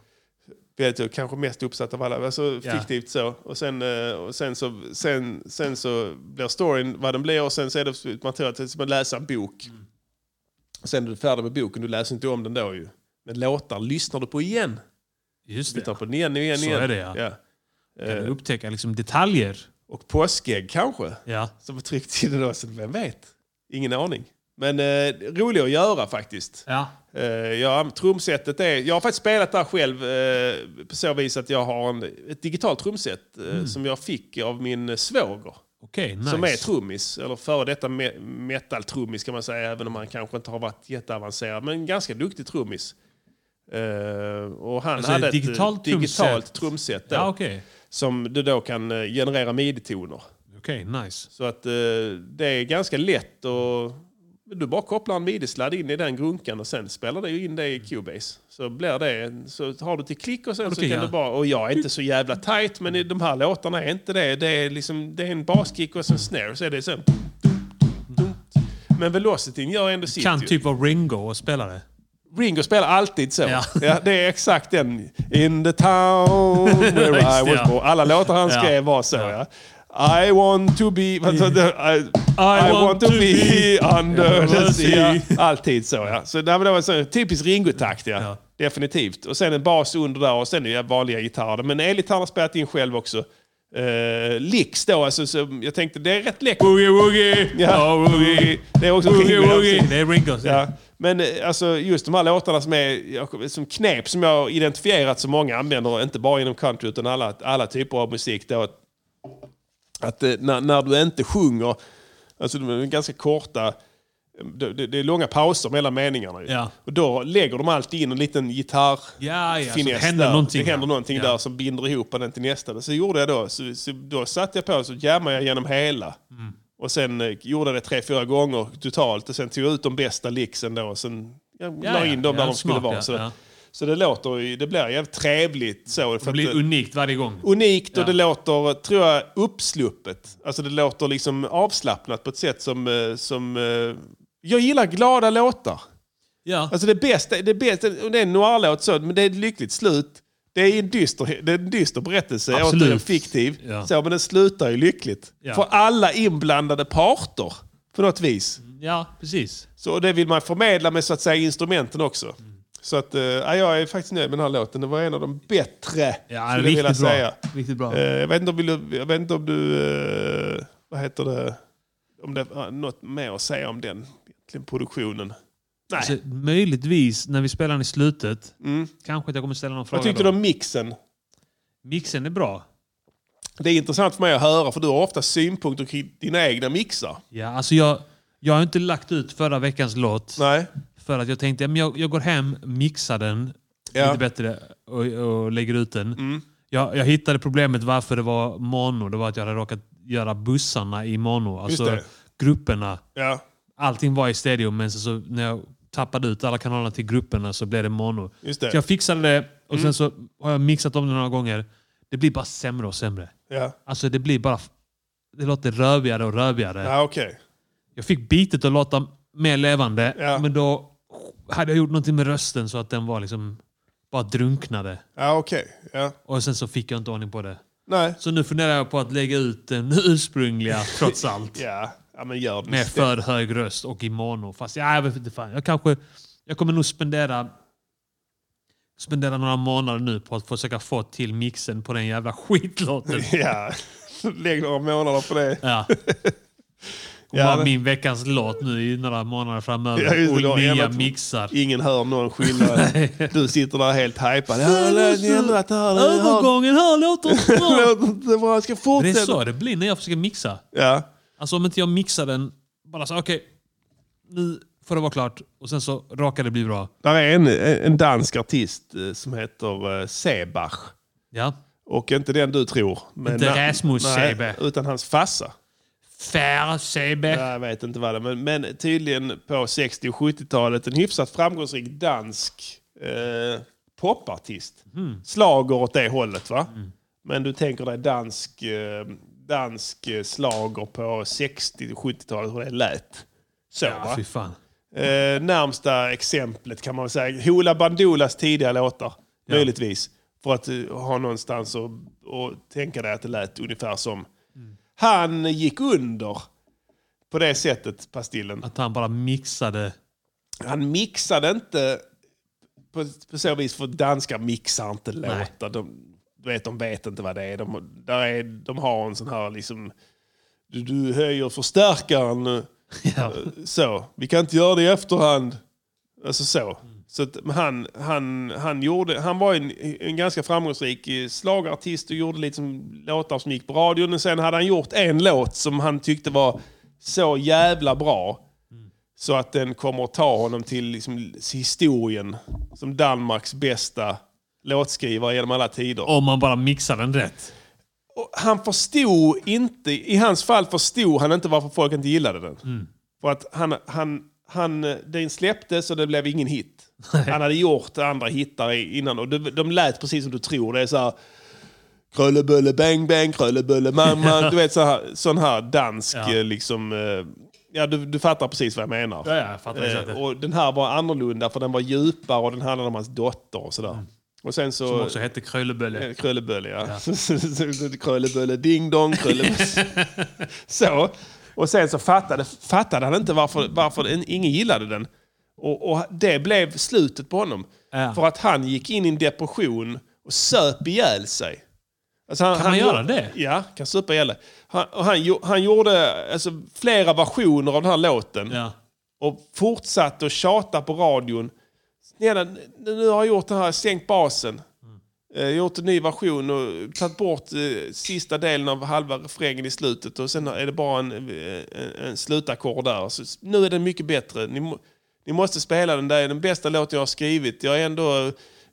B: vet du, kanske mest uppsatt av alla. Alltså,
C: Ja.
B: Fiktivt så. Och, sen, eh, och sen, så, sen, sen så blir storyn vad den blir och sen så är det man tror att det är som att läsa en bok.
C: Mm.
B: Och sen är du färdig med boken, du läser inte om den då ju. Men låtar lyssnar du på igen.
C: Just
B: Du tar
C: det.
B: på den igen och igen.
C: Så
B: igen.
C: är det, ja. Kan du
B: Eh,
C: upptäcka liksom detaljer?
B: och påskägg kanske,
C: Ja.
B: som var tryckt i den då. Så vem vet? Ingen aning. Men eh, rolig att göra faktiskt.
C: ja.
B: Eh, ja, trumsetet är... Jag har faktiskt spelat där själv eh, på så vis att jag har en, ett digitalt trumset eh, som jag fick av min svåger.
C: Okej, Mm. nice.
B: Som är trummis, eller före detta me- metal-trummis kan man säga, även om han kanske inte har varit jätteavancerad. Men en ganska duktig trummis. Eh, och han
C: Alltså,
B: hade
C: ett digitalt
B: ett eh,
C: trumset?
B: digitalt trumset då,
C: Ja, okej.
B: som du då kan eh, generera midi-toner.
C: Okej, nice.
B: Så att eh, det är ganska lätt att Du bara kopplar en midi-sladd in i den grunkan och sen spelar du in det i Cubase. Så blir det, så har du till klick och sen så
C: Okej,
B: kan
C: ja.
B: du bara... Och jag är inte så jävla tight, men i de här låtarna är inte det. Det är, liksom, det är en baskick och sen snare, så är det sen... Men velocityn gör ändå sitt
C: Mm. Kan
B: ju.
C: typ av Ringo och spela det.
B: Ringo spelar alltid så.
C: Ja.
B: Ja. det är exakt den. In the town where
C: Just
B: I
C: det, ja.
B: was born. Alla låtar han
C: Ja.
B: skrev var så. Ja. I want to be... vad sa du? I, I,
C: want
B: want to
C: to
B: be under
C: under
B: the sea.
C: sea.
B: Alltid så ja. Så det var det en sån typisk Ringo-takt ja. Definitivt. Och sen en bas under där och sen är det vanliga gitarrer. Men elgitarr har spelat in själv också. Uh, Lix då, alltså, så jag tänkte det är rätt läckert.
C: Boogie woogie!
B: Ja, det är också
C: Boogie
B: Ringo.
C: woogie! Det är Ringo.
B: Ja. Men eh, alltså, just de här låtarna som är jag- som knep som jag har identifierat så många använder, inte bara inom country utan alla, alla typer av musik. Då, att, att eh, när, när du inte sjunger, alltså de är ganska korta, det, det, det är långa pauser mellan meningarna. ju.
C: Ja.
B: Och då lägger de alltid in en liten gitarr
C: Ja, ja, så
B: finess
C: det händer
B: där.
C: någonting,
B: det
C: ja.
B: händer någonting
C: Ja.
B: där som binder ihop den till nästa. Men så gjorde jag då, så, så, då satte jag på så jammade jag genom hela.
C: Mm.
B: Och sen eh, gjorde jag det tre, fyra gånger totalt och sen tog jag ut de bästa licksen då och sen jag
C: Ja, ja.
B: la in dem
C: Ja,
B: där de skulle
C: smart,
B: vara.
C: ja,
B: så,
C: ja.
B: Det, så det låter ju, det blir jävligt trevligt så. för
C: Det
B: att eh,
C: blir unikt varje gång.
B: unikt och
C: Ja.
B: det låter, tror jag, uppsluppet. Alltså det låter liksom avslappnat på ett sätt som... eh, som eh, jag gillar glada låtar.
C: Ja.
B: Alltså det bästa, det bästa, och det är en noir-låt så, men det är ett lyckligt slut. Det är ju en dyster, det är en dyster berättelse,
C: Absolut.
B: återigen fiktiv.
C: Ja.
B: Så, men den slutar ju lyckligt.
C: Ja.
B: För alla inblandade parter, på något vis.
C: ja, precis.
B: Så och det vill man förmedla med så att säga instrumenten också. Så att, eh, ja, jag är faktiskt nöjd med den här låten. Det var en av de bättre,
C: Ja,
B: skulle jag
C: riktigt
B: vilja
C: bra.
B: säga.
C: Riktigt bra.
B: Eh, jag, vet inte om du, jag vet inte om du... eh, vad heter det? Om det var något mer att säga om den egentligen, produktionen. Nej. Mm.
C: Så Alltså, möjligtvis när vi spelar den i slutet. Kanske att jag kommer ställa någon fråga.
B: vad tyckte
C: då.
B: du om mixen?
C: Mixen är bra.
B: Det är intressant för mig att höra, för du har ofta synpunkter kring dina egna mixar.
C: Ja, alltså jag, jag har inte lagt ut förra veckans låt.
B: Nej.
C: För att jag tänkte att jag, jag går hem, mixar den
B: Ja. Mm.
C: lite bättre och, och lägger ut den. Jag, jag hittade problemet varför det var mono. Det var att jag hade råkat göra bussarna i mono. Alltså
B: det.
C: grupperna.
B: Ja.
C: Allting var i stereo men så, så när jag tappade ut alla kanalerna till grupperna så blev det mono.
B: Just det. Mm.
C: Så jag fixade det och sen så har jag mixat om det några gånger. Det blir bara sämre och sämre.
B: Ja,
C: Alltså det blir bara... Det låter rövigare och rövigare.
B: ja okej.
C: Jag fick bitet att låta mer levande,
B: Ja.
C: men då hade jag gjort någonting med rösten så att den var liksom bara drunknade.
B: Ja, okej. Ja.
C: Och sen så fick jag inte ordning på det.
B: Nej.
C: Så nu funderar jag på att lägga ut den ursprungliga trots allt.
B: Ja. ja, men gör det.
C: Med för hög röst och i mono. Fast ja, jag vet inte fan. Jag kanske... Jag kommer nog spendera... Spendera några månader nu på att försöka få till mixen på den jävla skitlåten.
B: Ja. Lägg några månader på det.
C: Ja.
B: Ja,
C: Bara
B: men-
C: min veckans låt nu i några månader framöver.
B: Ja, just det, du
C: och
B: har
C: nya
B: ändrat-
C: mixar.
B: Ingen hör någon skillnad. Du sitter där helt hajpad. Ja, ni har ändrat det här. Ni har-
C: Övergången här låter inte bra.
B: Det är bra, Jag ska
C: Det är
B: fortsätta.
C: så det blir när jag försöker mixa.
B: Ja.
C: Alltså om inte jag mixar den, bara så okej, nu får det vara klart och sen så råkar det bli bra.
B: Där är en, en dansk artist eh, som heter eh, Sebach.
C: Ja.
B: Och inte den du tror. Men
C: Inte
B: na-
C: Rasmus
B: nej,
C: Sebach.
B: Utan hans farsa.
C: Fair Sebe.
B: Ja, Jag vet inte vad det är, men, men tydligen på 60 och 70-talet en hyfsat framgångsrik dansk eh, popartist. Slager åt det hållet va? Men du tänker dig dansk, eh, dansk eh, slager på 60 och 70-talet, hur det lät. Så va?
C: Fy fan.
B: Eh, närmsta exemplet kan man väl säga. Hoola Bandolas tidiga låtar. Möjligtvis. För att eh, ha någonstans och, och tänka dig att det lät ungefär som. Han gick under på det sättet, Pastillen.
C: Att han bara mixade.
B: Han mixade inte på, på så vis, för danskar mixar inte låtar. De, du vet, de vet inte vad det är. De, där är, de har en sån här liksom... Du, du höjer förstärkaren. eh,
C: Ja.
B: Så, vi kan inte göra det i efterhand. Alltså så. Så att, men han, han, han, gjorde, han var en, en ganska framgångsrik eh, slagartist och gjorde liksom låtar som gick på radion. Och sen hade han gjort en låt som han tyckte var så jävla bra. Så att den kommer att ta honom till liksom historien som Danmarks bästa låtskrivare genom alla tider.
C: Om man bara mixar den rätt.
B: Och han
C: Mm.
B: förstod inte, i hans fall förstod han inte varför folk inte gillade den. För att han, han, han, eh, den släpptes och det blev ingen hit. Han hade gjort andra hittar i- innan och de, de lät precis som du tror. Det är så här... Krullebulle bang bang, krullebulle man man. Du vet så här, sån här dansk eh, liksom... eh, Ja, du, du fattar precis vad jag menar.
C: Ja, ja, jag fattar exakt.
B: Eh, och den här var annorlunda för den var djupare och den handlade om hans dotter och sådär. Och sen så...
C: Mm. Som också hette Kröllebölle.
B: Eh, Kröllebölle, ja. Kröllebölle, ding dong, kröllebölle. så. Och sen så fattade, fattade han inte varför, varför en- ingen gillade den. Och, och det blev slutet på honom.
C: Ja.
B: För att han gick in i en depression och söp ihjäl sig. Alltså han,
C: Kan man göra
B: gjorde-
C: det?
B: Ja, kan supa ihjäl dig. han, och han, gjo- han gjorde alltså, flera versioner av den här låten
C: Ja.
B: och fortsatte att tjata på radion. Snälla, nu nu har jag gjort den här, sänkt basen. Eh, gjort en ny version och tagit bort eh, sista delen av halva refrängen i slutet och sen är det bara en, eh, en, en slutackord där. Så, s- nu är den mycket bättre. Ni, må- ni måste spela den, där är den bästa låten jag har skrivit. Jag är ändå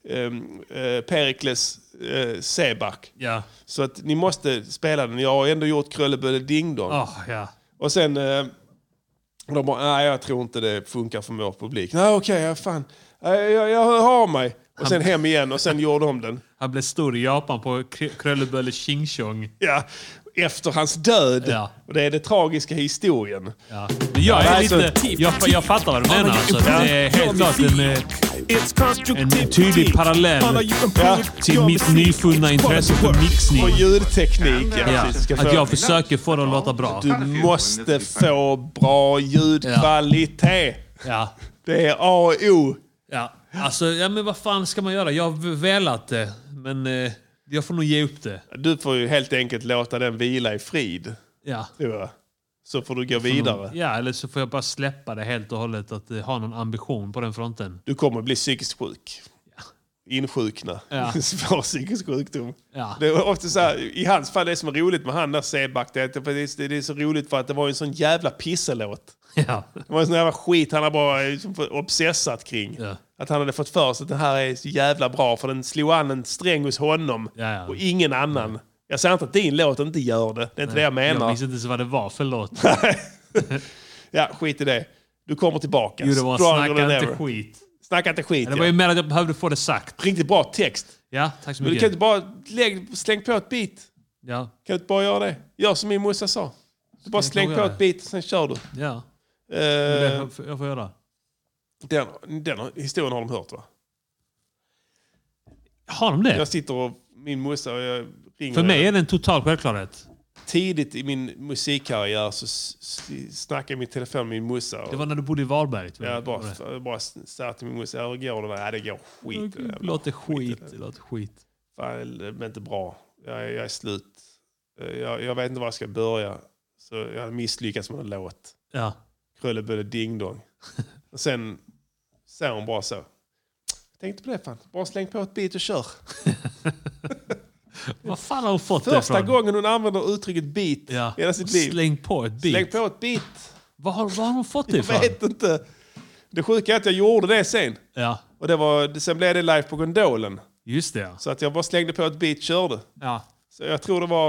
B: eh, eh, Perikles eh, Seback.
C: Ja.
B: Så att ni måste spela den. Jag har ändå gjort Kröllebölle Ding Dong.
C: Ah, ja.
B: Och sen... Eh, och de bara, nej jag tror inte det funkar för vår publik. Nej okej, ja, fan. Eh, Jag, jag hör av mig. Och sen hem igen och sen gjorde de den.
C: Han blev stor i Japan på Kr- Kröllebölle Ching Chong.
B: Ja, efter hans död.
C: Ja.
B: Och det är det tragiska historien.
C: Ja. Men jag är
B: Alltså,
C: lite... Jag, jag fattar vad du menar. Alltså. Det är helt klart en, eh, en tydlig parallell
B: Ja.
C: till mitt nyfunna intresse för mixning.
B: Och ljudteknik. Ja,
C: Ja.
B: precis. Ska
C: Att
B: få-
C: jag försöker få det att låta bra.
B: Du måste få bra ljudkvalitet.
C: Ja.
B: Det är A och O.
C: Ja, alltså, ja, men vad fan ska man göra? Jag har velat det, men eh, jag får nog ge upp det.
B: Du får ju helt enkelt låta den vila i frid.
C: Ja.
B: tror jag. Så får du gå vidare.
C: ja, eller så får jag bara släppa det helt och hållet, att eh, ha någon ambition på den fronten.
B: Du kommer bli psykiskt sjuk. Insjukna.
C: Ja.
B: Svår psykisk sjukdom.
C: Ja.
B: Det är ofta så här, I hans fall, det som är roligt med han där Seback, det är att det- för det är- det är så roligt för att det var ju en sån jävla pisselåt.
C: Ja.
B: Det var en sån jävla skit han har bara liksom fått- obsessat kring.
C: Ja.
B: Att han hade fått för sig att den här är så jävla bra för den slog an en sträng hos honom
C: Ja, ja.
B: och ingen annan. Jag säger inte att din låt inte gör det. Det är inte det jag menar.
C: Jag minns inte ens vad det var, förlåt.
B: ja, skit i det. Du kommer tillbaka.
C: Jo, det var
B: Stronger than
C: snacka
B: ever.
C: inte skit.
B: Snacka inte skit.
C: Ja, det var
B: ja.
C: ju mer att jag behövde få det sagt.
B: Riktigt bra text.
C: Ja, tack så
B: Men du
C: mycket.
B: kan inte bara lägg, släng på ett beat.
C: Ja,
B: Kan du inte bara göra det? Gör som min morsa sa. Du bara
C: Ska jag
B: släng på
C: göra
B: ett beat, sen kör du.
C: ja.
B: Eh,
C: Jag får jag får göra.
B: den, den historien har de hört va?
C: Har de det?
B: Jag sitter och min morsa och jag ringer
C: För mig
B: henne.
C: är det en total självklarhet.
B: Tidigt i min musikkarriär så s- s- snackade jag i min telefon med min morsa.
C: Det
B: Och
C: var när du bodde i Varberg. tror
B: jag
C: Var
B: bara,
C: det?
B: jag bara sa till min morsa, hur går det? Nej, det går skit.
C: Det låter skit. Det låter skit.
B: Fan, det är inte bra. Jag, är- jag är slut. Eh, Jag, jag vet inte var jag ska börja. Så jag hade misslyckats med en låt.
C: Ja.
B: Kröllebölle Ding Dong. Och sen sa hon bara så. Jag tänkte på det fan. Bara släng på ett beat och kör.
C: Vad fan har hon fått det
B: Första
C: ifrån?
B: gången hon använder uttrycket beat
C: Ja.
B: i hela sitt liv.
C: Släng på ett
B: Släng
C: beat.
B: på ett beat.
C: Vad har, vad har hon fått det ifrån?
B: Jag vet inte. Det sjuka är att jag gjorde det sen.
C: Ja,
B: Och det var, sen blev det live på Gondolen.
C: just det. ja.
B: Så att jag bara slängde på ett beat och körde.
C: Ja.
B: Så jag tror det var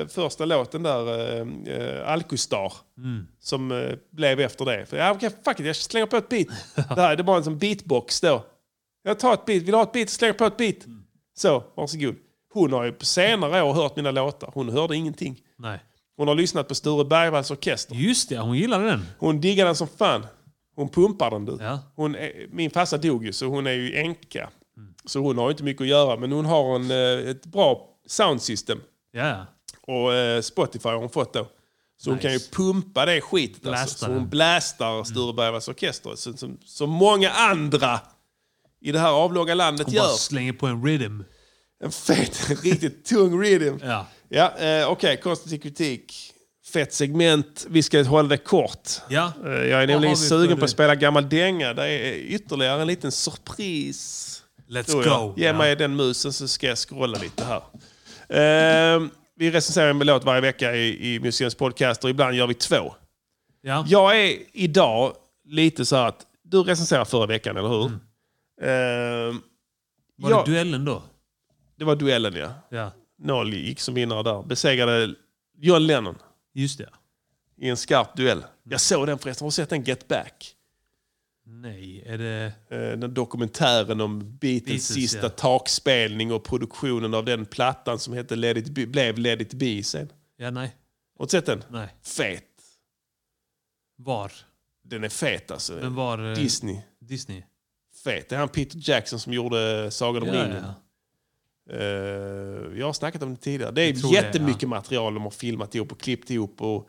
B: eh, första låten där, eh, eh, Alcostar, som eh, blev efter det. För, ja, okay, fuck it, jag slänger på ett beat. det, här, det var en sån beatbox då. Jag tar ett beat, vill du ha ett beat, slänger på ett beat. Så, varsågod. Hon har ju på senare år hört mina låtar. Hon hörde ingenting.
C: Nej.
B: Hon har lyssnat på Sture Bergvalls orkester.
C: Just det, hon gillade den.
B: Hon diggar den som fan. Hon pumpar den du.
C: Ja.
B: Hon är, min farsa dog ju så hon är ju änka. Så hon har ju inte mycket att göra men hon har en, eh, ett bra soundsystem.
C: Ja, ja.
B: Och eh, Spotify har hon fått då. Så hon kan ju pumpa det skitet.
C: Blastar
B: Alltså. Så hon
C: den. Mm.
B: blastar Sture Bergmans orkester. Så, som, som många andra i det här avlånga landet
C: Hon
B: gör.
C: bara slänger på en rhythm.
B: En fet, en riktigt tung rhythm.
C: Ja.
B: Ja, eh, Okej, konstruktiv kritik. Fett segment. Vi ska hålla det kort.
C: Ja.
B: Eh, jag är
C: har
B: nämligen
C: vi för
B: sugen på
C: det?
B: att spela gammal dänga. Det är ytterligare en liten surprise.
C: Let's
B: Tror jag.
C: go.
B: Ge mig den musen så ska jag scrolla lite här. Ehm, vi recenserar en låt varje vecka i, i museums podcast och ibland gör vi två.
C: Ja. Ja.
B: Jag är idag lite så här att du recenserade förra veckan, eller hur?
C: Mm.
B: Ehm,
C: Var
B: ja,
C: det duellen då?
B: det var duellen, ja.
C: Ja.
B: Noll gick som vinnare där. Besegrade John Lennon
C: Just det. Mm.
B: i en skarp duell. Jag såg den förresten. Har du sett den Get Back?
C: Nej, är det...
B: Eh, Den dokumentären om Beatles
C: Beatles,
B: sista
C: ja.
B: takspelning och produktionen av den plattan som hette Let It Be, blev Let It Be sen.
C: Ja, nej.
B: Har du sett den?
C: Nej.
B: Fet.
C: Var?
B: Den är fet alltså.
C: Men var... eh,
B: Disney.
C: Disney.
B: Fet. Det är han Peter Jackson som gjorde Sagan om
C: Ja,
B: ringen.
C: ja.
B: Eh, jag har snackat om det tidigare. Det
C: Jag tror
B: är
C: det,
B: jättemycket material de har filmat ihop och klippt ihop och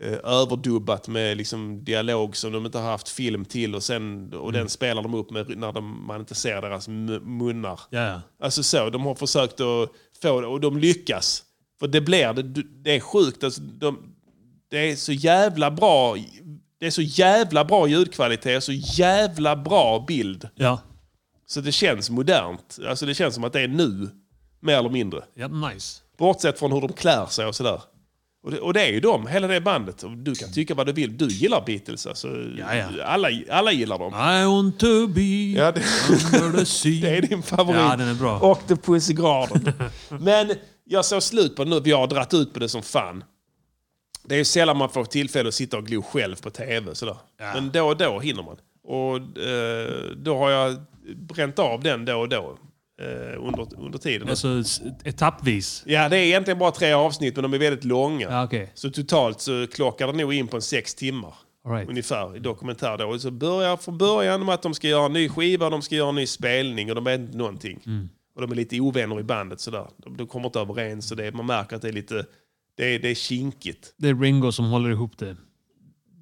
B: eh, överdubbat med liksom, dialog som de inte har haft film till och, sen, och
C: Mm.
B: den spelar de upp med när de, man inte ser deras mu- munnar.
C: Ja, ja.
B: Alltså så, de har försökt att få det och de lyckas. För det blir det, det är sjukt. Alltså, de, det är så jävla bra. Det är så jävla bra ljudkvalitet och så jävla bra bild.
C: Ja,
B: Så det känns modernt. Alltså det känns som att det är nu. Mer eller mindre.
C: ja nice.
B: Bortsett från hur de klär sig och sådär. Och det, och det är ju de, hela det bandet. Och Du kan tycka vad du vill. Du gillar Beatles alltså.
C: Ja, ja.
B: Alla, alla gillar dem.
C: I want to be
B: Ja, det,
C: under the sea.
B: det är din favorit.
C: Ja, den är bra.
B: Octopus i graden. Men jag såg slut på det nu, för jag har dratt ut på det som fan. Det är ju sällan man får tillfälle att sitta och glo själv på tv. Sådär. Men då och då hinner man. Och eh, då har jag bränt av den då och då. Eh, under, under tiden.
C: Alltså s- etappvis.
B: Ja, det är egentligen bara tre avsnitt, men de är väldigt långa.
C: Ja, okej.
B: Så totalt så klockar det nog in på en sex timmar.
C: All right.
B: Ungefär i dokumentär då. Och Så börjar från början med att de ska göra en ny skiva, de ska göra en ny spelning och de vet inte någonting.
C: Mm.
B: Och de är lite ovänner i bandet sådär. De, de kommer inte överens och det, man märker att det är lite, det är, det är kinkigt.
C: Det är Ringo som håller ihop det.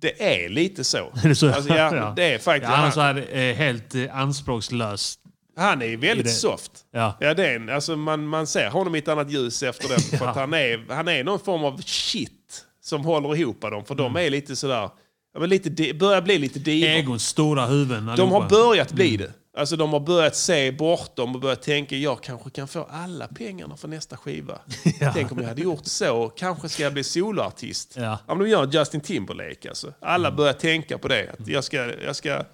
B: Det är lite så.
C: Är det så?
B: Alltså, ja,
C: Ja.
B: Det är faktiskt.
C: Ja, han är så
B: han,
C: här, eh, helt eh, anspråkslös.
B: han är väldigt
C: i det-
B: soft.
C: Ja.
B: Ja, det är en, alltså man, man ser honom i ett annat ljus efter den. För att han, är, han är någon form av shit som håller ihop dem. För de
C: Mm.
B: är lite sådär, ja, men lite, di- börjar bli lite divor.
C: Egons stora huvuden.
B: De
C: allihopa.
B: har börjat
C: Mm.
B: bli det. Alltså de har börjat se bortom och börjat tänka jag kanske kan få alla pengarna för nästa skiva. Tänk om jag hade gjort så, kanske ska jag bli soloartist.
C: Ja. Mm.
B: men de gör Justin Timberlake alltså. Alla börjar tänka på det, att jag ska, jag ska,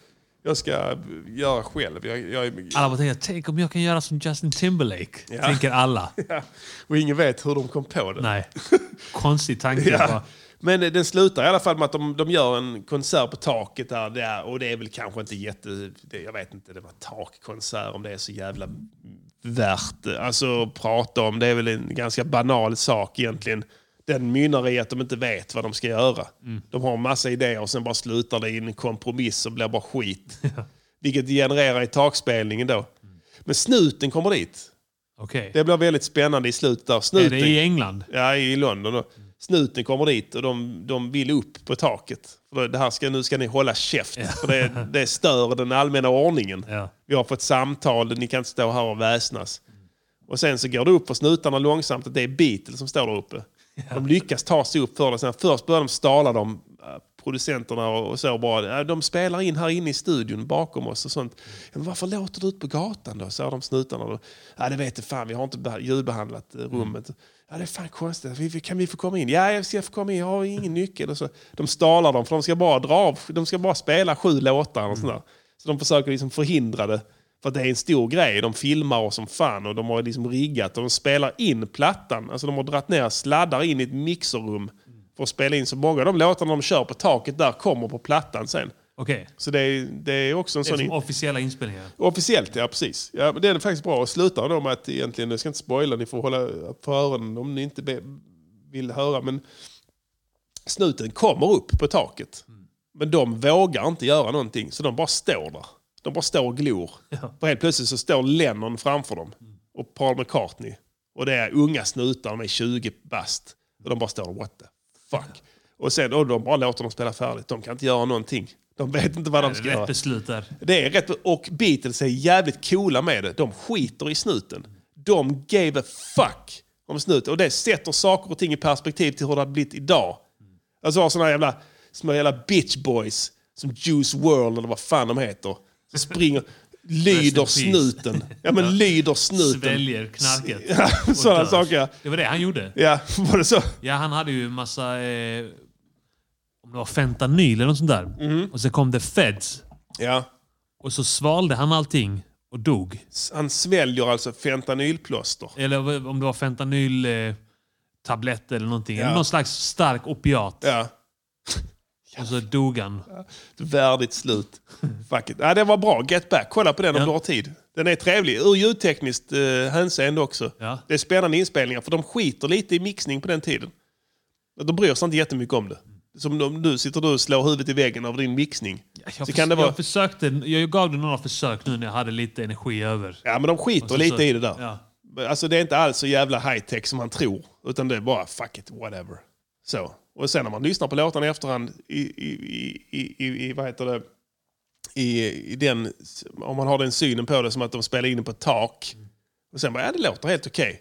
B: jag ska göra själv. Jag, jag, är-
C: Alla bara tänker, tänk om jag kan göra som Justin Timberlake.
B: Ja.
C: Tänker alla.
B: och ingen vet hur de kom på det.
C: Nej. Konstig tanke.
B: Ja.
C: bara.
B: Men eh, den slutar i alla fall med att de, de gör en konsert på taket där, där och det är väl kanske inte jätte... Det, jag vet inte, det var takkonsert om det är så jävla värt eh, alltså, att prata om. Det är väl en ganska banal sak egentligen. Den mynnar i att de inte vet vad de ska göra.
C: Mm.
B: De har en massa idéer och sen bara slutar det i en kompromiss och blir bara skit. Vilket genererar i takspelningen då.
C: Mm.
B: Men snuten kommer dit.
C: Okej.
B: Det blir väldigt spännande i slutet där.
C: Är
B: Snuten
C: det i England?
B: Ja, i London. Då. Snuten kommer dit och de, de vill upp på taket. För det här ska, nu ska ni hålla käft, för det, det stör den allmänna ordningen.
C: Ja.
B: Vi har fått samtal, ni kan inte stå här och väsnas. Och sen så går det upp för snutarna långsamt att det är Beatles som står där uppe. De lyckas ta sig upp för det. Sen först börjar de stala dem, äh, producenterna och och så bara. Äh, De spelar in här inne i studion bakom oss och sånt. Ja, Men varför låter du ut på gatan då? Säger de snutarna. Då. Ja, det vet du fan, vi har inte beha- ljudbehandlat eh, rummet. Ja, det är fan konstigt. Vi- vi- Kan vi få komma in? Ja, jag ska få komma in. Jag har ingen nyckel. Och så. De stalar dem för de ska bara dra av, de ska bara spela sju låtar. Och sånt där. Så de försöker liksom förhindra det. För att det är en stor grej. De filmar oss som fan och de har liksom riggat och de spelar in plattan. Alltså de har dragit ner sladdar in i ett mixerrum för att spela in. Så många av de låtarna de kör på taket där kommer på plattan sen.
C: Okej.
B: Så det är, det är också en
C: Det är
B: sån...
C: som officiella inspelningar.
B: Officiellt, ja precis. Ja, men det är faktiskt bra. Och slutar då med att egentligen, jag ska inte spoila, ni får hålla för öronen om ni inte be, vill höra. Men snuten kommer upp på taket. Men de vågar inte göra någonting, så de bara står där. De bara står och glor. För helt plötsligt så står Lennon framför dem. Och Paul McCartney. Och det är unga snutar, de är 20 bast. Och de bara står där, what the fuck. Och sen, och de bara låter dem spela färdigt. De kan inte göra någonting. De vet inte vad de ska göra.
C: Rätt beslut där.
B: Det är rätt. Och Beatles är jävligt coola med det. De skiter i snuten. De gave a fuck om snuten. Och det sätter saker och ting i perspektiv till hur det hade blivit idag. Alltså har såna jävla små jävla bitch boys som Juice World eller vad fan de heter. Som springer, lyder
C: Rest in peace.
B: snuten. Ja men lyder snuten.
C: Sväljer knarket.
B: Ja,
C: och
B: sådana
C: dör.
B: saker ja.
C: Det var det han gjorde.
B: Ja, var det så?
C: Ja, han hade ju en massa... Eh, om det var fentanyl eller något sånt där.
B: Mhm.
C: Och sen kom det Feds.
B: Ja.
C: Och så svalde han allting och dog.
B: Han sväljer alltså fentanylplåster.
C: Eller om det var fentanyl... Eh, tabletter eller någonting.
B: Ja.
C: Eller någon slags stark opiat.
B: Ja.
C: Och så dog han.
B: Ett värdigt slut. Fuck it. Ja, den var bra. Get back. Kolla på den om
C: Ja.
B: du har tid. Den är trevlig. Ur ljudtekniskt eh, hänseende också.
C: Ja.
B: Det är spännande inspelningar för de skiter lite i mixning på den tiden. De bryr sig inte jättemycket om det. Som de, du sitter du och slår huvudet i väggen av din mixning.
C: Jag,
B: Så
C: förs-
B: kan det vara-
C: jag, försökte, jag gav det några försök nu när jag hade lite energi över.
B: Ja, men de skiter
C: så-
B: lite
C: så-
B: i det där.
C: ja.
B: Alltså det är inte alls så jävla high-tech som man tror. Utan det är bara fuck it, whatever. Så. Och sen när man lyssnar på låtarna i efterhand i, i, i, i, i, i vad heter det, i, i den, om man har den synen på det som att de spelar in det på ett tak. Och sen bara, ja det låter helt okej.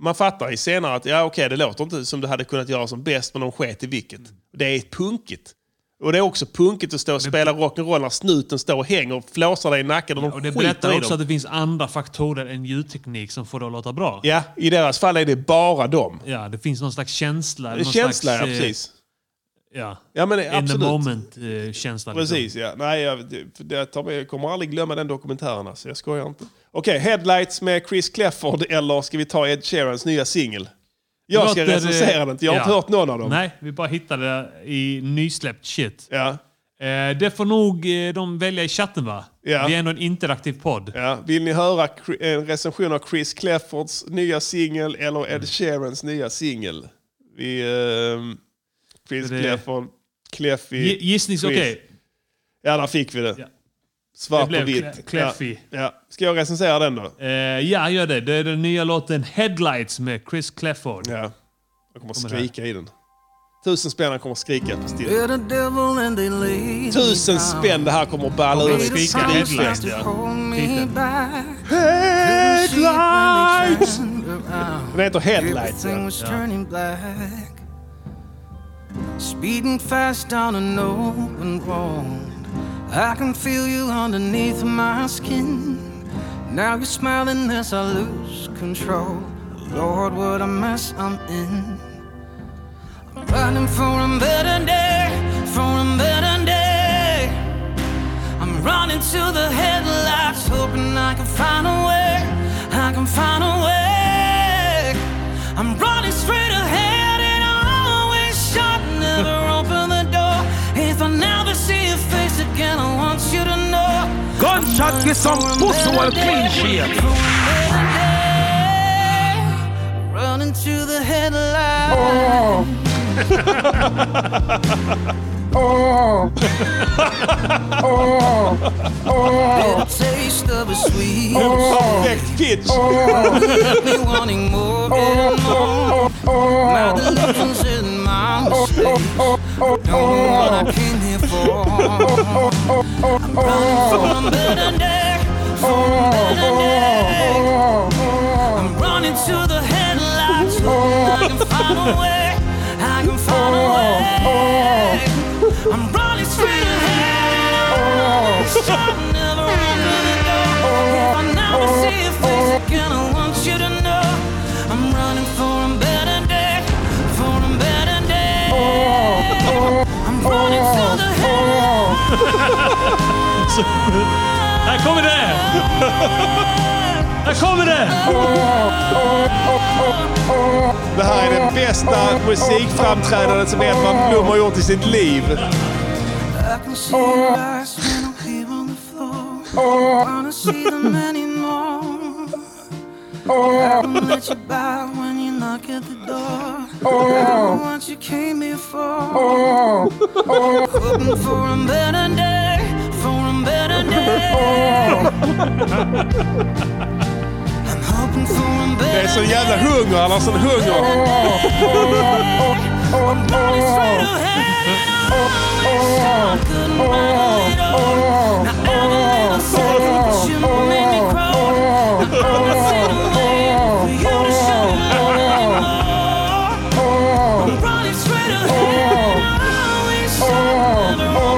B: Man fattar i senare att, ja okej det låter inte som det hade kunnat göra som bäst men de sket i vilket. Det är punkigt. Och det är också punkigt att stå och spela rock'n'roll när snuten står och hänger och flåsar dig i nacken och de
C: Och det
B: skiter i
C: berättar
B: dem.
C: också att det finns andra faktorer än ljudteknik som får det att låta bra.
B: Ja, i deras fall är det bara dem.
C: Ja, det finns någon slags känsla. någon
B: Känsla,
C: slags,
B: ja,
C: eh,
B: precis.
C: Ja,
B: Ja, men
C: in the eh,
B: absolut.
C: moment-känsla.
B: Precis, ja. Nej, jag, det- jag, tar, jag kommer aldrig glömma den dokumentären, alltså. jag skojar inte. Okej, Headlights med Chris Clefford eller ska vi ta Ed Sheerans nya singel? Jag ska
C: Låter, eh,
B: recensera den, jag har inte
C: ja.
B: hört någon av dem.
C: Nej, vi bara hittade det i nysläppt shit.
B: Ja,
C: Eh, det får nog eh, de välja i chatten va?
B: Ja.
C: Vi är ändå en interaktiv podd.
B: ja. Vill ni höra Chri- en recension av Chris Cleffords nya singel eller Ed Sheerans nya singel? Vi... ehm, Chris
C: Det-
B: Clefford, Cleffy...
C: Gi- Gissnings...
B: Chris.
C: Okej.
B: Ja, där fick vi det.
C: Ja.
B: Svart
C: Det blev
B: och vitt.
C: Cle- Cleffy.
B: Ja. Ja. Ska jag recensera den då?
C: Eh, ja, gör det. Det är den nya låten Headlights med Chris Clefford.
B: Ja. Jag kommer skrika i den. Tusen spänn han kommer skrika på still.
J: They're the devil and they lead
B: Tusen spänn det här kommer att balla ur.
C: Skrika headlights.
J: Pull me
C: Titeln.
J: back.
B: Headlights!
J: Around.
B: Den heter Headlights.
J: Everything
B: Ja.
J: was turning black. Speeding fast down an open road. I can feel you underneath my skin. Now you're smiling as I lose control. Lord, what a mess I'm in. I'm running for a better day, for a better day. I'm running to the headlights, hoping I can find a way. I can find a way. I'm running straight ahead, and I always shut, never open the door. If I never see your face again, I want you to know.
D: Gunshot get some pussy while clean shit.
J: Running to the headlights. Oh. Taste of a sweet.
B: Perfekt pitch!
J: me wanting more and more. My delusions in my mistakes. Don't know what I came here for. I'm running for a better day, for a better day. I'm running to the headlights. hoping I can find a way. I can find a way. I'm running straight ahead. I'll never open the door. If I never see your face again, I want you to know I'm running for a better day, for a better day. I'm running to the headlights.
C: Här kommer det! Här kommer det!
B: Det här är det bästa musikframträdandet som Edvard Blom har gjort i sitt liv.
J: I can see your eyes when I'm here on the floor. Wanna see them anymore. I don't let you by when you knock at the door. I don't want you came here for. Hoping for a better day, for a better day. I'm hoping for a
B: Det är
J: better
B: sån jävla hunger, han har sån hunger.
J: I'm running straight ahead and I always shine. Couldn't hide it all. Now every little second that you make me grow, I always sit away for you to show me more. I'm running straight ahead and I always shine. Never open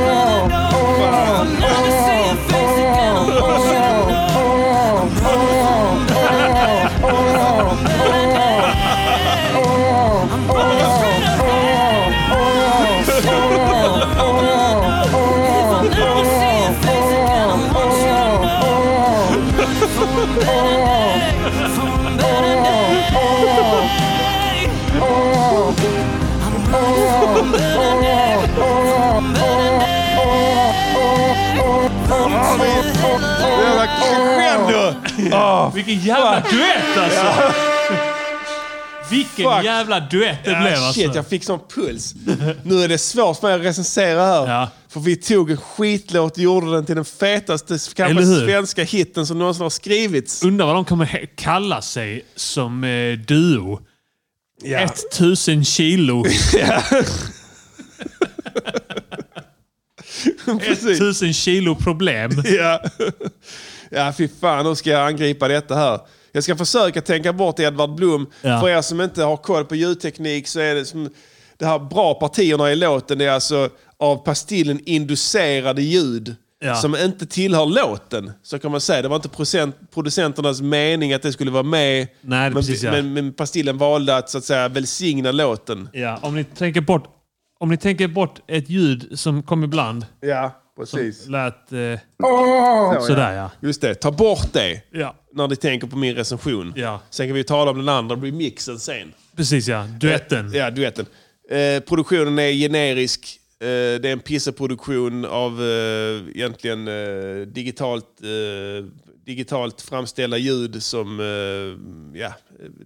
J: the door. I'll never see your face again. I want you to know. I'm running for a better day. I'm running straight ahead. If I never see your face again, I want you to know.
B: Åh,
C: Vilken jävla duett alltså! Vilken
B: Fuck.
C: jävla duett det blev
B: Ah,
C: alltså.
B: shit, jag fick sån puls. Nu är det svårt för mig att recensera här.
C: Ja.
B: För vi tog en skitlåt och gjorde den till den fetaste kanske
C: Eller hur?
B: svenska hitten som någonsin har skrivits.
C: Undrar vad de kommer he- kalla sig som eh, duo.
B: Ja.
C: 1000 kilo.
B: Precis.
C: 1000 kilo problem.
B: Ja. ja, fy fan. Hur ska jag angripa detta här? Jag ska försöka tänka bort Edvard Blom.
C: Ja.
B: För er som inte har koll på ljudteknik så är det som... Det här bra partierna i låten det är alltså av pastillen inducerade ljud.
C: Ja.
B: Som inte tillhör låten. Så kan man säga. Det var inte procent, producenternas mening att det skulle vara med.
C: Nej,
B: men,
C: precis, ja.
B: men, men pastillen valde att, så att säga, välsigna låten.
C: Ja, om ni tänker bort, om ni tänker bort ett ljud som kom ibland.
B: Ja, precis.
C: Lät eh,
B: Så,
C: sådär ja.
B: Just det, ta bort det.
C: Ja,
B: när ni tänker på min recension.
C: Ja.
B: Sen kan vi ju tala om den andra remixen sen.
C: precis ja. Duetten.
B: Ja, duetten. Eh, produktionen är generisk. Eh, det är en pisseproduktion av eh, egentligen eh, digitalt, eh, digitalt framställda ljud som... Eh, ja,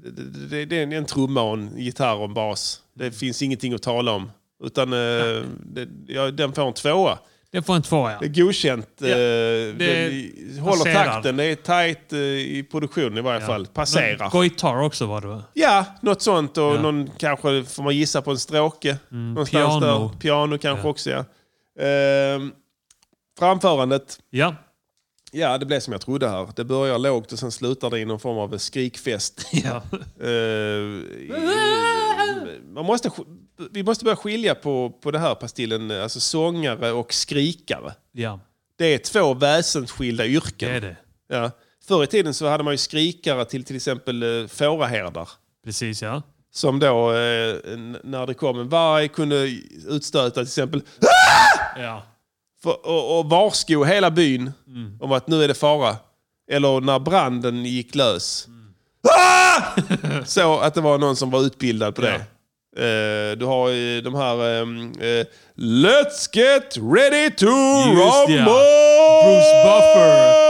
B: det, det, det är en, en trumma och en gitarr och en bas. Det finns ingenting att tala om. Utan eh, det, ja, den får en tvåa.
C: Det får en tvåa ja.
B: Det är godkänt. eh, det, håller
C: passerar.
B: takten. Det är tight eh, i produktionen i varje fall. Passerar.
C: Gå gitarr också var det va?
B: Ja, något sånt. Och någon kanske, får man gissa på en stråke. någonstans
C: Mm, piano.
B: Där. Piano kanske också, ja. Ehm, framförandet.
C: Ja.
B: Ja, det blev som jag trodde här. Det börjar lågt och sen slutar det i någon form av skrikfest.
C: ja.
B: Eh, i- man måste, sk- vi måste börja skilja på, på det här pastillen, alltså sångare och skrikare.
C: Ja,
B: Det är två väsensskilda yrken.
C: det är det.
B: Ja. Förr i tiden så hade man ju skrikare till till exempel eh, fåraherdar.
C: Precis ja.
B: Som då, eh, n- när det kom en varg, kunde utstöta till exempel
C: Ja.
B: för, och, och varsko hela byn
C: Mm.
B: om att nu är det fara. Eller när branden gick lös.
C: Mm.
B: Ah! Så att det var någon som var utbildad på det. Eh, du har ju de här... ehm, eh, Let's get ready to
C: Just
B: rumble!
C: det, ja. Bruce Buffer.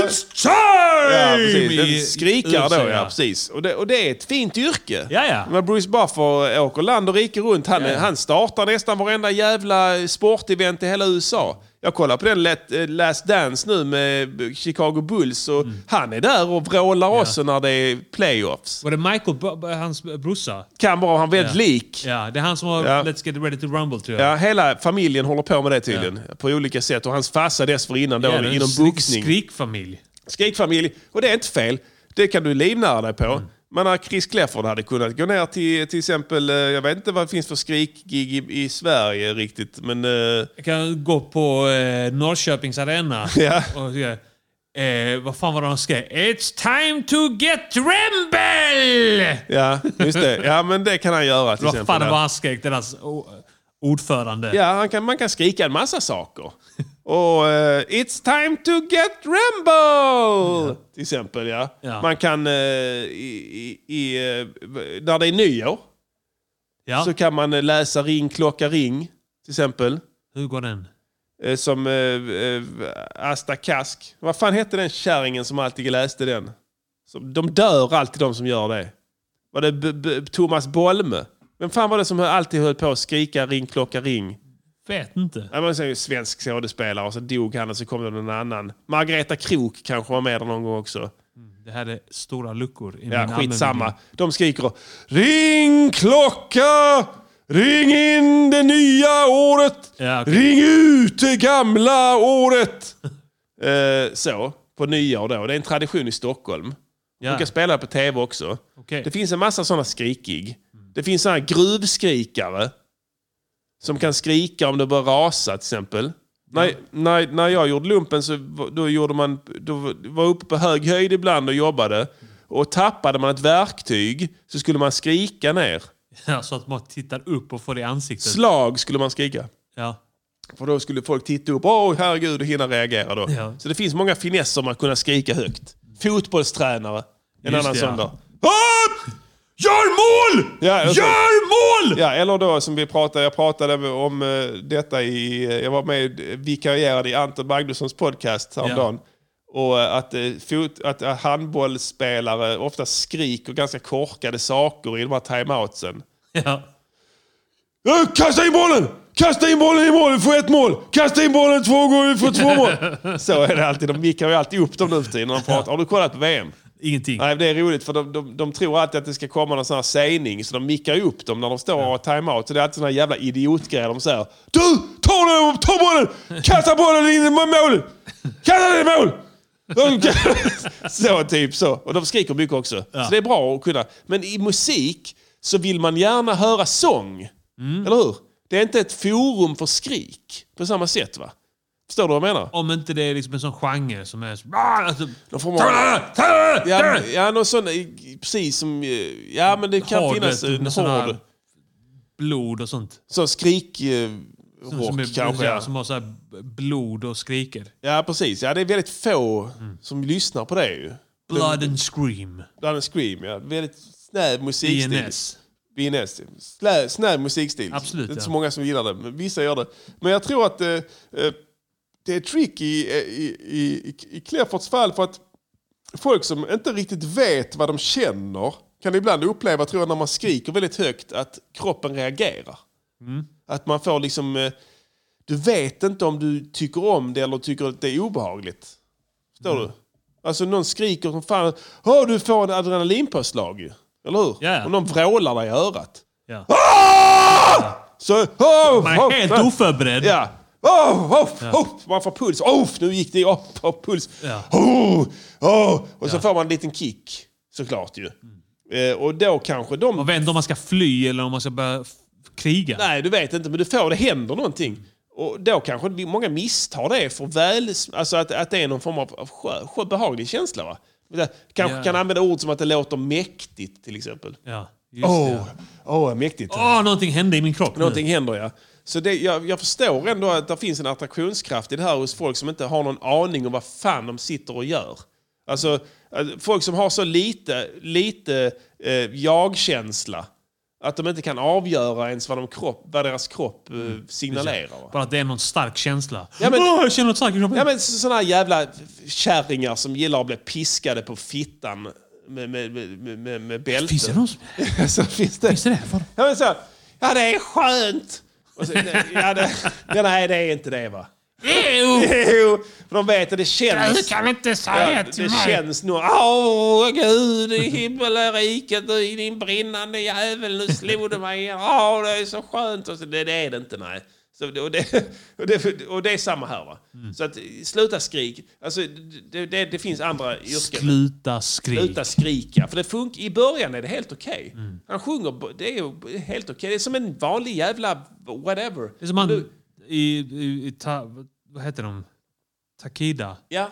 B: It's time! Ja, precis.
C: I-
B: Den skrikar
C: USA,
B: då, ja.
C: ja.
B: Precis. Och det, och det är ett fint yrke.
C: Ja, ja.
B: Men Bruce Buffer åker land och rike runt. Han, han startar nästan varenda jävla sportevent i hela USA. Jag kollar på den let, eh, Last Dance nu med Chicago Bulls och
C: Mm.
B: han är där och vrålar också när det är playoffs.
C: Var det Michael, Bo- hans brorsa?
B: Kan vara han väldigt
C: Ja.
B: lik.
C: Ja, det är han som har
B: Ja.
C: Let's Get Ready to Rumble tror jag.
B: Ja, hela familjen håller på med det tydligen. På olika sätt. Och hans farsa dessförinnan då
C: Ja, det är en
B: inom
C: skrik-
B: boxning.
C: Skrikfamilj.
B: Skrikfamilj, och det är inte fel. Det kan du livnära dig på.
C: Mm.
B: Men när Chris Clefford hade kunnat gå ner till till exempel, eh, jag vet inte vad det finns för skrikgig i, i Sverige riktigt, men... eh,
C: Jag kan gå på eh, Norrköpings arena
B: Ja.
C: och säga... Eh, vad fan var det han skrev? It's time to get rumble!
B: ja, just det. Ja, men det kan han göra till
C: Vad
B: exempel.
C: fan var han skrek? Deras o- ordförande.
B: Ja, han kan, man kan skrika en massa saker. Och eh, It's time to get Rambo! Till exempel, ja.
C: Ja.
B: Man kan... eh, i, i, i, eh, när det är nyår
C: Ja.
B: så kan man eh, läsa ring, klocka, ring. Till exempel.
C: Hur går den?
B: Eh, som eh, eh, Asta Kask. Vad fan hette den kärringen som alltid läste den? Som, de dör alltid de som gör det. Var det B- B- Thomas Bolme? Vem fan var det som alltid höll på att skrika ring, klocka, ring?
C: Vet inte.
B: Ja, men sen är ju svensk skådespelare och så dog han och så kom det någon annan. Margareta Krok kanske var med där någon gång också.
C: Det här är stora luckor i
B: Ja,
C: min
B: skitsamma.
C: allmänbildning.
B: De skriker och Ring klocka! Ring in det nya året!
C: Ja, okej.
B: Ring ut det gamla året! eh, så, på nyår då. Det är en tradition i Stockholm.
C: Ja.
B: De kan spela på tv också.
C: Okej.
B: Det finns en massa sådana skrikig. Det finns sådana gruvskrikare. Som kan skrika om det börjar rasa till exempel. När, när, när jag gjorde lumpen så var- då gjorde man, då var jag uppe på hög höjd ibland och jobbade. Och tappade man ett verktyg så skulle man skrika ner.
C: Ja, så att man tittar upp och får det i ansiktet.
B: Slag skulle man skrika.
C: Ja.
B: För då skulle folk titta upp. Åh herregud och hinna reagera då.
C: Ja.
B: Så det finns många finesser om att kunna skrika högt. Fotbollstränare. En
C: Just
B: annan
C: det,
B: sån
C: ja.
B: där. Ah! Gör mål! Ja, jag sa-
C: Gör mål!
B: Ja, eller då som vi pratade, jag pratade om eh, detta i, eh, jag var med, vikarierade i Anton Magnussons podcast häromdagen. Och eh, att, eh, fot, att eh, handbollsspelare ofta skriker ganska korkade saker i de här timeoutsen.
C: Ja.
B: "Eh, Kasta in bollen! Kasta in bollen i mål, vi får ett mål! Kasta in bollen två gånger, vi får två mål! Så är det alltid. De mickar ju alltid upp dem nu för tiden när de pratar. Har du kollat på VM?
C: Ingenting.
B: Nej, det är roligt för de, de, de tror alltid att det ska komma någon sån här sägning så de mickar ju upp dem när de står och har timeout. Så det är alltid såna här jävla idiotgrejer de säger. Du! Ta, den, ta bollen! Kasta bollen in i målet! Kasta den i mål! De- så typ så. Och de skriker mycket också. Så det är bra att kunna. Men i musik så vill man gärna höra sång. Eller hur? Det är inte ett forum för skrik på samma sätt va? Förstår du vad jag menar?
C: Om inte det är liksom en sån genre som är... så- Ah, Alltså,
B: Då får man... Ja, ja någon sån, eh, precis som... eh, Ja, men det kan
C: Hård,
B: finnas
C: vet du,
B: en
C: med sån
B: hård...
C: här- blod och sånt.
B: Sån skrik... Eh, rock
C: som,
B: kanske.
C: ja,
B: Ja.
C: som har så här blod och skriker.
B: ja, precis. Ja, det är väldigt få
C: Mm.
B: som lyssnar på det ju.
C: Blood and scream.
B: Bland en scream, ja. Väldigt snäv musikstil.
C: INS.
B: BNS. Slä, snäv musikstil.
C: Absolut,
B: Det är inte
C: ja.
B: så många som gillar det, men vissa gör det. Men jag tror att eh, eh, det är tricky i, eh, i, i, i- i Cliffords fall för att folk som inte riktigt vet vad de känner kan ibland uppleva, tror jag, när man skriker väldigt högt att kroppen reagerar. Att man får liksom... Eh, du vet inte om du tycker om det eller tycker att det är obehagligt. Förstår
C: Mm.
B: du? Alltså någon skriker som fan... Hör, du får en adrenalinpåslag ju. Eller hur?
C: Ja.
B: Och någon vrålar dig i örat.
C: Ja.
B: Ah! Så... Oh,
C: Man är helt oförberedd.
B: Ja. Oh, oh, oh. Man får puls. Oh, nu gick det upp. Oh, puls.
C: Ja.
B: Oh, oh. Och så får man en liten kick, såklart ju. Eh, och då kanske de...
C: Man vet inte om man ska fly eller om man ska börja f- kriga.
B: Nej, du vet inte, men du får, det händer någonting. Och då kanske vi- många misstar det för väl, alltså att, att det är någon form av, av skö, skö, behaglig känsla. Va? Men det- Kanske
C: Ja.
B: kan använda ord som att det låter mäktigt till exempel.
C: Ja, just
B: Åh,
C: det.
B: oh, oh, mäktigt.
C: Åh, Ah, någonting hände i min kropp nu.
B: Någonting händer ja. Så det, jag, jag förstår ändå att det finns en attraktionskraft i det här hos folk som inte har någon aning om vad fan de sitter och gör. Alltså, eh, folk som har så lite, lite eh, jag-känsla att de inte kan avgöra ens vad, de kropp, vad deras kropp eh,
C: Mm.
B: signalerar. va.
C: Bara att det är någon stark känsla.
B: Ja, men-
C: Åh, jag känner något starkt i kroppen.
B: Ja, men sådana här jävla kärringar som gillar att bli piskade på fittan med, med, med, med- med, med bälte.
C: Finns det någon som...
B: så finns det.
C: Finns det det? Vadå?
B: Ja, men så, ja det är skönt! Och så, ja, det, ja, nej, det är inte det va? Jo! För de vet att det känns... Du kan inte säga ja, till Det känns nog... Åh gud i himmelriket du i din brinnande jävel, nu slog du mig. Åh, det är så skönt. Och så, det, det är det inte, nej. Så, det- och, det, och, det, och det är samma här va? Så att, sluta skrik. Alltså, det, det, det finns andra yrken.
C: Sluta skrik.
B: Sluta skrika. För det funk- I början är det helt okej. Han sjunger, b- det är ju helt okej. Det är som en vanlig jävla whatever.
C: Det är som han i... i, i ta, vad heter de? Takida.
B: Ja.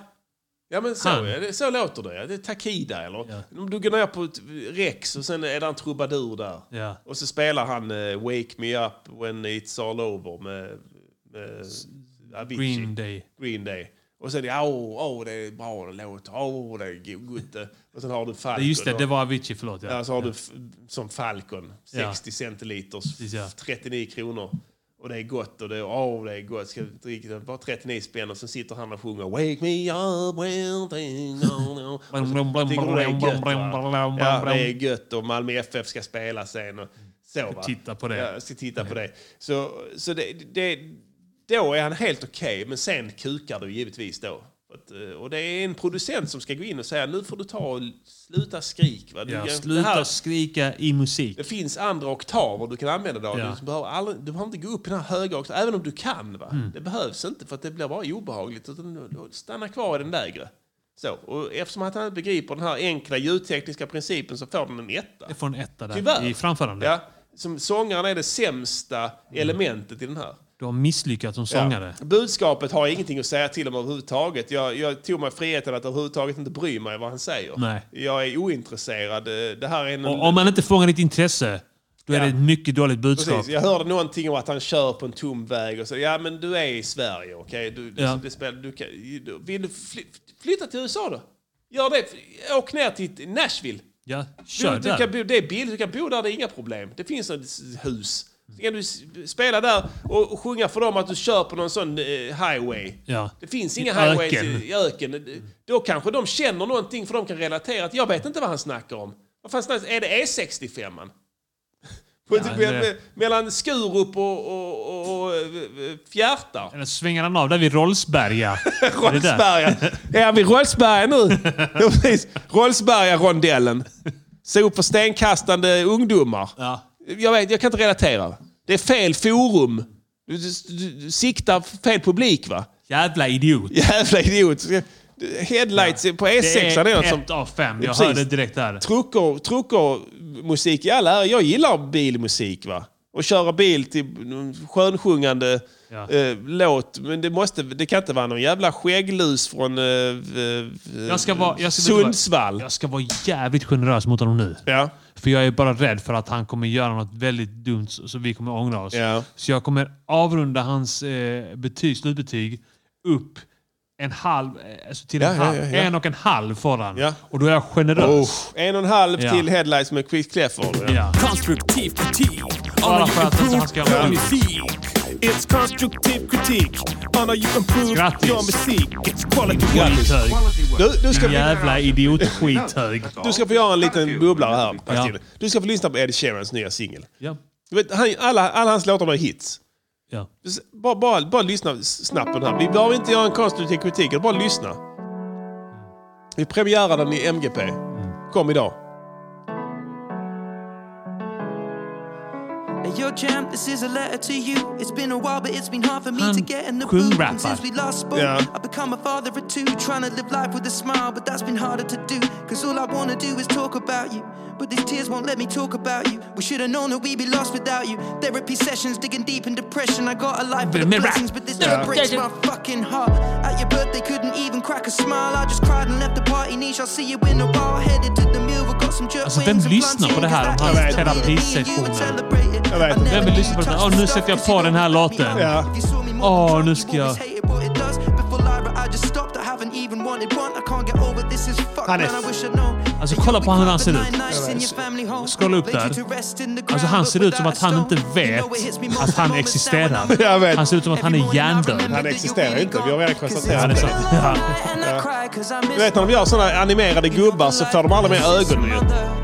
B: Ja men så,
C: Han.
B: är det, så låter det. ja. Det är Takida eller...
C: Ja.
B: Om du går ner på ett Rex och sen är det en trubadur där.
C: Ja.
B: Och så spelar han eh, Wake Me Up When It's All Over med, med Avicii.
C: Green Day.
B: Green Day. Och sen åh, åh det är bra det låter, åh det är go- gott det. Och sen har du Falcon.
C: Nej, Just det,
B: och-
C: det var Avicii. Förlåt. Ja.
B: Ja, så har du f- som Falcon, 60 centiliters,
C: Precis, ja.
B: 39 kronor. Och det är gott och det är, åh det är gott, ska vi dricka det? Bara 39 spänn och så sitter han och sjunger Wake me up when things are over." Och så tycker de det är gött, va? Ja, det är gött och Malmö FF ska spela sen. Och så, va?
C: titta på det.
B: Ja, jag ska titta på det. Så, så det, det, då är han helt okej, men sen kukar du givetvis då. Att, eh, Och det är en producent som ska gå in och säga nu får du ta och sluta skrik. Va? Du,
C: Ja,
B: det här-
C: sluta skrika i musik.
B: det finns andra oktaver du kan använda dig av.
C: Ja.
B: Du, behöver aldrig, du behöver inte gå upp i den här höga oktaven, även om du kan. Va?
C: Mm.
B: Det behövs inte för att det blir bara obehagligt. Utan du- du stanna kvar i den lägre. Så, och eftersom att han inte begriper den här enkla ljudtekniska principen så får den en etta.
C: Det får en etta där
B: Tyvärr.
C: i framförande.
B: Ja, som sångaren är det sämsta elementet i den här.
C: Du har misslyckats som Mm. sångare.
B: Ja. Budskapet har jag ingenting att säga till om överhuvudtaget. Jag, jag tog mig friheten att överhuvudtaget inte bry mig vad han säger.
C: Nej.
B: Jag är ointresserad. Eh, Det här är en...
C: Och om man inte fångar ditt intresse, då är
B: Ja.
C: det ett mycket dåligt budskap.
B: Precis, jag hörde någonting om att han kör på en tom väg och så. Ja, men du är i Sverige, okej? Du, du,
C: Ja.
B: det spelar, du, kan- du, vill du fly, flytta till USA då? Gör det. Åk ner till Nashville.
C: Ja, kör
B: Du, du
C: där.
B: kan bo, det är billigt, du kan bo där, det är inga problem. Det finns ett s- hus. Så kan du s- spela där och och sjunga för dem att du kör på någon sån eh, highway.
C: Ja.
B: Det finns inga
C: I
B: highways
C: öken.
B: i, i öken. Då kanske de känner någonting för de kan relatera. att Jag vet inte vad han snackar om. Vad fan snackar, är det E65? Ja, typ
C: det-
B: me- Mellan Skurup och, och, och, och eh, Fjärta.
C: Eller svänger han av där vid Rollsberga? Är det där?
B: Rollsberga. Är han vid Rollsberga nu? Ja, precis. Rollsberga-rondellen. Sop för stenkastande ungdomar.
C: Ja.
B: Jag, vet, jag kan inte relatera. Det är fel forum. Du, du, du, du siktar fel publik va?
C: Jävla idiot.
B: Jävla idiot. Headlights på
C: Det
B: E6
C: är,
B: är något
C: ett
B: som...
C: av fem. Jag
B: Precis.
C: hörde direkt där.
B: Trucker, musik i all ära. Jag gillar bilmusik. va? Och köra bil till någon skönsjungande
C: Ja.
B: eh, låt. Men det, måste, det kan inte vara någon jävla skägglus från eh, v- v-
C: Jag ska vara- jag ska-
B: Sundsvall.
C: Jag ska vara jävligt generös mot honom nu.
B: Ja.
C: För jag är bara rädd för att han kommer göra något väldigt dumt så så vi kommer ångra oss.
B: Ja.
C: Så jag kommer avrunda hans eh, betyg, slutbetyg upp en halv, eh, alltså till
B: Ja,
C: en,
B: ja,
C: halv
B: ja, ja.
C: en och en halv får han.
B: Ja. Oh.
C: Och då är jag generös.
B: En och en halv
C: Ja.
B: till headlights med Chris Clefford. Ja.
C: Ja.
D: Konstruktiv kritik.
C: Bara för att inte han ska
D: Your
C: vara
D: music. It's constructive critique. Anna you improve
C: Grattis.
D: your music. It's quality work.
C: skithög.
B: Du, du, ska,
C: Jävla idiotskithög.
B: du ska få göra en liten bubblare här.
C: Ja.
B: Pastine. Du ska få lyssna på Ed Sheerans nya singel.
C: Ja.
B: Du vet, han- Alla, alla hans låtar var hits.
C: Ja.
B: Bara, bara, bara lyssna s- snabbt på den här. Vi behöver inte göra en konstruktiv kritik, utan bara lyssna. Vi premiärar den i MGP. Kom idag.
J: Hey, yo, champ, this is a letter to you. It's been a while, but it's been hard for me
C: Han
J: to get in the
C: sjöng
J: mood.
C: rap,
J: And since
C: va?
J: we last spoke,
B: Ja.
J: I've become a father of two, trying to live life with a smile, but that's been harder to do. Cause all I wanna do is talk about you. But these tears won't let me talk about you. We should have known that we'd be lost without you. Therapy sessions, digging deep in depression. I got a life full of
C: Remember.
J: blessings, but this never breaks my fucking heart. At your birthday, couldn't even crack a smile. I just cried and left the party niche. I'll see you in a while. Headed to the mill, we got some jerk
C: Alltså, vem
J: wings and
C: lyssnar
J: blunt
C: på det här?
J: here, 'cause
C: De
J: that
C: här
J: is the way that me and you would
C: terapisessionerna.
J: celebrate.
B: vet inte.
J: Vem vill lyssna er på den här? Åh, nu sätter jag på den här låten.
B: Ja.
J: Åh, nu ska jag... Han är... Alltså kolla på hur han ser ut. Scrolla upp där. Alltså han ser ut som att han inte vet att han existerar.
B: Jag vet.
J: Han ser ut som att han är hjärndöd.
B: Han existerar inte, vi har redan konstaterat
J: Ja, det. Är sant.
C: Ja.
J: Ja.
B: Du vet när de gör sådana animerade gubbar så får de aldrig med ögonen ju.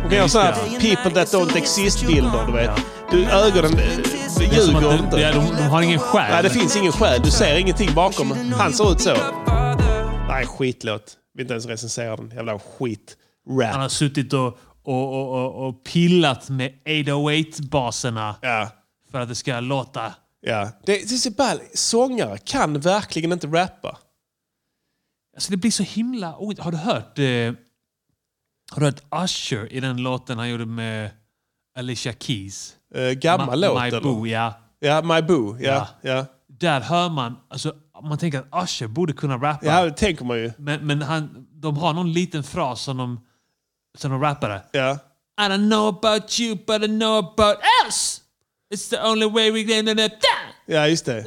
B: De kan göra sådana här people that don't exist-bilder, du vet. Du, ögonen eh,
J: Det
C: Som att de,
B: ljuger
C: de,
B: inte.
C: de har ingen själ.
B: Nej, det finns ingen själ. Du ser ingenting bakom. Han ser ut så. Nej, skitlåt. Vi inte ens recensera den. Jävla skit.
C: Han har
B: Rap.
C: suttit och, och, och, och, och pillat med 808-baserna
B: Ja.
C: för att det ska låta...
B: Ja. Det, det är så ball. Sångare kan verkligen inte rappa.
C: Alltså det blir så himla... Oj, har du hört... Eh, har du hört Usher i den låten han gjorde med Alicia Keys?
B: Eh, gammal
C: Ma-
B: låt,
C: My
B: eller?
C: Boo, ja.
B: Ja, My Boo. Ja, ja.
C: Där hör man... Alltså, man tänker att Usher borde kunna rappa.
B: Ja, det tänker man ju.
C: Men, men han, de har någon liten fras som de, som de rappade.
B: Ja.
C: I don't know about you, but I know about us! It's the only way we can...
B: Ja, just det.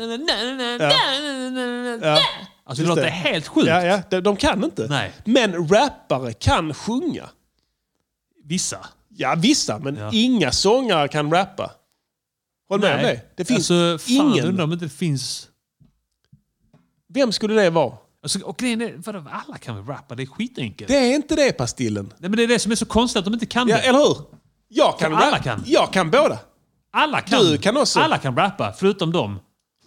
B: Ja.
C: Alltså det
B: Just
C: låter
B: det.
C: helt sjukt.
B: Ja, ja. De, de kan inte.
C: Nej.
B: Men rappare kan sjunga.
C: Vissa.
B: Ja, vissa. Men
C: Ja.
B: inga sångare kan rappa. Håll med om det. Det finns
C: alltså, fan,
B: ingen.
C: undrar om det inte finns...
B: Vem skulle det vara?
C: Alltså, och grejen är, vadå, alla kan väl rappa? Det är skitenkelt.
B: Det är inte det, Pastillen.
C: Nej, men det är det som är så konstigt, att de inte kan
B: Ja,
C: det.
B: eller hur? Jag kan
C: För alla
B: rappa.
C: kan.
B: Jag kan båda.
C: Alla kan.
B: Du kan också.
C: Alla kan rappa, förutom dem.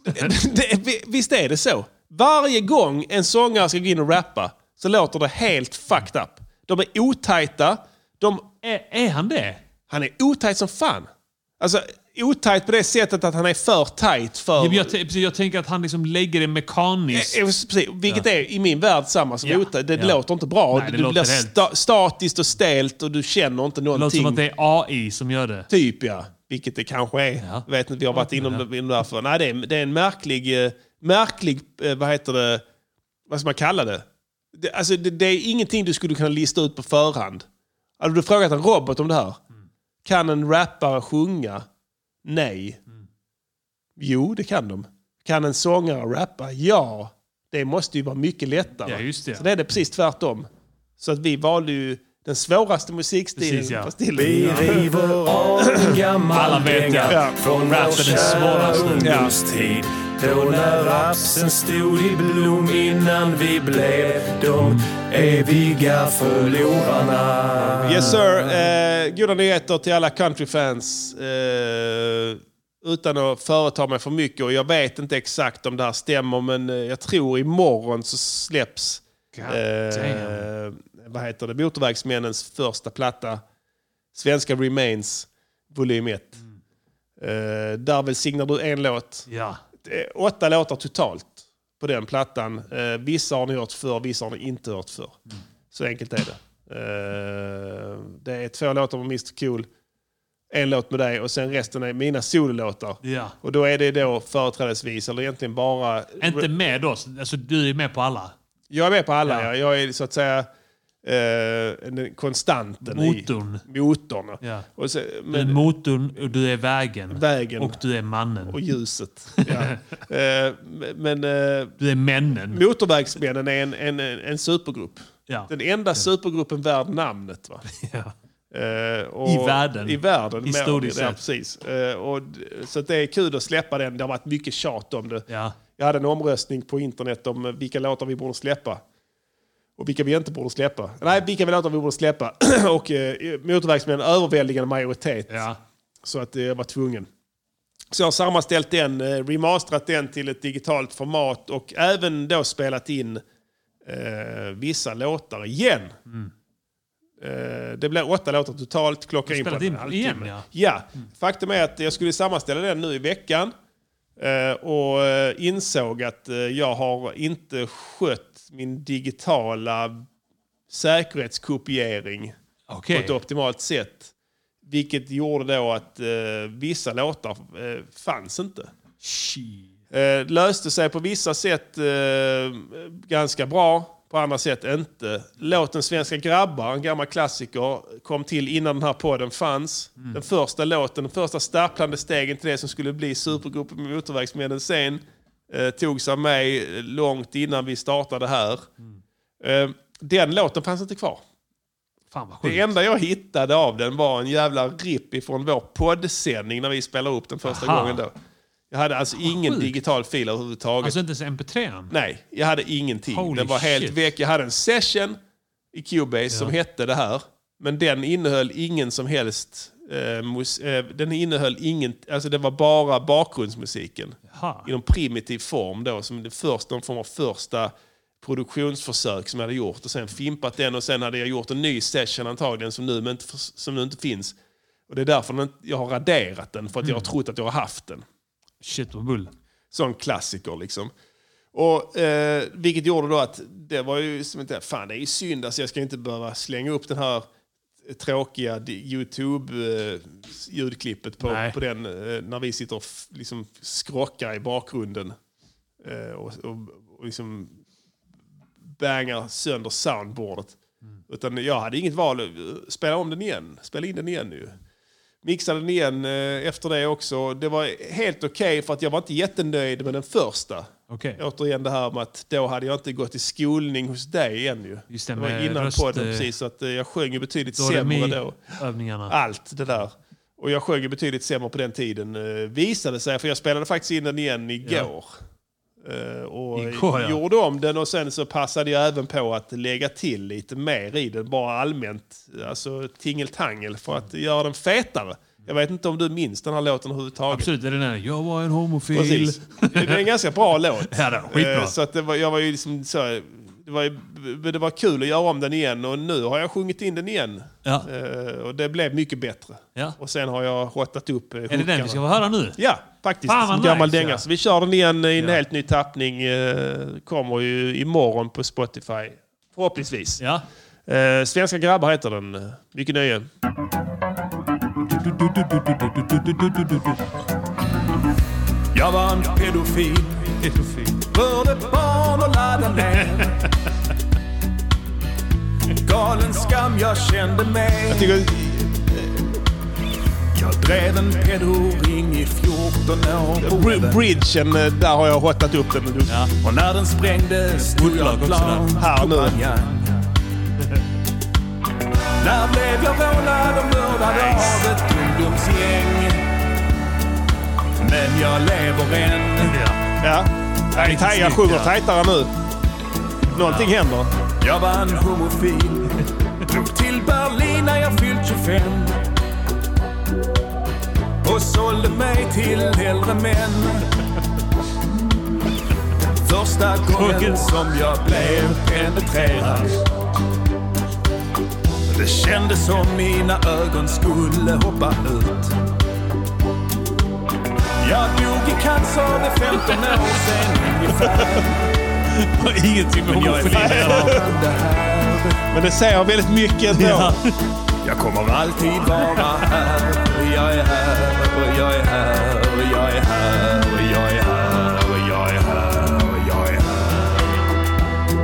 B: Det, vi- visst är det så? Varje gång en sångare ska gå in och rappa så låter det helt fucked up. De är otajta. De,
C: Är, är han det?
B: han är otajt som fan. Alltså otajt på det sättet att han är för tajt för...
C: Ja, men Jag, t- precis, jag tänker att han liksom lägger det mekaniskt.
B: Eh, eh, Precis, vilket är i min värld samma som
C: Ja,
B: otajt. Det
C: ja.
B: låter inte bra.
C: Nej, det
B: du
C: låter
B: blir
C: helt-
B: sta- statiskt och stelt och du känner inte
C: Det låter
B: någonting.
C: som att det är AI som gör det.
B: Typ ja, vilket det kanske är.
C: Ja.
B: Jag vet inte, vi har varit inom, inom det här för. Nej, det är, det är en märklig, eh, märklig, eh, vad heter det, vad ska man kalla det? Det, alltså, det, det är ingenting du skulle kunna lista ut på förhand. Hade du frågat en robot om det här?
C: Mm.
B: Kan en rappare sjunga? Nej.
C: Mm.
B: Jo, det kan de. Kan en sångare rappa? Ja. Det måste ju vara mycket lättare.
C: Ja, just det.
B: Så det är det precis tvärtom. Så att vi valde ju den svåraste musikstilen
C: Precis, ja.
B: på stilen.
G: Vi river av en
C: Alla
G: gammal
C: vet
G: dänga
B: ja.
C: Rap
G: från
C: är
G: vår
C: den svåraste.
G: kära ungdomstid. Då när rapsen stod i blom innan vi blev de eviga förlorarna.
B: Yes sir. Eh, goda nyheter till alla countryfans. Eh, utan att företa mig för mycket. Och jag vet inte exakt om det här stämmer men eh, jag tror imorgon så släpps eh, vad heter det? Motorvägsmännens första platta. Svenska Remains volym 1. Eh, där välsignar du en låt.
C: Ja.
B: Eh, åtta låtar totalt på den plattan. Eh, vissa har ni hört för, vissa har ni inte hört för. Så enkelt är det. Eh, det är två låtar med Mr Cool, en låt med dig och sen resten är mina sololåtar.
C: ja.
B: Och då är det då företrädesvis, eller egentligen bara...
C: Inte med oss. Alltså, du är med på alla.
B: Jag är med på alla.
C: Ja.
B: Jag är så att säga eh, den konstanten
C: Motorn.
B: i motorn.
C: Ja.
B: Och så,
C: Du är
B: men,
C: motorn, och du är vägen.
B: Vägen.
C: Och du är mannen.
B: och ljuset. Ja. eh, men eh,
C: Du är männen.
B: Motorvägsmännen är en, en, en en supergrupp.
C: Ja.
B: Den enda supergruppen värd namnet. Va?
C: Ja.
B: Eh, och-
C: I världen.
B: I världen.
C: Historiskt
B: ja,
C: sett.
B: precis. Eh, och, d- så att det är kul att släppa den. Det har varit mycket tjat om det.
C: Ja.
B: Jag hade en omröstning på internet om eh, vilka låtar vi borde släppa. Och vilka vi inte borde släppa. Nej, vilka låtar vi borde släppa. och eh, Motorvägsmännen överväldigande majoritet.
C: Ja.
B: Så att eh, jag var tvungen. Så jag har sammanställt den, eh, remasterat den till ett digitalt format och även då spelat in eh, vissa låtar igen. Eh, det blir åtta låtar totalt, klockan in på
C: spelat
B: en
C: in igen,
B: halvtimme.
C: ja.
B: ja. Faktum är att jag skulle sammanställa den nu i veckan eh, och eh, insåg att eh, jag har inte skött min digitala säkerhetskopiering
C: Okej.
B: på ett optimalt sätt. Vilket gjorde då att eh, vissa låtar eh, fanns inte. Eh, löste sig på vissa sätt eh, ganska bra, på andra sätt inte. Låten Svenska grabbar, en gammal klassiker, kom till innan den här podden fanns. Den första låten, den första stapplande stegen till det som skulle bli supergruppen med Motorvägsmännen sen, eh, togs av mig långt innan vi startade här. Eh, den låten fanns inte kvar.
C: Fan vad sjukt.
B: Det enda jag hittade av den var en jävla rip ifrån vår poddsändning när vi spelade upp den första
C: Aha.
B: gången. Då. Jag hade alltså ingen
C: sjukt.
B: digital fil överhuvudtaget.
C: Alltså inte ens mp3an?
B: Nej, jag hade ingenting.
C: Holy
B: den var helt
C: shit.
B: väck. Jag hade en session i Cubase som hette det här. Men den innehöll ingen som helst... Eh, mus, eh, den innehöll ingen... Alltså det var bara bakgrundsmusiken.
C: Jaha.
B: I någon primitiv form då. Som det första, någon form av första produktionsförsök som jag hade gjort. Och sen fimpat den och sen hade jag gjort en ny session antagligen som nu, men inte, som nu inte finns. Och det är därför den, jag har raderat den. För att jag
C: Mm.
B: har trott att jag har haft den
C: Shit vad bull.
B: sån klassiker. Liksom. Och, eh, vilket gjorde då att det var ju som inte, fan det är ju synd, alltså jag ska inte behöva slänga upp den här tråkiga di- Youtube-ljudklippet på,
C: Nej.
B: på den eh, när vi sitter och f- liksom skrockar i bakgrunden eh, och, och, och liksom bangar sönder soundboardet. Utan jag hade inget val, spela om den igen, spela in den igen nu mixade den igen eh, efter det också. Det var helt okej för att jag var inte jättenöjd med den första.
C: Okej.
B: Återigen det här med att då hade jag inte gått i skolning hos dig än ju.
C: Just det,
B: var
C: med
B: innan
C: röst,
B: podden
C: eh,
B: precis, så att eh, jag sjöng ju betydligt
C: Då är
B: sämre
C: med
B: då. Ah.
C: övningarna.
B: Allt det där. Och jag sjöng ju betydligt sämre på den tiden, eh, visade sig. För jag spelade faktiskt in den igen igår. Eh, och
C: Igår, ja.
B: gjorde om den och sen så passade jag även på att lägga till lite mer i den, bara allmänt. Alltså tingeltangel för att göra den fetare. Jag vet inte om du minns den här låten överhuvudtaget.
C: Absolut, det är den där. Jag var en homofil.
B: Precis. Det är en ganska bra låt.
C: Ja, den var skitbra.
B: Eh, Så att det var, jag var ju liksom så, här- det var, ju- men det var kul att göra om den igen och nu har jag sjungit in den igen.
C: Ja.
B: Eh, Och det blev mycket bättre.
C: Ja.
B: Och sen har jag hottat upp eh,
C: Är det den vi ska få höra nu?
B: Ja, faktiskt.
C: Fan, vad
B: Som gammal
C: nice,
B: dänga.
C: ja.
B: Så vi kör den igen i en
C: Ja.
B: helt ny tappning. eh, Kommer ju imorgon på Spotify. Förhoppningsvis.
C: Ja.
B: Eh, Svenska grabbar heter den. Mycket nöje.
G: Jag var en pedofil. Rörde barn och laddade ner. Galen skam jag kände mig.
B: Jag tycker-
G: Jag drev en pedoring i 14 år.
B: Br- Bridgen, eh, där har jag hottat upp den. Du-
G: Och när den sprängdes stod jag
C: Woodlock också
G: klar.
B: Här nu.
G: Kompanjan.
D: Där blev jag rånad och mördad av ett ungdomsgäng. Men jag lever än.
B: Ja. Nej, taj- jag sjunger tajtare nu. Någonting händer.
D: Jag var en homofil. Drog till Berlin när jag fyllt 25. Och sålde mig till äldre män. Första gången som jag blev penetrerad. Det kändes som mina ögon skulle hoppa ut. Jag dog i cancer för 15 år sedan ungefär.
C: Har ingenting med homofili att göra.
B: Men det säger väldigt mycket ändå.
C: Ja.
D: Jag kommer alltid vara här. Jag är här och jag är här och jag är här och jag är här och jag är här och jag är här.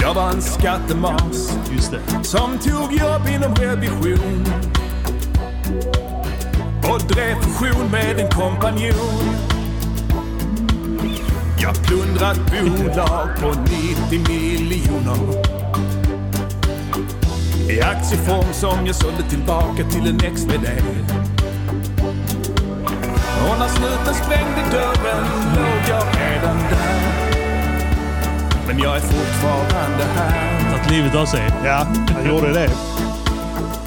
D: Jag var en skattemas
C: Just det.
D: som tog jobb inom revision och drev fusion med en kompanjon. Jag plundrat bolag på 90 miljoner i aktieform som jag sålde tillbaka till en ex-vd. Och när snuten sprängde dörren låg jag redan där. Men jag är fortfarande här.
C: Tagit livet av sig.
B: Ja, han gjorde det.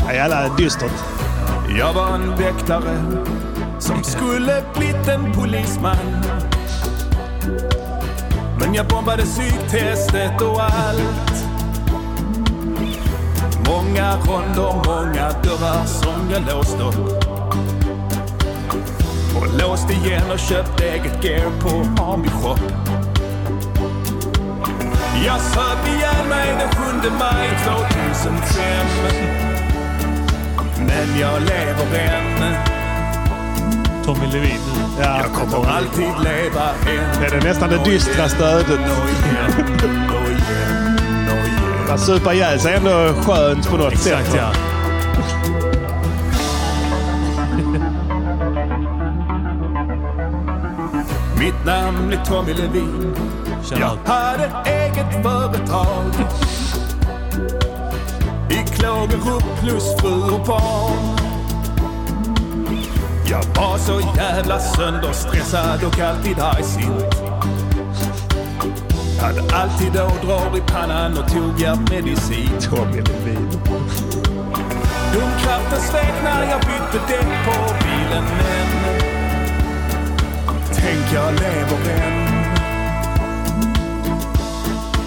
B: Ja, jävla dystert.
D: Jag var en väktare som skulle blivit en polisman. Men jag bombade psyktestet och allt. Många ronder, många dörrar som jag låste upp. Och låste igen och köpte eget gear på Army Shop. Jag söp ihjäl mig den 7 maj 2005. Men jag lever än.
C: Tommy Levin.
B: Ja,
D: Jag kommer alltid leva än.
B: Det är det nästan det dystraste ödet.
D: Och igen, och igen, och igen.
B: Att supa ihjäl sig är ändå skönt på något
C: Exakt
B: sätt.
C: ja.
D: Mitt namn är Tommy Levin. Jag
C: Shoutout.
D: hade ett eget företag. I Klågerup plus fru och barn. Jag var så jävla sönderstressad och alltid argsint. Hade alltid ådror i pannan och tog hjärtmedicin.
B: Tommy Levin.
D: Domkraften svek när jag bytte däck på bilen men Tänk jag lever än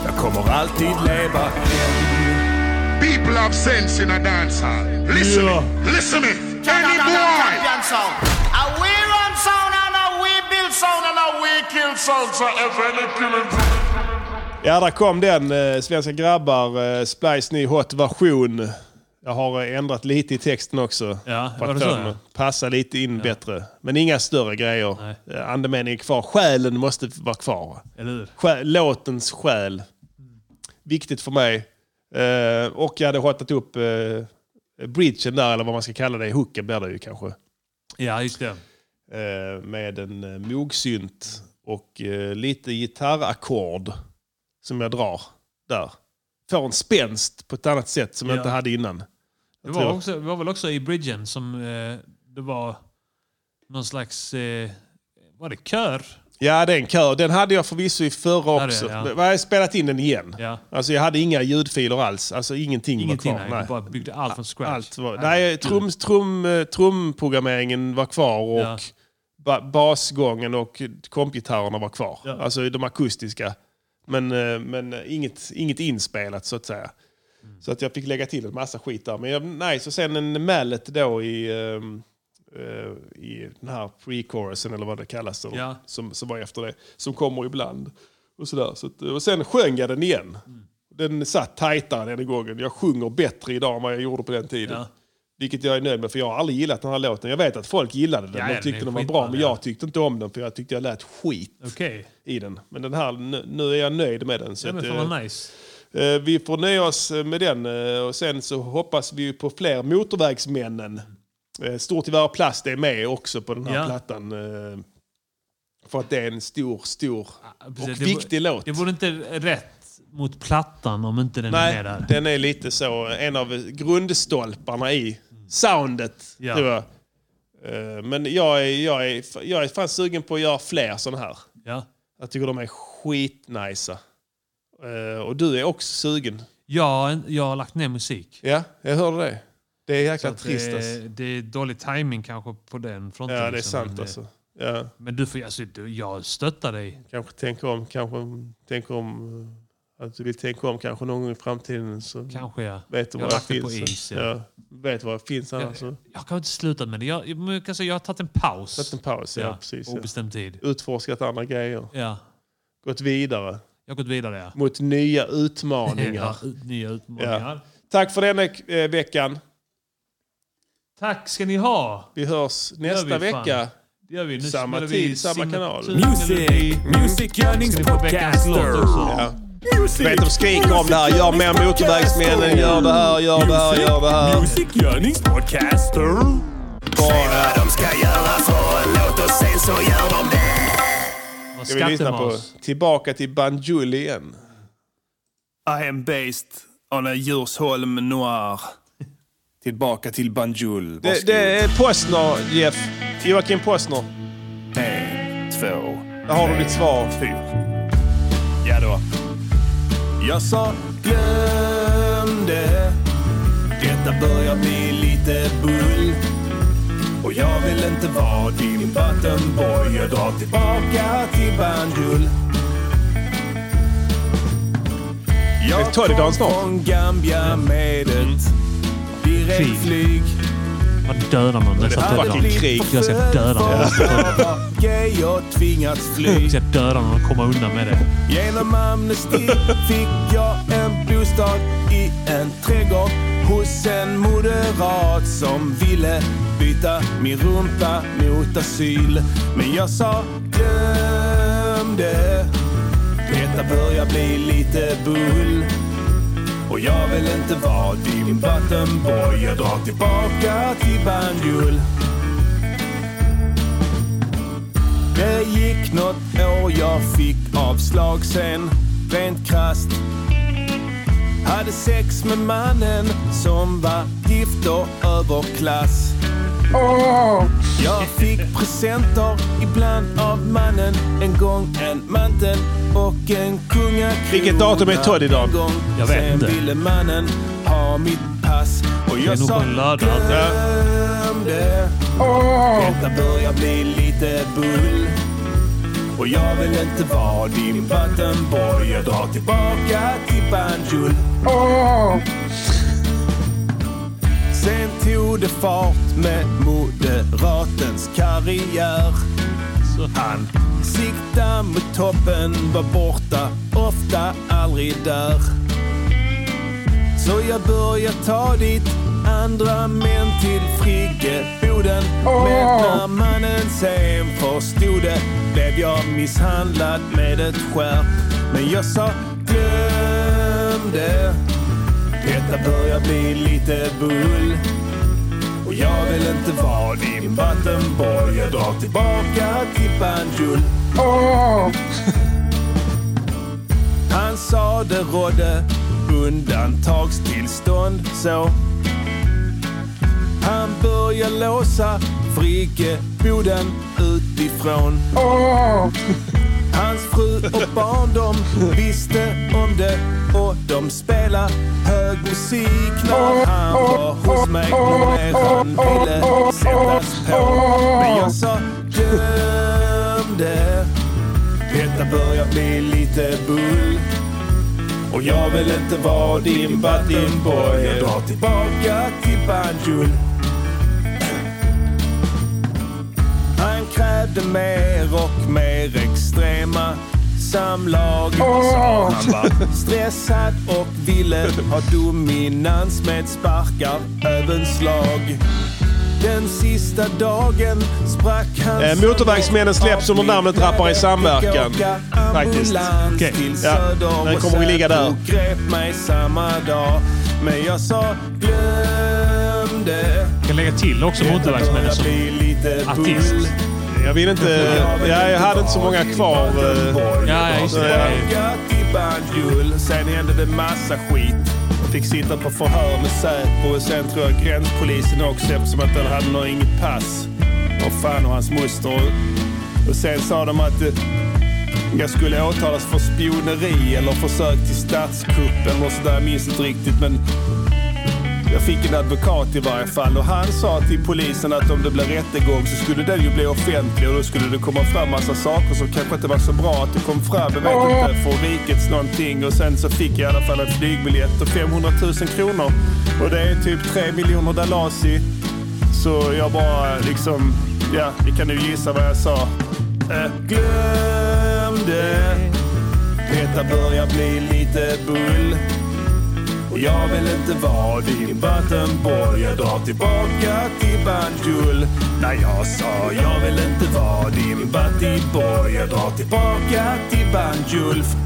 D: Jag kommer alltid leva än
H: People have sense in a dance hall. Listen me. Listen me. Any boy.
G: sound. A we run sound and a we build sound and a we kill sound. So if any killing
B: Ja, där kom den. eh, Svenska grabbar, eh, Splice ny hot version. Jag har eh, ändrat lite i texten också.
C: Ja,
B: För
C: var
B: att
C: det så,
B: få den
C: ja?
B: att passa lite in bättre. Men inga större grejer.
C: Nej.
B: Eh, Andemeningen är kvar. Själen måste vara kvar.
C: Eller hur?
B: Själ, låtens själ. Viktigt för mig. Eh, och jag hade hotat upp uh, bridgen där, eller vad man ska kalla det. Hooken blir det ju kanske.
C: Ja, just det.
B: Eh, med en uh, mogsynt och eh, lite gitarrackord som jag drar där. Får en spänst på ett annat sätt som jag
C: Ja.
B: inte hade innan.
C: Det
B: tror
C: var,
B: jag.
C: också, det var väl också i bridgen som eh, det var någon slags... Eh, var det kör?
B: Ja, det är en kör. Den hade jag förvisso i förra
C: det,
B: också.
C: ja.
B: Men Jag har spelat in den igen.
C: Ja.
B: Alltså jag hade inga ljudfiler alls. Alltså ingenting,
C: Ingenting.
B: var kvar.
C: nej. Vi bara byggde allt från scratch.
B: Allt var, nej, trum, trum, eh, trumprogrammeringen var kvar och
C: Ja.
B: ba, basgången och kompgitarrerna var kvar.
C: Ja.
B: Alltså de akustiska. Men, eh, men eh, inget, inget inspelat så att säga.
C: Mm.
B: Så att jag fick lägga till en massa skit där. Men jag, nej, så sen en mallet då i, ehm, eh, i den här pre-chorusen eller vad det kallas. eller-
C: Ja.
B: Som, som var efter det. Som kommer ibland. Och, sådär. Så att, och sen sjöng jag den igen.
C: Mm.
B: Den satt tajtare den gången. Jag sjunger bättre idag än vad jag gjorde på den tiden.
C: Ja.
B: Vilket jag är nöjd med, för jag har aldrig gillat den här låten. Jag vet att folk gillade den.
C: Ja,
B: de
C: den
B: tyckte
C: är
B: den var
C: skitbra,
B: bra, men
C: ja.
B: jag tyckte inte om den. För jag tyckte jag lät skit
C: Okej.
B: i den. Men den här, nu, nu är jag nöjd med den. Så
C: Ja,
B: att,
C: men
B: eh,
C: fan vad nice.
B: eh, vi får nöja oss med den. eh, Och sen så hoppas vi ju på fler Motorvägsmännen. Eh, Stort i värre plast är med också på den här
C: Ja.
B: plattan. eh, För att det är en stor, stor och
C: Precis, det
B: viktig
C: vore-
B: låt.
C: Det vore inte rätt mot plattan om inte den är
B: Nej,
C: med där.
B: den är lite så. En av grundstolparna i soundet,
C: Ja.
B: tror jag. Eh, Men jag är, jag, är, jag är fan sugen på att göra fler sådana här.
C: Ja.
B: Jag tycker de är skitnice. Eh, Och du är också sugen.
C: Jag, jag har lagt ner musik.
B: Ja, jag hörde det. Det är
C: Så
B: jäkla
C: att
B: trist
C: det,
B: alltså.
C: är- det är dålig timing kanske på den fronten.
B: Ja, det är
C: liksom,
B: sant
C: men, eh,
B: alltså. Ja.
C: Men du får, alltså, du, jag stöttar dig.
B: Kanske tänka om, kanske tänka om. eh, Att du vill tänka om kanske någon gång i framtiden. Så
C: Kanske ja.
B: Vet du
C: Jag
B: vad
C: har
B: det
C: lagt det på
B: finns?
C: is, ja.
B: ja. Vet vad det finns annars? så.
C: Jag har inte slutat med det. Jag, men jag, kan säga, jag har tagit en paus.
B: Alltså. Tagit en paus, ja, precis, ja.
C: Obestämd tid.
B: Utforskat andra grejer.
C: Ja.
B: Gått vidare.
C: Jag har gått vidare ja.
B: Mot nya utmaningar.
C: Ja, ut- Nya utmaningar.
B: Tack för denna eh, veckan.
C: Tack ska ni ha.
B: Vi hörs nästa
C: vi, fan.
B: vecka.
C: Det gör vi. Nu
B: Samma
C: spelar vi
B: tid, samma
C: signatur-
B: kanal.
G: Music, music yearnings
C: Ska ni få veckans låt
G: podcaster.
C: också?
B: Ja. Vet de skriker om det här. Gör mer motorvägsmännen. Gör det här, gör det här, gör det här.
G: Music yearnings podcaster.
B: Bara,
G: De ska göra för en låt och sen så gör de det.
C: Vad
B: ska vi lyssna på
C: skattemas.
B: Tillbaka till Banjul igen.
D: I am based on a Djursholm noir. Tillbaka till Banjul.
B: Det, det är Postner, Jeff. Joakim Postner.
D: En, två,
B: Där har du ditt svar.
D: fyra. Ja då. Jag sa glöm det. Detta börjar bli lite bull. Och jag vill inte vara din vattenboy. Jag drar tillbaka till Banjul.
B: Det är
D: Jag
B: Torridalen
D: kom
B: snart.
D: från Gambia med ett direktflyg.
C: Vad dödar man dessa
B: fucking
C: tullar?
B: krig.
C: Jag ska döda dem.
D: Gay och tvingats fly.
C: Jag ska döda dem och komma undan med det.
D: Genom amnesti fick jag en bostad i en trädgård hos en moderat som ville byta min rumpa mot asyl. Men jag sa glöm det. Detta börjar bli lite bull. Och jag vill inte vara din vattenboy. Jag drar tillbaka till Banjul. Det gick något år, jag fick avslag sen, rent krasst. Hade sex med mannen som var gift och överklass. Jag fick presenter ibland av mannen. En gång en mantel och en kungakrona.
B: Vilket datum är Todd idag?
D: En gång
C: Jag vet
D: sen
C: inte.
D: ville mannen ha mitt pass. Och
C: Det är
D: jag
C: nog
D: sa
C: på en lördag.
D: glöm det. Detta börjar bli lite bull. Och jag vill inte vara din vattenboy. Jag drar tillbaka till Banjul. Sen tog det fart med moderatens karriär. Han sikta mot toppen, var borta, ofta aldrig där. Så jag börjar ta dit andra män till friggeboden. Men när mannen sen förstod det blev jag misshandlad med ett skärp. Men jag sa glöm det. Detta börjar bli lite bull. Och jag vill inte vara din vattenboy. Jag drar tillbaka till Banjul. Han sa det rådde undantagstillstånd så. Han börjar låsa friggeboden utifrån. Hans fru och barn de visste om det och de spelar hög musik när han var hos mig och mer han ville sättas på. Men jag sa glöm det. Detta börjar bli lite bull. Och jag vill inte vara din vattenboy. Jag drar tillbaka till Banjul. Han krävde mer och mer extrema samlag. Sa han var stressad och ville ha dominans med sparkar, även slag. Den sista dagen sprack han...
B: Eh, Motorvägsmännen släpps under namnet Rappare i samverkan. Faktiskt.
D: Faktiskt.
B: Okej. Ja.
D: Ja.
B: Den kommer vi ligga där.
D: grep mig samma dag. Men jag sa glöm det.
C: Jag kan lägga till också motorvägsmännen som
D: Jag blir lite
C: artist.
D: bull.
B: Jag vill inte... Ja, jag hade inte så många kvar. eh.
D: ja,
B: just det.
D: Gött i bandjul. Sen hände det massa skit. Fick sitta på förhör med Säpo och sen tror jag gränspolisen också eftersom att han hade nog inget pass. Och fan och hans moster. Och sen sa de att eh, jag skulle åtalas för spioneri eller försök till statskupp eller något sådär. Jag minns inte riktigt men jag fick en advokat i varje fall och han sa till polisen att om det blev rättegång så skulle den ju bli offentlig och då skulle det komma fram massa saker som kanske inte var så bra att det kom fram. Jag vet inte, från rikets någonting. Och sen så fick jag i alla fall en flygbiljett och 500 000 kronor. Och det är typ 3 miljoner dalasi. Så jag bara liksom, ja, ni kan nu gissa vad jag sa. Eh, glöm det. Detta börjar bli lite bull. Jag vill inte vara din vattenboll Jag drar tillbaka till banjul När jag sa jag vill inte vara din vattenboll Jag drar tillbaka till banjul